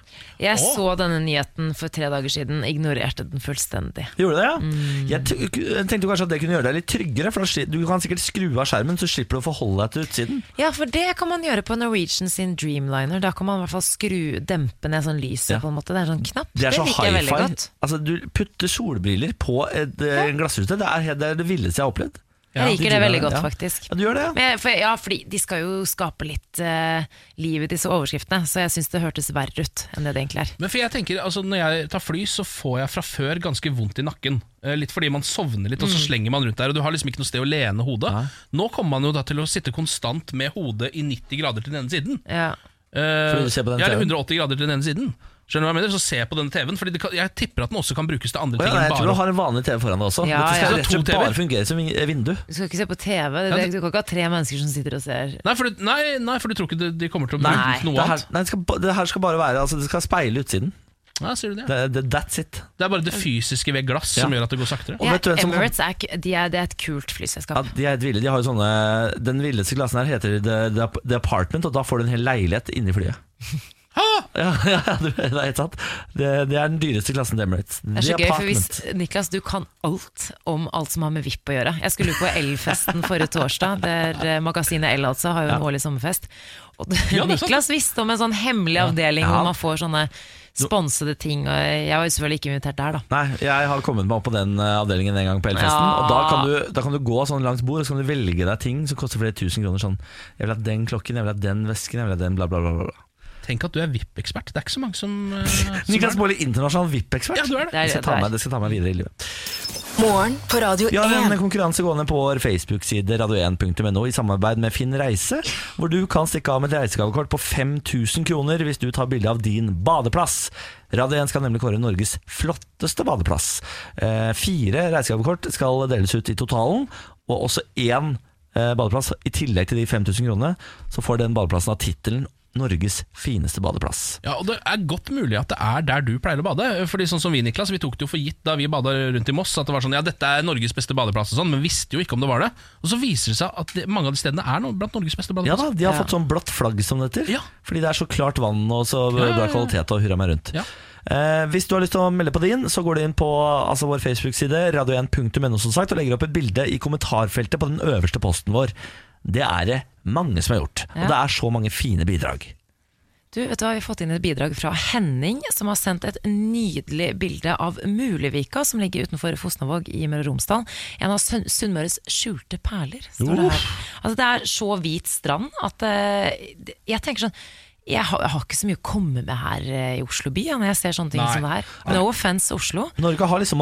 Speaker 2: Jeg så denne nyheten for tre dager siden, ignorerte den fullstendig.
Speaker 1: Gjorde det, ja? Jeg t- tenkte kanskje at det kunne gjøre deg litt tryggere, for da sli- du kan sikkert skru av skjermen, så slipper du å forholde deg til utsiden.
Speaker 2: Ja, for det kan man gjøre på Norwegian sin Dreamliner. Da kan man i hvert fall skru, dempe ned sånn lyset,
Speaker 1: Ja.
Speaker 2: på en måte. Det er sånn knapp.
Speaker 1: Det er så
Speaker 2: liker jeg veldig
Speaker 1: hi-fi.
Speaker 2: godt.
Speaker 1: Altså, du putter solbriller på et, eh, en glassrute. Det er, helt- det er det villeste jeg har opplevd.
Speaker 2: Jeg liker det
Speaker 1: driver
Speaker 2: veldig
Speaker 1: med-
Speaker 2: godt,
Speaker 1: ja.
Speaker 2: faktisk.
Speaker 1: Ja, du gjør det, ja.
Speaker 2: Men jeg, for, ja, fordi de skal jo skape litt eh, liv i disse overskriftene, så jeg syns det hørtes verre ut enn det det egentlig er.
Speaker 6: Men for jeg tenker, altså Når jeg tar fly, så får jeg fra før ganske vondt i nakken. Eh, Litt fordi man sovner litt, og så slenger man rundt der. Og du har liksom ikke noe sted å lene hodet. Nå kommer man jo da til å sitte konstant med hodet i 90 grader til den ene siden.
Speaker 2: Ja.
Speaker 6: Eh,
Speaker 1: Fordi du ser på den
Speaker 6: ja, eller
Speaker 1: TV-en.
Speaker 6: 180 grader til den ene siden. Skjønner du hva jeg mener? Så se på den TV-en, Fordi det kan, jeg tipper at den også kan brukes til andre
Speaker 1: Å, ja,
Speaker 6: ting.
Speaker 1: nei,
Speaker 6: enn
Speaker 1: jeg tror du
Speaker 6: bare
Speaker 1: har en vanlig TV foran deg også.
Speaker 2: Ja,
Speaker 1: Dette skal
Speaker 2: ja.
Speaker 1: rett og slett
Speaker 6: To TV-er.
Speaker 1: bare fungere som vin- vindu.
Speaker 2: Du skal ikke se på TV. Det,
Speaker 6: Ja,
Speaker 2: du kan ikke ha tre mennesker som sitter og ser
Speaker 6: Nei, for du, nei, nei, for du tror ikke de, de kommer til å
Speaker 1: Nei,
Speaker 6: bruke den til noe
Speaker 1: det her,
Speaker 6: annet?
Speaker 1: nei, det, skal, ba- det her skal bare være altså, Det skal speile utsiden.
Speaker 6: Ja, sier du det?
Speaker 1: Det, det, that's it.
Speaker 6: Det er bare det fysiske ved glass som
Speaker 1: Ja.
Speaker 6: gjør at det går saktere.
Speaker 1: Og vet du hvem som-
Speaker 2: Emirates er, ikke- de er, det er et kult
Speaker 1: Ja,
Speaker 2: flyselskap.
Speaker 1: de er helt ville. De har jo sånne Den villeste klassen her heter The, The, The Apartment, og da får du en hel leilighet inni flyet. Ja, ja, du- det er helt sant. Det, det er den dyreste klassen til Emirates.
Speaker 2: Det er så
Speaker 1: The
Speaker 2: gøy, for hvis,
Speaker 1: Apartment.
Speaker 2: Niklas, du kan alt om alt som har med VIP å gjøre. Jeg skulle jo på Elfesten forrige torsdag, der eh, magasinet El altså har jo en årlig sommerfest. Og
Speaker 6: Ja, det er sant.
Speaker 2: Niklas visste om en sånn hemmelig avdeling
Speaker 1: Ja.
Speaker 2: hvor man får sånne sponsede ting. Og jeg var jo selvfølgelig ikke invitert der, da.
Speaker 1: Nei, jeg har kommet meg opp på den eh, avdelingen en gang på Elfesten.
Speaker 2: Ja.
Speaker 1: Og da kan, du, da kan du gå sånn langs bord og så kan du velge deg ting som koster flere tusen kroner. Sånn, jeg vil ha den klokken, jeg vil ha den vesken, jeg vil ha den bla, bla, bla. bla.
Speaker 6: Tenk at du er VIP-ekspert. Det er ikke så mange som, eh, som
Speaker 1: Niklas
Speaker 6: er det.
Speaker 1: Baarli, internasjonal VIP-ekspert.
Speaker 6: Ja, du er det.
Speaker 2: Det er
Speaker 1: Det, skal
Speaker 2: det
Speaker 1: jeg ta
Speaker 2: du er.
Speaker 1: med- det skal jeg ta med videre i livet.
Speaker 4: Morgen på Radio
Speaker 1: Vi har
Speaker 4: 1.
Speaker 1: en konkurranse gående på vår Facebook-side radio1.no i samarbeid med Finn Reise, hvor du kan stikke av med et reisegavekort på 5000 kroner hvis du tar bilde av din badeplass. Radio 1 skal nemlig kåre Norges flotteste badeplass. Eh, fire reisegavekort skal deles ut i totalen, og også én eh, badeplass. I tillegg til de 5000 kronene, så får den badeplassen av tittelen Norges fineste badeplass.
Speaker 6: Ja, og Det er godt mulig at det er der du pleier å bade. Fordi sånn som Vi Niklas, vi tok det jo for gitt da vi bada rundt i Moss at det var sånn, ja, dette er Norges beste badeplass, og sånn, men visste jo ikke om det var det. Og Så viser det seg at det, mange av de stedene er no, blant Norges beste
Speaker 1: Ja
Speaker 6: badeplasser.
Speaker 1: da, de har fått sånn blått flagg som det heter. Fordi det er så klart vann og så
Speaker 6: Ja, ja,
Speaker 1: bra
Speaker 6: ja.
Speaker 1: kvalitet og hurra meg rundt. Eh, hvis du har lyst til å melde på din, så går du inn på altså, vår Facebook-side radio1.no som sagt, og legger opp et bilde i kommentarfeltet på den øverste posten vår. Det er det mange som har gjort.
Speaker 2: Ja.
Speaker 1: Og det er så mange fine bidrag.
Speaker 2: Du, vet du hva, Vi har fått inn et bidrag fra Henning, som har sendt et nydelig bilde av Mulevika, som ligger utenfor Fosnavåg i Møre og Romsdal. En av Sunn- Sunnmøres skjulte perler, står det her. Altså, det er så hvit strand at eh, det- jeg tenker sånn jeg har, jeg har ikke så mye å komme med her eh, i Oslo by, ja, når jeg ser sånne ting
Speaker 1: Nei.
Speaker 2: som det her. No offence, Oslo.
Speaker 1: Norge har liksom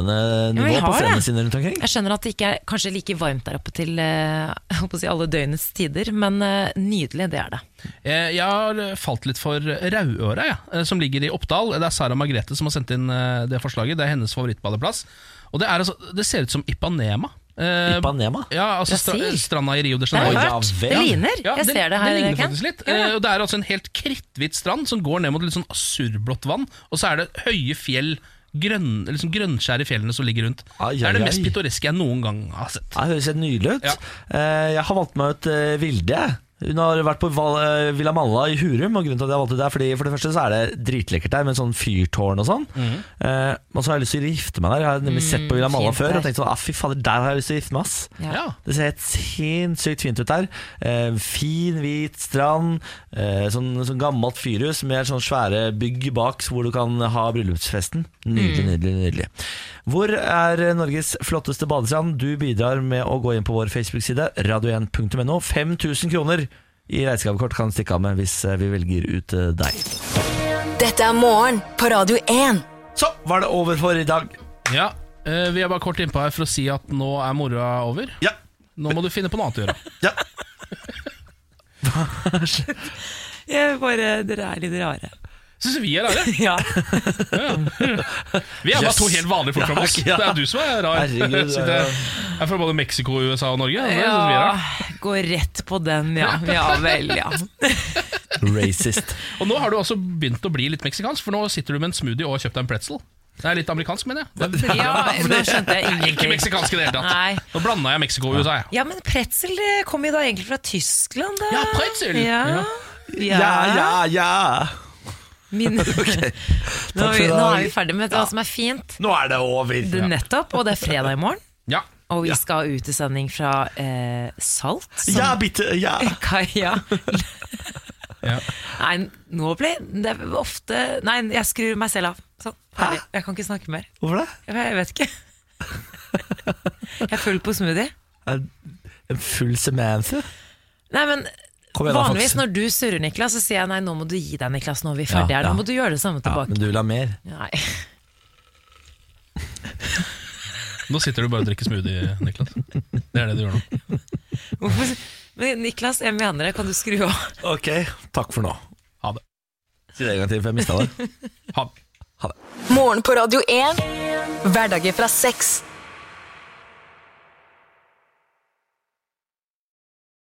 Speaker 1: Maldivene-nivå
Speaker 2: Ja, vi
Speaker 1: på
Speaker 2: har
Speaker 1: strendene
Speaker 2: det.
Speaker 1: sine rundt omkring.
Speaker 2: Jeg skjønner at det ikke er kanskje like varmt der oppe til eh, jeg holdt på å si alle døgnets tider, men eh, nydelig, det er det.
Speaker 6: Eh, Jeg har eh, falt litt for Rauøra, ja, eh, som ligger i Oppdal. Det er Sara Margrethe som har sendt inn eh, det forslaget. Det er hennes favorittbadeplass. Og det, er altså, det ser ut som Ipanema. Eh,
Speaker 1: Ipanema?
Speaker 6: Ja, altså stra
Speaker 2: Brasil?
Speaker 6: stranda i Rio de
Speaker 2: Det har jeg hørt.
Speaker 6: Janeiro. Ja, vel.
Speaker 2: Det ligner.
Speaker 6: Ja,
Speaker 2: Jeg ser det her,
Speaker 6: Det ligner
Speaker 2: Ken.
Speaker 6: faktisk litt.
Speaker 2: Ja.
Speaker 6: Eh, og det er altså en helt kritthvit strand som går ned mot litt sånn asurblått vann. Og så er det høye fjell, grønn, liksom grønnskjær i fjellene som ligger rundt. det er det
Speaker 1: ai,
Speaker 6: mest
Speaker 1: ai.
Speaker 6: pittoreske jeg noen gang har sett.
Speaker 1: Ja, Det høres helt nydelig ut. Eh, Jeg har valgt meg ut eh, Vilde. jeg. Hun har vært på Val- eh, Villa Malla i Hurum, og grunnen til at jeg valgte det er fordi for det første så er det dritlekkert der, med sånn fyrtårn og sånn. Eh, Og så har jeg lyst til å gifte meg der. Jeg har nemlig
Speaker 6: Mhm. Mm,
Speaker 1: sett på Villa Malla
Speaker 6: fint
Speaker 1: før
Speaker 6: der.
Speaker 1: og tenkt sånn, ah, fy fader, der har jeg lyst til å gifte meg, ass.
Speaker 6: Ja. Ja.
Speaker 1: Det ser helt sinnssykt fint ut der. Eh, Fin, hvit strand, eh, sånn, sånn gammelt fyrhus med sånn svære bygg bak hvor du kan ha bryllupsfesten. Nydelig,
Speaker 5: Mm.
Speaker 1: nydelig, nydelig. Hvor er Norges flotteste badestrand? Du bidrar med å gå inn på vår Facebook-side, radio1.no. 5000 kroner i reisegavekort kan du stikke av med hvis eh, vi velger ut eh, deg.
Speaker 4: Dette er Morgen på Radio 1.
Speaker 1: Så var det over for i dag.
Speaker 6: Ja, eh, Vi er bare kort innpå her for å si at nå er moroa over. Nå må du finne på noe annet å gjøre.
Speaker 2: Jeg bare, Dere er litt rare.
Speaker 6: Syns vi er rare?
Speaker 2: ja.
Speaker 6: Vi er bare
Speaker 1: Yes.
Speaker 6: to helt vanlige folk fra
Speaker 1: Ja,
Speaker 6: Moss.
Speaker 1: ja.
Speaker 6: Det er du som er rar.
Speaker 1: Herregud,
Speaker 6: Sitter-
Speaker 1: ja, ja.
Speaker 6: er fra både Mexico, USA og Norge. Det synes vi er
Speaker 2: Ja,
Speaker 6: rart.
Speaker 2: gå rett på den, ja. Ja vel, ja.
Speaker 1: Racist.
Speaker 6: Og nå har du også begynt å bli litt meksikansk, for nå sitter du med en smoothie og har kjøpt deg en pretzel. Det er litt amerikansk, mener jeg.
Speaker 2: Ja, nå skjønte jeg ingenting.
Speaker 6: Ikke meksikansk i det hele
Speaker 2: Nei.
Speaker 6: tatt. Nå blanda jeg Mexico og USA, jeg.
Speaker 2: Ja, men pretzel eh, kom jo da egentlig fra Tyskland, da. Ja,
Speaker 6: pretzel!
Speaker 2: Ja,
Speaker 1: ja.
Speaker 2: Min... Nå,
Speaker 1: Takk
Speaker 2: er
Speaker 1: for
Speaker 2: vi,
Speaker 1: i
Speaker 2: nå
Speaker 1: dag.
Speaker 2: er vi ferdig med hva som er fint.
Speaker 1: Nå er det over.
Speaker 2: Det er nettopp, og det er fredag i morgen.
Speaker 6: Ja.
Speaker 2: Og vi skal ut i sending fra eh, Salt. som-
Speaker 1: Ja, bitte, ja.
Speaker 2: Kaja. Nei, nå blir det er ofte Nei, jeg skrur meg selv av. Sånn. Ferdig. Jeg kan ikke snakke mer.
Speaker 1: Hvorfor det?
Speaker 2: Jeg vet ikke. Jeg er full på smoothie.
Speaker 1: En en full semanthe?
Speaker 2: Nei, men
Speaker 1: Kom igjen da,
Speaker 2: vanligvis
Speaker 1: Fox.
Speaker 2: når du surrer, Niklas, så sier jeg nei, nå må du gi deg, Niklas. Nå er vi ferdige
Speaker 1: Ja,
Speaker 2: her.
Speaker 1: ja.
Speaker 2: Nå må du gjøre det samme
Speaker 1: Ja, men
Speaker 2: tilbake.
Speaker 1: du vil ha mer?
Speaker 2: Nei.
Speaker 6: Nå sitter du bare og drikker smoothie, Niklas. Det er det du gjør nå.
Speaker 2: Hvorfor- Men Niklas, jeg mener det. Kan du skru av?
Speaker 1: Ok, takk for nå.
Speaker 6: Ha det.
Speaker 1: Si det en gang til, for jeg mista det.
Speaker 6: Ha det.
Speaker 4: Morgen på Radio 1. Hverdager fra seks.